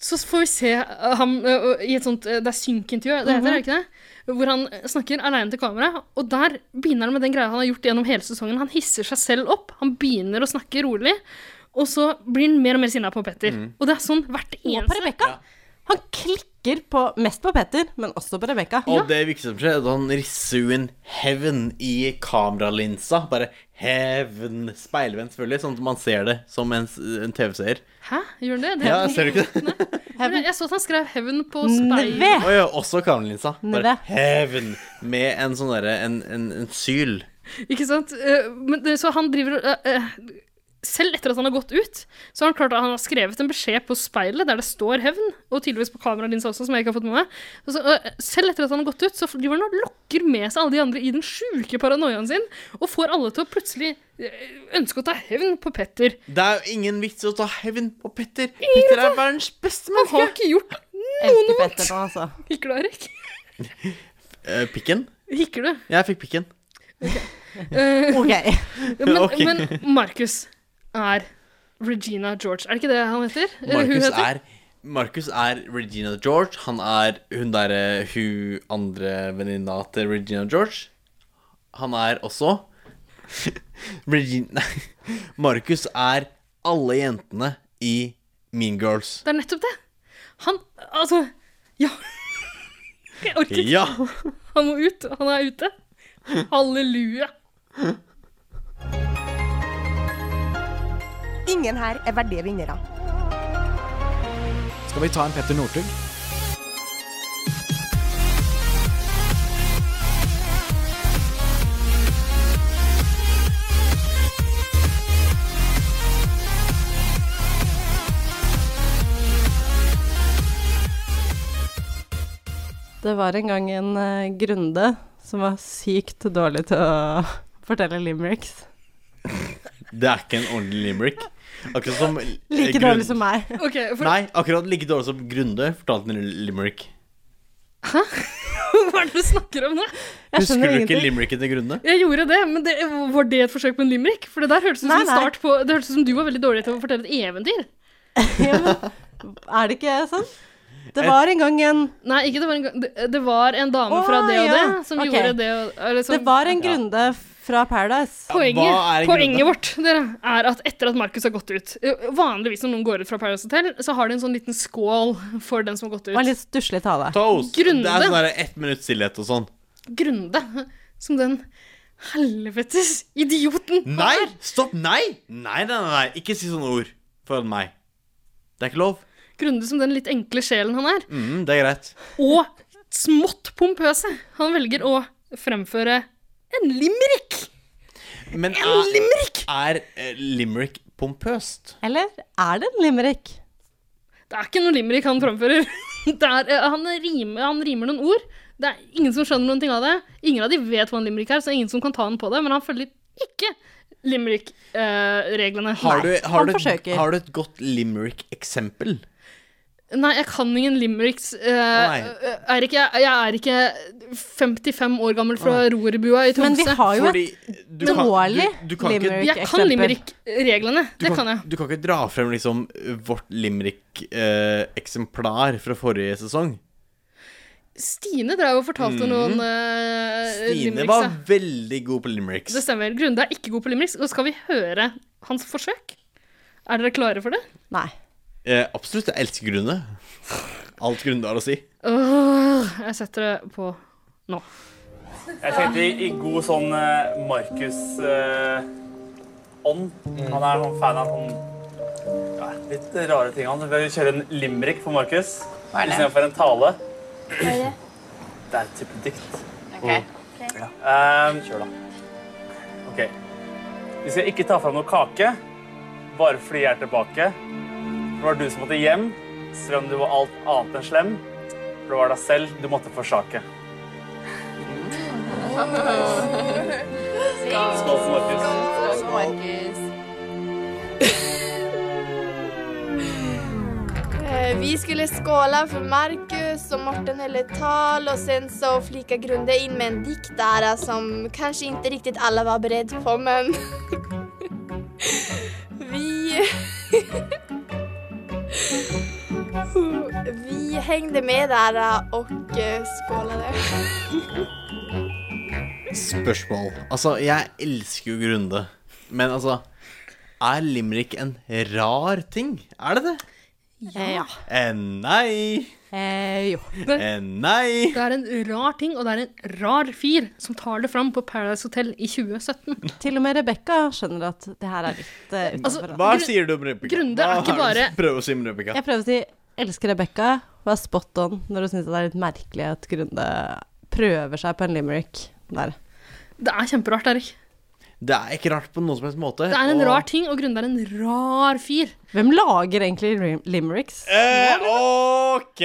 [SPEAKER 5] Så får vi se eh, ham eh, i et sånt eh, Det er synkintervju, det heter
[SPEAKER 4] Mhm.
[SPEAKER 5] det, er det ikke det? Hvor han eh, snakker aleine til kamera, og der begynner han med den greia han har gjort gjennom hele sesongen. Han hisser seg selv opp. Han begynner å snakke rolig, og så blir han mer og mer sinna på Petter.
[SPEAKER 4] Mm.
[SPEAKER 5] Og det er sånn hvert
[SPEAKER 4] Og
[SPEAKER 5] eneste
[SPEAKER 4] på Rebekka. Han klikker på, mest på Petter, men også på Rebekka.
[SPEAKER 2] Og det viktigste som skjer, er at han risser jo inn heaven i kameralinsa. Bare heaven Speilvendt, selvfølgelig, sånn at man ser det som en, en TV-seer.
[SPEAKER 5] Hæ, gjør han det? det
[SPEAKER 2] Ja, ser du ikke det?
[SPEAKER 5] Heaven. Jeg så at han skrev 'Heaven' på
[SPEAKER 2] Og
[SPEAKER 5] speil.
[SPEAKER 2] ja, også kameralinsa. Bare
[SPEAKER 5] Neve.
[SPEAKER 2] heaven med en sånn derre en, en, en syl.
[SPEAKER 5] Ikke sant? Eh, Men, det- så han driver og eh, eh, Selv etter at han har gått ut, så har han klart at han har skrevet en beskjed på speilet der det står 'hevn', og tydeligvis på kameralinsa også, som jeg ikke har fått med meg. Og så, eh, selv etter at han har gått ut, så driver han og lokker med seg alle de andre i den sjuke paranoiaen sin, og får alle til å plutselig eh, ønske å ta hevn på Petter.
[SPEAKER 2] Det er jo ingen vits å ta hevn på Petter. Petter er verdens beste menneske.
[SPEAKER 5] Han har ikke gjort noe vondt.
[SPEAKER 4] altså.
[SPEAKER 5] Hikker du, Erik?
[SPEAKER 2] Eh, pikken?
[SPEAKER 5] Hikker du?
[SPEAKER 2] Jeg fikk pikken.
[SPEAKER 5] Eh,
[SPEAKER 4] Ok.
[SPEAKER 5] Men,
[SPEAKER 2] Ok.
[SPEAKER 5] men Markus er Regina George. Er det ikke det han heter? Eller hun
[SPEAKER 2] Markus
[SPEAKER 5] heter?
[SPEAKER 2] er Markus er Regina George. Han er hun derre hun andre venninna til Regina George. Han er også (laughs) Regina (laughs) Nei. Markus er alle jentene i Mean Girls.
[SPEAKER 5] Det er nettopp det. Han Altså, ja. (laughs) Jeg orker ikke.
[SPEAKER 2] Ja!
[SPEAKER 5] Han må ut. Han er ute. Halleluja.
[SPEAKER 14] Ingen her er verdige vinnere.
[SPEAKER 15] Skal vi ta en Petter Northug?
[SPEAKER 4] Det var en gang en eh, Grunde som var sykt dårlig til å fortelle limericks.
[SPEAKER 2] Det er ikke en ordentlig limerick. Akkurat som eh,
[SPEAKER 4] Like dårlig som meg.
[SPEAKER 5] Ok, for-
[SPEAKER 2] Nei, akkurat like dårlig som Grunde fortalte en limerick.
[SPEAKER 5] (laughs) Hva er det du snakker om nå?
[SPEAKER 2] Husker du ikke limericken til Grunde?
[SPEAKER 5] Jeg gjorde det, men det, var det et forsøk på en limerick? For det der hørtes ut som
[SPEAKER 4] Nei,
[SPEAKER 5] en
[SPEAKER 4] nei.
[SPEAKER 5] start på Det hørtes ut som du var veldig dårlig til å fortelle et eventyr.
[SPEAKER 4] (laughs) Er det ikke sånn? Det var en gang en
[SPEAKER 5] Nei, ikke det var en gang Det, det var en dame fra
[SPEAKER 4] Å,
[SPEAKER 5] det og
[SPEAKER 4] ja.
[SPEAKER 5] det som
[SPEAKER 4] Ok.
[SPEAKER 5] gjorde det og eller som-
[SPEAKER 4] Det var en Grunde fra Paradise.
[SPEAKER 5] Poenget, poenget vårt dere, er at etter at Markus har gått ut eh, Vanligvis når noen går ut fra Paradise Hotel, så har de en sånn liten skål for den som har gått ut.
[SPEAKER 4] Det var en litt stusslig tale.
[SPEAKER 2] Toast.
[SPEAKER 5] Grunde.
[SPEAKER 2] Det er sånn der ett minutts stillhet og sånn.
[SPEAKER 5] Grunde som den helvetes idioten han
[SPEAKER 2] Nei!
[SPEAKER 5] er.
[SPEAKER 2] Stopp! Nei! Nei, nei, nei, nei. Ikke si sånne ord foran meg. Det er ikke lov.
[SPEAKER 5] Grunde som den litt enkle sjelen han er.
[SPEAKER 2] Mm, det er greit.
[SPEAKER 5] Og smått pompøse. Han velger å fremføre en limerick.
[SPEAKER 2] Men er, er eh, limerick pompøst?
[SPEAKER 4] Eller er det en limerick?
[SPEAKER 5] Det er ikke noe limerick han framfører. (laughs) Det er, eh, han, rimer, han rimer noen ord. Det er ingen som skjønner noen ting av det. Ingen av de vet hva en limerick er, så det er ingen som kan ta den på det. Men han følger ikke eh, limerick-reglene.
[SPEAKER 2] Har du, har, du, har du et godt limerick-eksempel?
[SPEAKER 5] Nei, jeg kan ingen limericks. eh,
[SPEAKER 2] Nei.
[SPEAKER 5] eh, er ikke, jeg, jeg er ikke 55 år gammel fra Roerbua i Tromsø.
[SPEAKER 4] Men vi har jo et Fordi
[SPEAKER 2] du kan- dårlig du- du kan ikke-
[SPEAKER 5] Jeg kan
[SPEAKER 2] limerick-eksempel.
[SPEAKER 5] limerick-reglene.
[SPEAKER 2] Du
[SPEAKER 5] Det kan jeg.
[SPEAKER 2] Du kan ikke dra frem liksom vårt limerick-eksemplar fra eh, forrige sesong?
[SPEAKER 5] Stine drev og fortalte
[SPEAKER 2] Mhm.
[SPEAKER 5] noen uh,
[SPEAKER 2] Stine var veldig god på limericks.
[SPEAKER 5] Det stemmer. Grunde er ikke god på limericks. Og skal vi høre hans forsøk? Er dere klare for det?
[SPEAKER 4] Nei.
[SPEAKER 2] Eh, absolutt. Jeg elsker Grunde. Alt Grunde har å si.
[SPEAKER 5] Åh, jeg setter det på nå.
[SPEAKER 14] Jeg tenkte i, i god sånn eh, Markus-ånd. Han er sånn fan av sånn ja, litt rare ting. Han Så vil jeg kjøre en limerick for Markus
[SPEAKER 12] Hva er det?
[SPEAKER 14] istedenfor en tale.
[SPEAKER 12] Hva er det?
[SPEAKER 14] Det er et type dikt.
[SPEAKER 12] Ok.
[SPEAKER 14] Ja. Ehm, OK. Vi skal ikke ta fram noe kake bare fordi jeg er tilbake. For det var du som måtte hjem, selv om du var alt annet enn slem. For det var deg selv du måtte forsake. Skål for Markus.
[SPEAKER 12] Skål for Markus.
[SPEAKER 15] Eh, Vi skulle skåla för Marcus och Morten höll ett tal och sen så flikade Grunde in med en dikt där eh, som kanske inte riktigt alla var beredd på men vi vi hängde med där eh, och eh, skålade.
[SPEAKER 2] Spørsmål. Altså, jeg elsker jo Grunde, men altså Er limerick en rar ting? Er det det?
[SPEAKER 4] Eh, ja.
[SPEAKER 2] Eh, nei.
[SPEAKER 4] Eh, jo.
[SPEAKER 2] Eh, nei.
[SPEAKER 5] Det er en rar ting, og det er en rar fyr som tar det fram på Paradise Hotel i 2017.
[SPEAKER 4] Til og med Rebekka skjønner at det her er litt uh, utenfor.
[SPEAKER 2] Hva sier du om Rebekka?
[SPEAKER 5] Grunde er
[SPEAKER 2] Hva har
[SPEAKER 5] ikke
[SPEAKER 2] du-
[SPEAKER 5] bare-
[SPEAKER 2] Prøv å si om Rebekka.
[SPEAKER 4] Jeg prøver å si 'elsker Rebekka', og er spot on når du syns det er litt merkelig at Grunde prøver seg på en limerick der.
[SPEAKER 5] Det er kjemperart, Erik.
[SPEAKER 2] Det er ikke rart på noen som helst måte.
[SPEAKER 5] Det er en
[SPEAKER 2] og-
[SPEAKER 5] rar ting, og Grunde er en rar fyr.
[SPEAKER 4] Hvem lager egentlig lim- limericks?
[SPEAKER 2] Eh, OK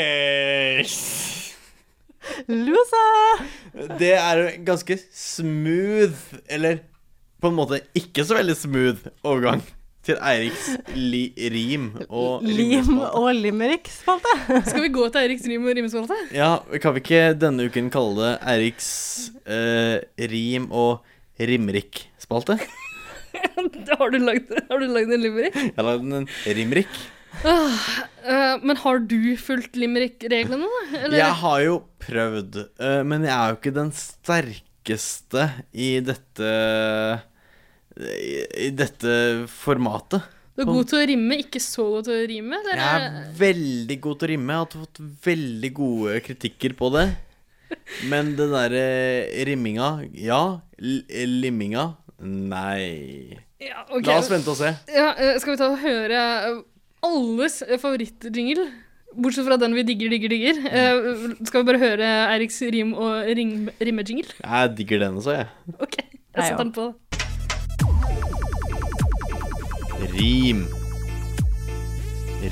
[SPEAKER 4] Loser!
[SPEAKER 2] Det er jo en ganske smooth, eller på en måte ikke så veldig smooth, overgang til Eiriks li rim og
[SPEAKER 4] Lim og limericks, falt det.
[SPEAKER 5] Skal vi gå til Eiriks rim og (laughs) rimespalte?
[SPEAKER 2] Ja, kan vi ikke denne uken kalle det Eiriks eh, rim- og
[SPEAKER 5] (laughs)
[SPEAKER 2] rimrikk-spalte?
[SPEAKER 5] Har du lagd, har du lagd en limerick?
[SPEAKER 2] Jeg har lagd en rimrikk.
[SPEAKER 5] Åh, eh, men har du fulgt limerick-reglene, da? Eller?
[SPEAKER 2] Jeg har jo prøvd, eh, men jeg er jo ikke den sterkeste i dette I i dette formatet.
[SPEAKER 5] Du er god til å rimme, ikke så god til å rime? Eller?
[SPEAKER 2] Jeg er veldig god til å rimme. Jeg har fått veldig gode kritikker på det. Men den derre rimminga Ja. L limminga Nei.
[SPEAKER 5] Ja, ok.
[SPEAKER 2] La oss vente og se.
[SPEAKER 5] Ja, eh, skal vi ta og høre eh, alles favorittjingle? Bortsett fra den vi digger, digger, digger. Eh, skal vi bare høre Eiriks rim- og rim- (laughs) rimmejingle?
[SPEAKER 2] Jeg digger den også, jeg.
[SPEAKER 5] Jeg setter den på.
[SPEAKER 2] Rim.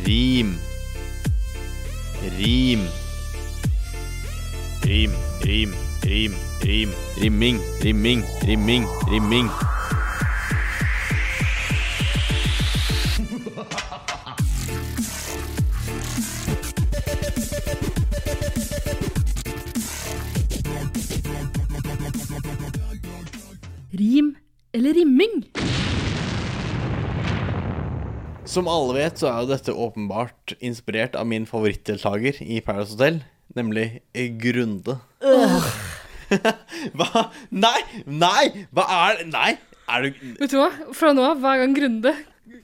[SPEAKER 2] Rim. Rim. Rim, rim, rim, rim. Rimming, rimming, rimming, rimming.
[SPEAKER 5] Rim eller rimming?
[SPEAKER 2] Som alle vet, så er jo dette åpenbart inspirert av min favorittdeltaker i Paradise Hotel, nemlig Grunde. (laughs) hva? Nei! Nei! Hva er det? Nei! Er du
[SPEAKER 5] Vet du hva? Fra nå av, hver gang Grunde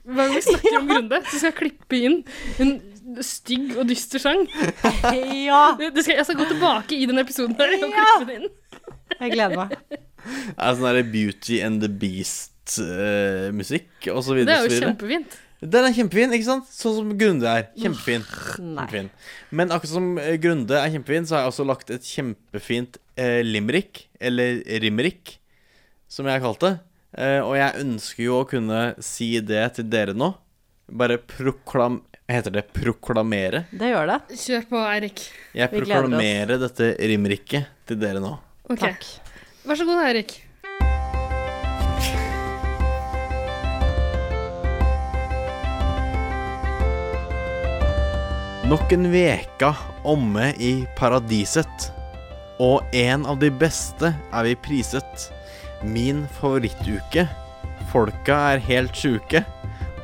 [SPEAKER 5] Hver gang vi snakker (laughs) om Grunde, så skal jeg klippe inn en stygg og dyster sang.
[SPEAKER 4] Ja!
[SPEAKER 5] Det skal, jeg skal gå tilbake i den episoden her og klippe det inn.
[SPEAKER 4] Jeg gleder meg.
[SPEAKER 2] Er sånn der Beauty and the Beast-musikk og så
[SPEAKER 5] Det
[SPEAKER 2] videre.
[SPEAKER 5] er
[SPEAKER 2] og så videre.
[SPEAKER 5] jo kjempefint.
[SPEAKER 2] Den er kjempefin, ikke sant? Sånn som Grunde er. Kjempefin. kjempefin. Men akkurat som eh, Grunde er kjempefin, så har jeg også lagt et kjempefint eh, limerick, eller rimerick, som jeg har kalt det. Eh, og jeg ønsker jo å kunne si det til dere nå. Bare proklam... Heter det proklamere?
[SPEAKER 4] Det gjør det.
[SPEAKER 5] Kjør på, Eirik.
[SPEAKER 2] Jeg proklamerer dette rimericket til dere nå.
[SPEAKER 5] Ok. Vær så god, Eirik.
[SPEAKER 2] Nok en veka omme i paradiset. Og en av de beste er vi priset. Min favorittuke. Folka er helt sjuke.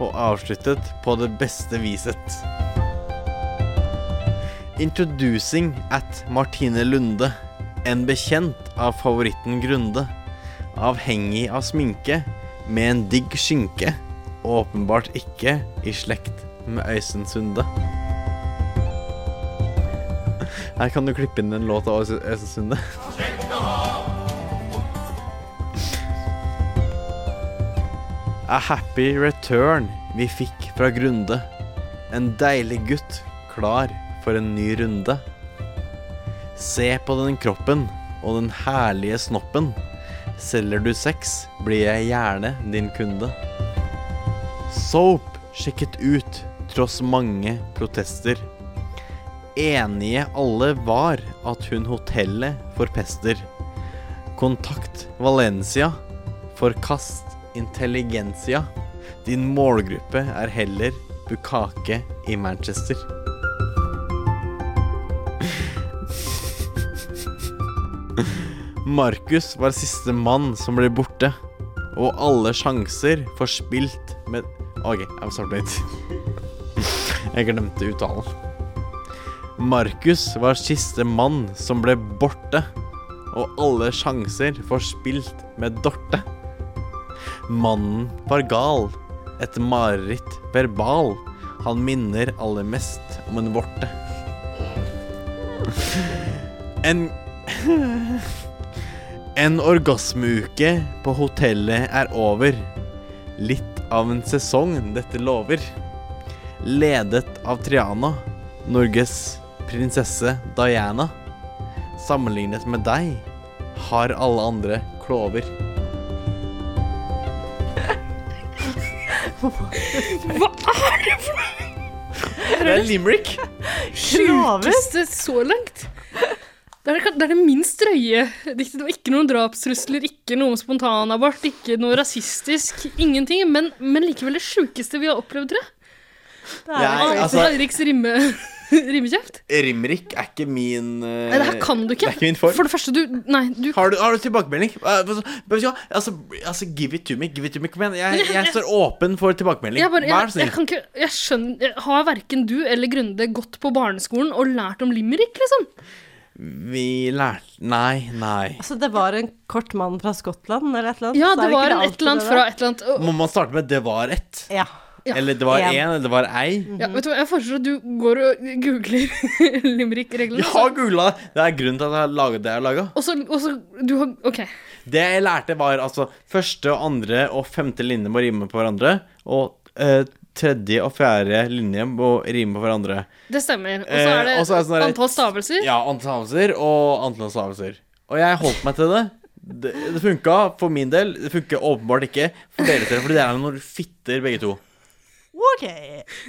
[SPEAKER 2] Og avsluttet på det beste viset. Introducing at Martine Lunde. En bekjent av favoritten Grunde. Avhengig av sminke, med en digg skinke. Og åpenbart ikke i slekt med Øystein Sunde. Her kan du klippe inn en låt av Øystein- Øystein Sunde. A happy return vi fikk fra Grunde. En deilig gutt klar for en ny runde. Se på den kroppen og den herlige snoppen. Selger du sex, blir jeg gjerne din kunde. Soap sjekket ut tross mange protester. Enige alle var at hun hotellet forpester. Kontakt Valencia. Forkast intelligensia. Din målgruppe er heller bukake i Manchester. Markus var siste mann som ble borte, og alle sjanser forspilt med OK, I'm sorry. Jeg glemte uttalen. Markus var siste mann som ble borte, og alle sjanser forspilt med Dorte. Mannen var gal, et mareritt verbal. Han minner aller mest om en vorte. En En orgasmeuke på hotellet er over. Litt av en sesong dette lover. Ledet av Triana, Norges prinsesse Diana. Sammenlignet med deg har alle andre klover.
[SPEAKER 5] Hva er det for noe?!
[SPEAKER 2] Det er limerick.
[SPEAKER 5] Sjukeste så langt. Det er det, det, er det minst drøye diktet. Det var ikke noen drapstrusler, ikke noe om spontanabort, ikke noe rasistisk. Ingenting. Men, men likevel det sjukeste vi har opplevd, tror jeg.
[SPEAKER 2] er Jeg-
[SPEAKER 5] altså,
[SPEAKER 2] altså-
[SPEAKER 5] Eiriks rimme, (laughs) rimmekjeft.
[SPEAKER 2] Rimrik er ikke min eh,
[SPEAKER 5] Nei, det her kan du ikke.
[SPEAKER 2] Det er ikke min form.
[SPEAKER 5] For det første, du Nei, du
[SPEAKER 2] Har du, har du tilbakemelding? Eh, Altså, vet du hva? altså, altså, give it to me. Give it to me. Kom igjen.
[SPEAKER 5] Men
[SPEAKER 2] Jeg,
[SPEAKER 5] jeg-
[SPEAKER 2] jeg står åpen for tilbakemelding.
[SPEAKER 5] Jeg, bare,
[SPEAKER 2] Vær
[SPEAKER 5] jeg,
[SPEAKER 2] så snill.
[SPEAKER 5] jeg, kan ikke, jeg skjønner jeg- Har verken du eller Grunde gått på barneskolen og lært om limerick, liksom?
[SPEAKER 2] Vi lærte Nei, nei.
[SPEAKER 4] Så Altså, det var en kort mann fra Skottland eller et eller annet?
[SPEAKER 5] Ja,
[SPEAKER 4] Så er
[SPEAKER 5] det var
[SPEAKER 4] ikke
[SPEAKER 5] en et
[SPEAKER 4] alltid
[SPEAKER 5] eller annet
[SPEAKER 4] det
[SPEAKER 5] fra
[SPEAKER 4] der?
[SPEAKER 5] et eller annet og-
[SPEAKER 2] Må man starte med 'det var ett'?
[SPEAKER 4] Ja.
[SPEAKER 5] Ja.
[SPEAKER 2] Eller 'det var
[SPEAKER 5] En.
[SPEAKER 2] én', eller 'det var ei'?
[SPEAKER 5] ja, Vet du hva, jeg foreslår at du går og googler (laughs) limerick-reglene.
[SPEAKER 2] Jeg har googla det! Det er grunnen til at jeg har laget det jeg har laga.
[SPEAKER 5] Og så, og så Du har OK.
[SPEAKER 2] Det jeg lærte, var altså første og andre og femte linje må rime på hverandre. Og eh, tredje og fjerde linje må rime på hverandre.
[SPEAKER 5] Det stemmer. Og så
[SPEAKER 2] Eh,
[SPEAKER 5] er det
[SPEAKER 2] og så er det sånn der-
[SPEAKER 5] antall stavelser.
[SPEAKER 2] Ja, antall stavelser og antall stavelser. Og jeg holdt meg til det. Det, det funka for min del. Det funker åpenbart ikke for dere til, fordi dere er noen fitter begge to.
[SPEAKER 5] OK.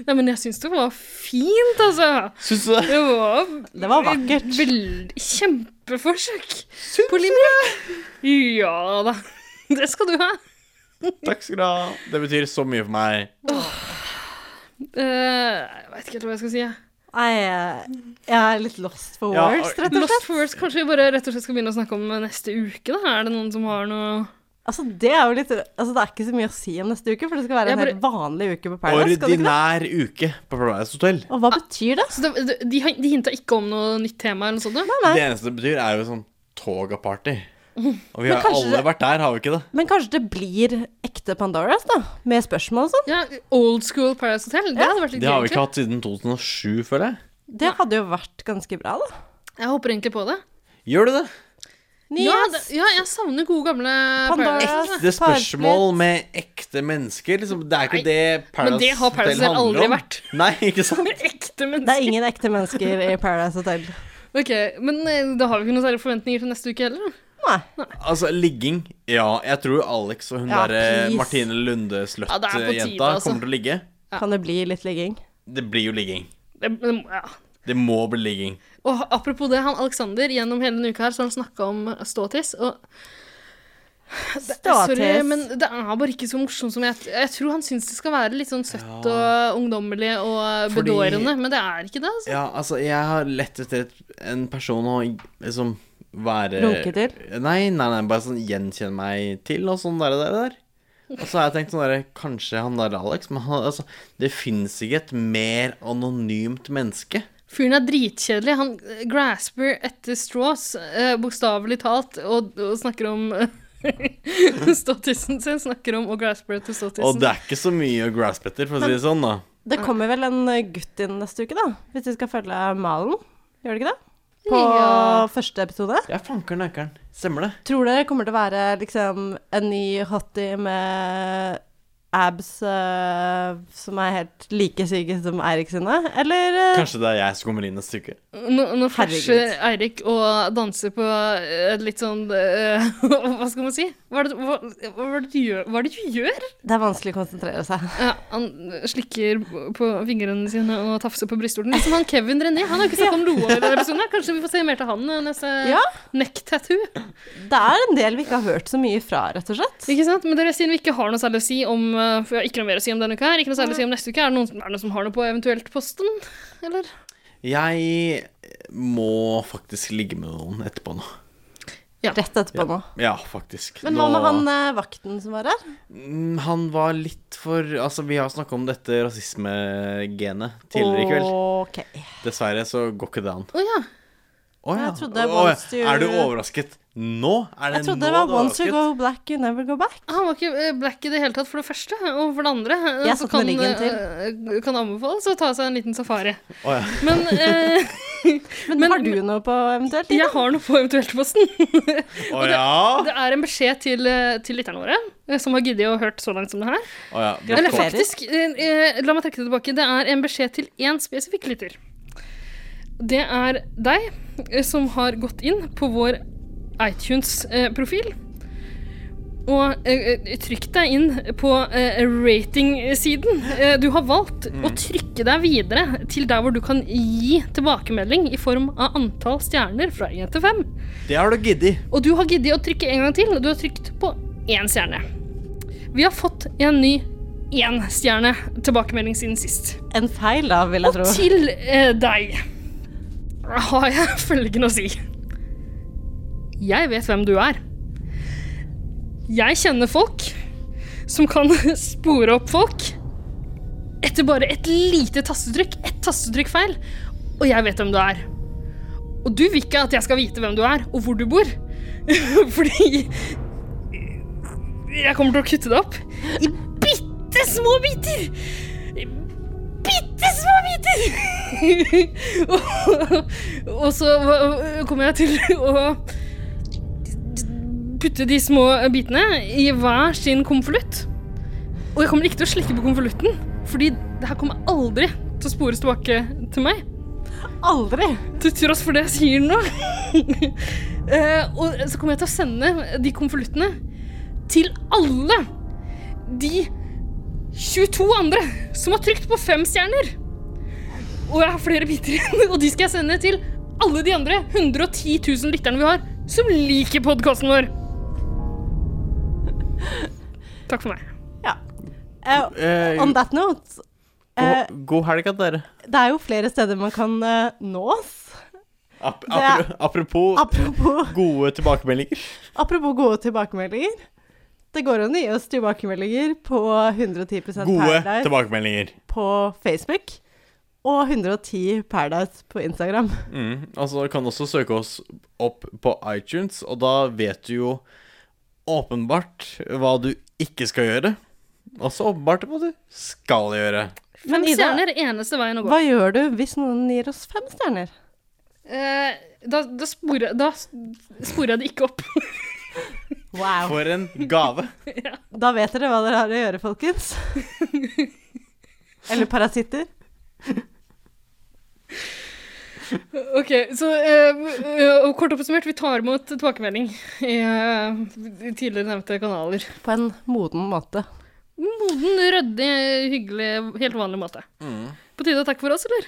[SPEAKER 5] Nei, men jeg syns det var fint, altså.
[SPEAKER 2] Syns du det?
[SPEAKER 5] Det var,
[SPEAKER 4] det var vakkert.
[SPEAKER 5] Veldig, kjempeforsøk på limerick. Ja da. Det skal du ha.
[SPEAKER 2] Takk skal du ha. Det betyr så mye for meg.
[SPEAKER 5] Eh, jeg vet ikke helt hva jeg skal si. jeg.
[SPEAKER 4] Nei, jeg- jeg er litt lost for
[SPEAKER 2] Ja,
[SPEAKER 4] words, rett og slett.
[SPEAKER 5] Lost for words. Kanskje vi bare rett og slett skal begynne å snakke om neste uke? da? Er det noen som har noe
[SPEAKER 4] Altså, det er jo litt Altså, det er ikke så mye å si om neste uke, for det skal være en
[SPEAKER 5] Jeg bare-
[SPEAKER 4] helt vanlig uke på Paradise. skal det ikke det?
[SPEAKER 2] Ordinær uke på Paradise Hotel.
[SPEAKER 4] Og hva betyr det?
[SPEAKER 5] Så det, det de, hin- de hinta ikke om noe nytt tema eller noe sånt? da?
[SPEAKER 2] Det eneste det betyr, er jo sånn
[SPEAKER 4] (laughs)
[SPEAKER 2] toga-party. Og vi
[SPEAKER 4] Men
[SPEAKER 2] har
[SPEAKER 4] kanskje
[SPEAKER 2] alle
[SPEAKER 4] det-
[SPEAKER 2] vært der, har vi ikke det?
[SPEAKER 4] Men kanskje det blir ekte Pandoras, da? Med spørsmål og sånn?
[SPEAKER 5] Ja, Old school Paradise Hotel? Det hadde vært litt
[SPEAKER 2] Det har
[SPEAKER 5] gøy,
[SPEAKER 2] vi ikke hatt siden 2007, føler jeg.
[SPEAKER 4] Det hadde jo vært ganske bra, da.
[SPEAKER 5] egentlig. Jeg håper egentlig på det.
[SPEAKER 2] Gjør du det?
[SPEAKER 5] Ja, det, ja, jeg savner gode, gamle
[SPEAKER 4] Pandora.
[SPEAKER 5] Paradise.
[SPEAKER 2] Det er spørsmål med ekte mennesker. Liksom. Det er ikke
[SPEAKER 5] Nei,
[SPEAKER 2] det Paradise
[SPEAKER 5] men det har Paradise
[SPEAKER 2] Hotel
[SPEAKER 5] aldri
[SPEAKER 2] handler om.
[SPEAKER 5] vært.
[SPEAKER 2] Nei, ikke sant?
[SPEAKER 5] Ekte
[SPEAKER 4] Det er
[SPEAKER 5] mennesker.
[SPEAKER 4] ingen ekte mennesker i Paradise Hotel.
[SPEAKER 5] Ok, Men eh, da har vi ikke noen særlige forventninger til neste uke heller. da.
[SPEAKER 2] Altså, ligging Ja, jeg tror Alex og hun
[SPEAKER 5] Ja,
[SPEAKER 2] der eh,
[SPEAKER 5] please.
[SPEAKER 2] Martine
[SPEAKER 5] Ja, det er på
[SPEAKER 2] Lunde-sløtt-jenta
[SPEAKER 5] tide, altså.
[SPEAKER 2] kommer til å ligge.
[SPEAKER 4] Kan det bli litt ligging?
[SPEAKER 2] Det blir jo ligging.
[SPEAKER 5] Det, det, må- ja.
[SPEAKER 2] Det må bli ligging.
[SPEAKER 5] Og apropos det, han Alexander, gjennom hele denne uka her, så har han snakka om eh, ståtiss. Og det, sorry,
[SPEAKER 4] Ståtiss.
[SPEAKER 5] men det er bare ikke så morsomt som jeg Jeg tror han syns det skal være litt sånn søtt og ungdommelig og eh,
[SPEAKER 2] Fordi-
[SPEAKER 5] bedårende, men det er ikke det. altså.
[SPEAKER 2] Ja, altså, jeg har lett etter et, en person å liksom være
[SPEAKER 5] Runke til?
[SPEAKER 2] Nei, nei, nei, bare sånn gjenkjenne meg til og sånn der, der, der. Og så har jeg tenkt sånn derre Kanskje han der Alex, men han, altså, det fins ikke et mer anonymt menneske.
[SPEAKER 5] Fyren er dritkjedelig. Han eh, grasper etter straws, eh, bokstavelig talt, og, og snakker om (laughs) ståtissen sin. Snakker om å graspe etter ståtissen.
[SPEAKER 2] Og det er ikke så mye å grasp etter, for å si det sånn, da.
[SPEAKER 4] Det kommer vel en eh, gutt inn neste uke, da? Hvis vi skal følge malen? Gjør det ikke det? På
[SPEAKER 2] Ja.
[SPEAKER 4] første episode?
[SPEAKER 2] Ja, fanker'n ækker'n. Stemmer det.
[SPEAKER 4] Tror dere kommer til å være liksom en ny hottie med abs eh, som er helt like syke som Eirik sine? Eller eh,
[SPEAKER 2] Kanskje det er jeg som kommer inn neste uke.
[SPEAKER 5] Nå, nå flasher
[SPEAKER 4] Herregud.
[SPEAKER 5] Eirik og danser på eh, litt sånn eh, (laughs) Hva skal man si? Hva er det, hva, hva er det du gjør? Hva er det du gjør?
[SPEAKER 4] Det er vanskelig å konsentrere seg.
[SPEAKER 5] Ja, han slikker på fingrene sine og tafser på brystvorten. Litt som han Kevin Rennie. Han har ikke snakket om noe i denne episoden. her. Kanskje vi får se mer til han eh, neste
[SPEAKER 4] Ja.
[SPEAKER 5] neck tattoo.
[SPEAKER 4] Det er en del vi ikke har hørt så mye fra, rett og slett.
[SPEAKER 5] Ikke sant? Men dere, siden vi ikke har noe særlig å si om eh, For jeg har ikke noe mer å si om denne uka her, ikke noe særlig å si om neste uke, er det noen, er det noen som har noe på eventuelt posten? Eller?
[SPEAKER 2] Jeg må faktisk ligge med noen etterpå nå.
[SPEAKER 4] Rett etterpå nå.
[SPEAKER 2] Ja, faktisk.
[SPEAKER 4] Men hva
[SPEAKER 2] Nå-
[SPEAKER 4] med han eh, vakten som var her?
[SPEAKER 2] Mm, Han var litt for Altså, vi har snakka om dette rasismegenet tidligere i kveld. Eh,
[SPEAKER 4] Ok.
[SPEAKER 2] Dessverre så går ikke det an.
[SPEAKER 5] Å ja.
[SPEAKER 2] Å ja.
[SPEAKER 4] Jeg trodde
[SPEAKER 2] Å, ja.
[SPEAKER 4] once you-
[SPEAKER 2] Er du overrasket nå? Er det
[SPEAKER 4] Jeg
[SPEAKER 2] nå
[SPEAKER 4] trodde det var
[SPEAKER 2] du er
[SPEAKER 4] once you
[SPEAKER 2] overrasket?
[SPEAKER 4] go black, you never go back.
[SPEAKER 5] Han var ikke eh, black i det hele tatt, for det første. Og for det andre eh,
[SPEAKER 4] Jeg
[SPEAKER 5] så
[SPEAKER 4] satt
[SPEAKER 5] kan,
[SPEAKER 4] med ryggen
[SPEAKER 5] eh, kan anbefales å ta seg en liten safari.
[SPEAKER 2] Å ja.
[SPEAKER 5] Men, (laughs) eh,
[SPEAKER 4] men, har du noe på eventuelt?
[SPEAKER 5] Jeg har noe på eventuelt-posten.
[SPEAKER 2] Å ja.
[SPEAKER 5] Det er en beskjed til, eh, til lytterne våre, eh, som har giddet å hørt så langt som det her.
[SPEAKER 2] Å ja.
[SPEAKER 5] Eller faktisk, eh, eh, la meg trekke det tilbake. Det er en beskjed til én spesifikk lytter. Det er deg eh, som har gått inn på vår iTunes-profil. Og eh, eh, trykk deg inn på eh, rating-siden. Eh, du har valgt å trykke deg videre til der hvor du kan gi tilbakemelding i form av antall stjerner fra 1 til 5.
[SPEAKER 2] Det har du giddet.
[SPEAKER 5] Og du har giddet å trykke en gang til, og du har trykt på én stjerne. Vi har fått en ny énstjerne tilbakemelding siden sist.
[SPEAKER 4] En feil, da, vil jeg
[SPEAKER 5] Og
[SPEAKER 4] tro.
[SPEAKER 5] til eh, deg har jeg følgende å si. Jeg vet hvem du er. Jeg kjenner folk som kan (laughs) spore opp folk etter bare et lite tastetrykk. Ett tastetrykk feil. Og jeg vet hvem du er. Og du vil ikke at jeg skal vite hvem du er, og hvor du bor. (laughs) Fordi jeg kommer til å kutte det opp i bitte små biter. I Bitte små biter! og, (laughs) og så hva- kommer jeg til å putte de små bitene i hver sin konvolutt. Og jeg kommer ikke til å slikke på konvolutten, fordi det her kommer aldri til å spores tilbake til meg.
[SPEAKER 4] Aldri!
[SPEAKER 5] Til tross for det jeg sier nå. (laughs) Eh, og så kommer jeg til å sende de konvoluttene til alle de 22 andre som har trykt på fem stjerner. Og jeg har flere biter igjen, (laughs) og de skal jeg sende til alle de andre 110 000 lytterne vi har, som liker podkasten vår. Takk for meg.
[SPEAKER 4] Eh, on that note eh,
[SPEAKER 2] God, god helg til dere.
[SPEAKER 4] Det er jo flere steder man kan eh, nås.
[SPEAKER 2] Ap
[SPEAKER 4] Det er-
[SPEAKER 2] apro- apropos,
[SPEAKER 4] apropos
[SPEAKER 2] gode tilbakemeldinger.
[SPEAKER 4] Apropos gode tilbakemeldinger. Det går an å gi oss tilbakemeldinger på 110
[SPEAKER 2] Gode
[SPEAKER 4] Paradise
[SPEAKER 2] tilbakemeldinger.
[SPEAKER 4] på Facebook og 110 Paradise på Instagram.
[SPEAKER 2] Mm. Altså, du kan også søke oss opp på iTunes, og da vet du jo åpenbart hva du ikke skal gjøre. Også åpenbart hva du skal gjøre.
[SPEAKER 5] Fem
[SPEAKER 4] Ida,
[SPEAKER 5] stjerner er eneste veien å gå.
[SPEAKER 4] Hva gjør du hvis noen gir oss fem stjerner?
[SPEAKER 5] Eh, da, da, sporer, da sporer jeg det ikke opp. (laughs)
[SPEAKER 4] Wow.
[SPEAKER 2] For en gave.
[SPEAKER 4] Da vet dere hva dere har å gjøre, folkens. (laughs) Eller parasitter.
[SPEAKER 5] Ok, så eh, eh, kort oppsummert, vi tar imot tilbakemelding i eh, tidligere nevnte kanaler.
[SPEAKER 4] På en moden måte.
[SPEAKER 5] Moden, ryddig, hyggelig, helt vanlig måte.
[SPEAKER 2] Mm.
[SPEAKER 5] På tide å takke for oss, eller?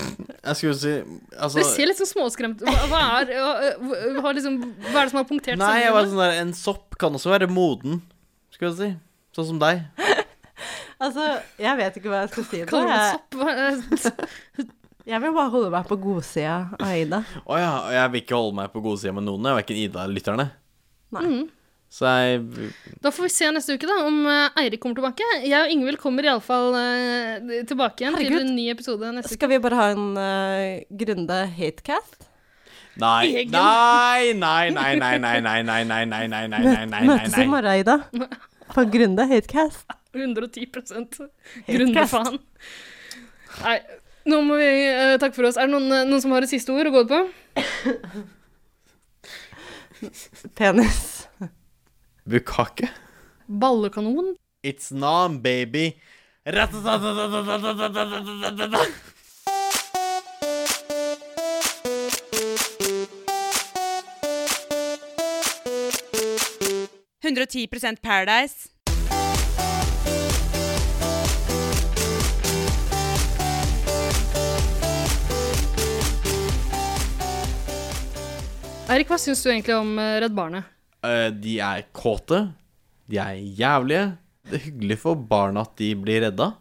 [SPEAKER 2] Jeg skulle si altså,
[SPEAKER 5] Dere ser litt sånn småskremt Hva, hva, er, eh, hva, har liksom, hva er det som har punktert
[SPEAKER 2] Nei, jeg var
[SPEAKER 5] samfunnet?
[SPEAKER 2] sånn der, en sopp kan også være moden, skulle jeg si. Sånn som deg.
[SPEAKER 4] Altså, jeg vet ikke hva jeg skal si. nå.
[SPEAKER 5] Kaller du meg
[SPEAKER 4] Jeg,
[SPEAKER 5] sopp? Hva-
[SPEAKER 4] jeg vil bare holde meg på godsida av Ida.
[SPEAKER 2] Å ja, og jeg vil ikke holde meg på godsida med noen, jeg, verken Ida eller lytterne.
[SPEAKER 4] Nei.
[SPEAKER 5] Mm.
[SPEAKER 2] Så jeg
[SPEAKER 5] Da får vi se neste uke da, om eh, Eirik kommer tilbake. Jeg og Ingvild kommer iallfall uh, tilbake igjen til
[SPEAKER 4] Herregud.
[SPEAKER 5] en ny episode neste uke.
[SPEAKER 4] Skal vi bare ha en eh, Grunde hatecast?
[SPEAKER 2] Nei,
[SPEAKER 4] Egen.
[SPEAKER 2] nei, nei, nei, nei, nei, nei, nei, nei, nei, nei, nei, nei, nei, nei,
[SPEAKER 4] Møtes i
[SPEAKER 2] nei.
[SPEAKER 4] morgen, Ida. På Grunde hatecast.
[SPEAKER 5] 110
[SPEAKER 4] Helt
[SPEAKER 5] Grundefaen. Nei, nå må vi eh, takke for oss. Er det noen, eh, noen som har et siste ord å gå på?
[SPEAKER 4] Penis.
[SPEAKER 2] Bukake?
[SPEAKER 5] Ballekanon?
[SPEAKER 2] It's nam, baby.
[SPEAKER 3] Paradise. 110 Paradise.
[SPEAKER 5] Eirik, hva syns du egentlig om eh, Redd Barnet?
[SPEAKER 2] Eh, De er kåte. De er jævlige. Det er hyggelig for barna at de blir redda.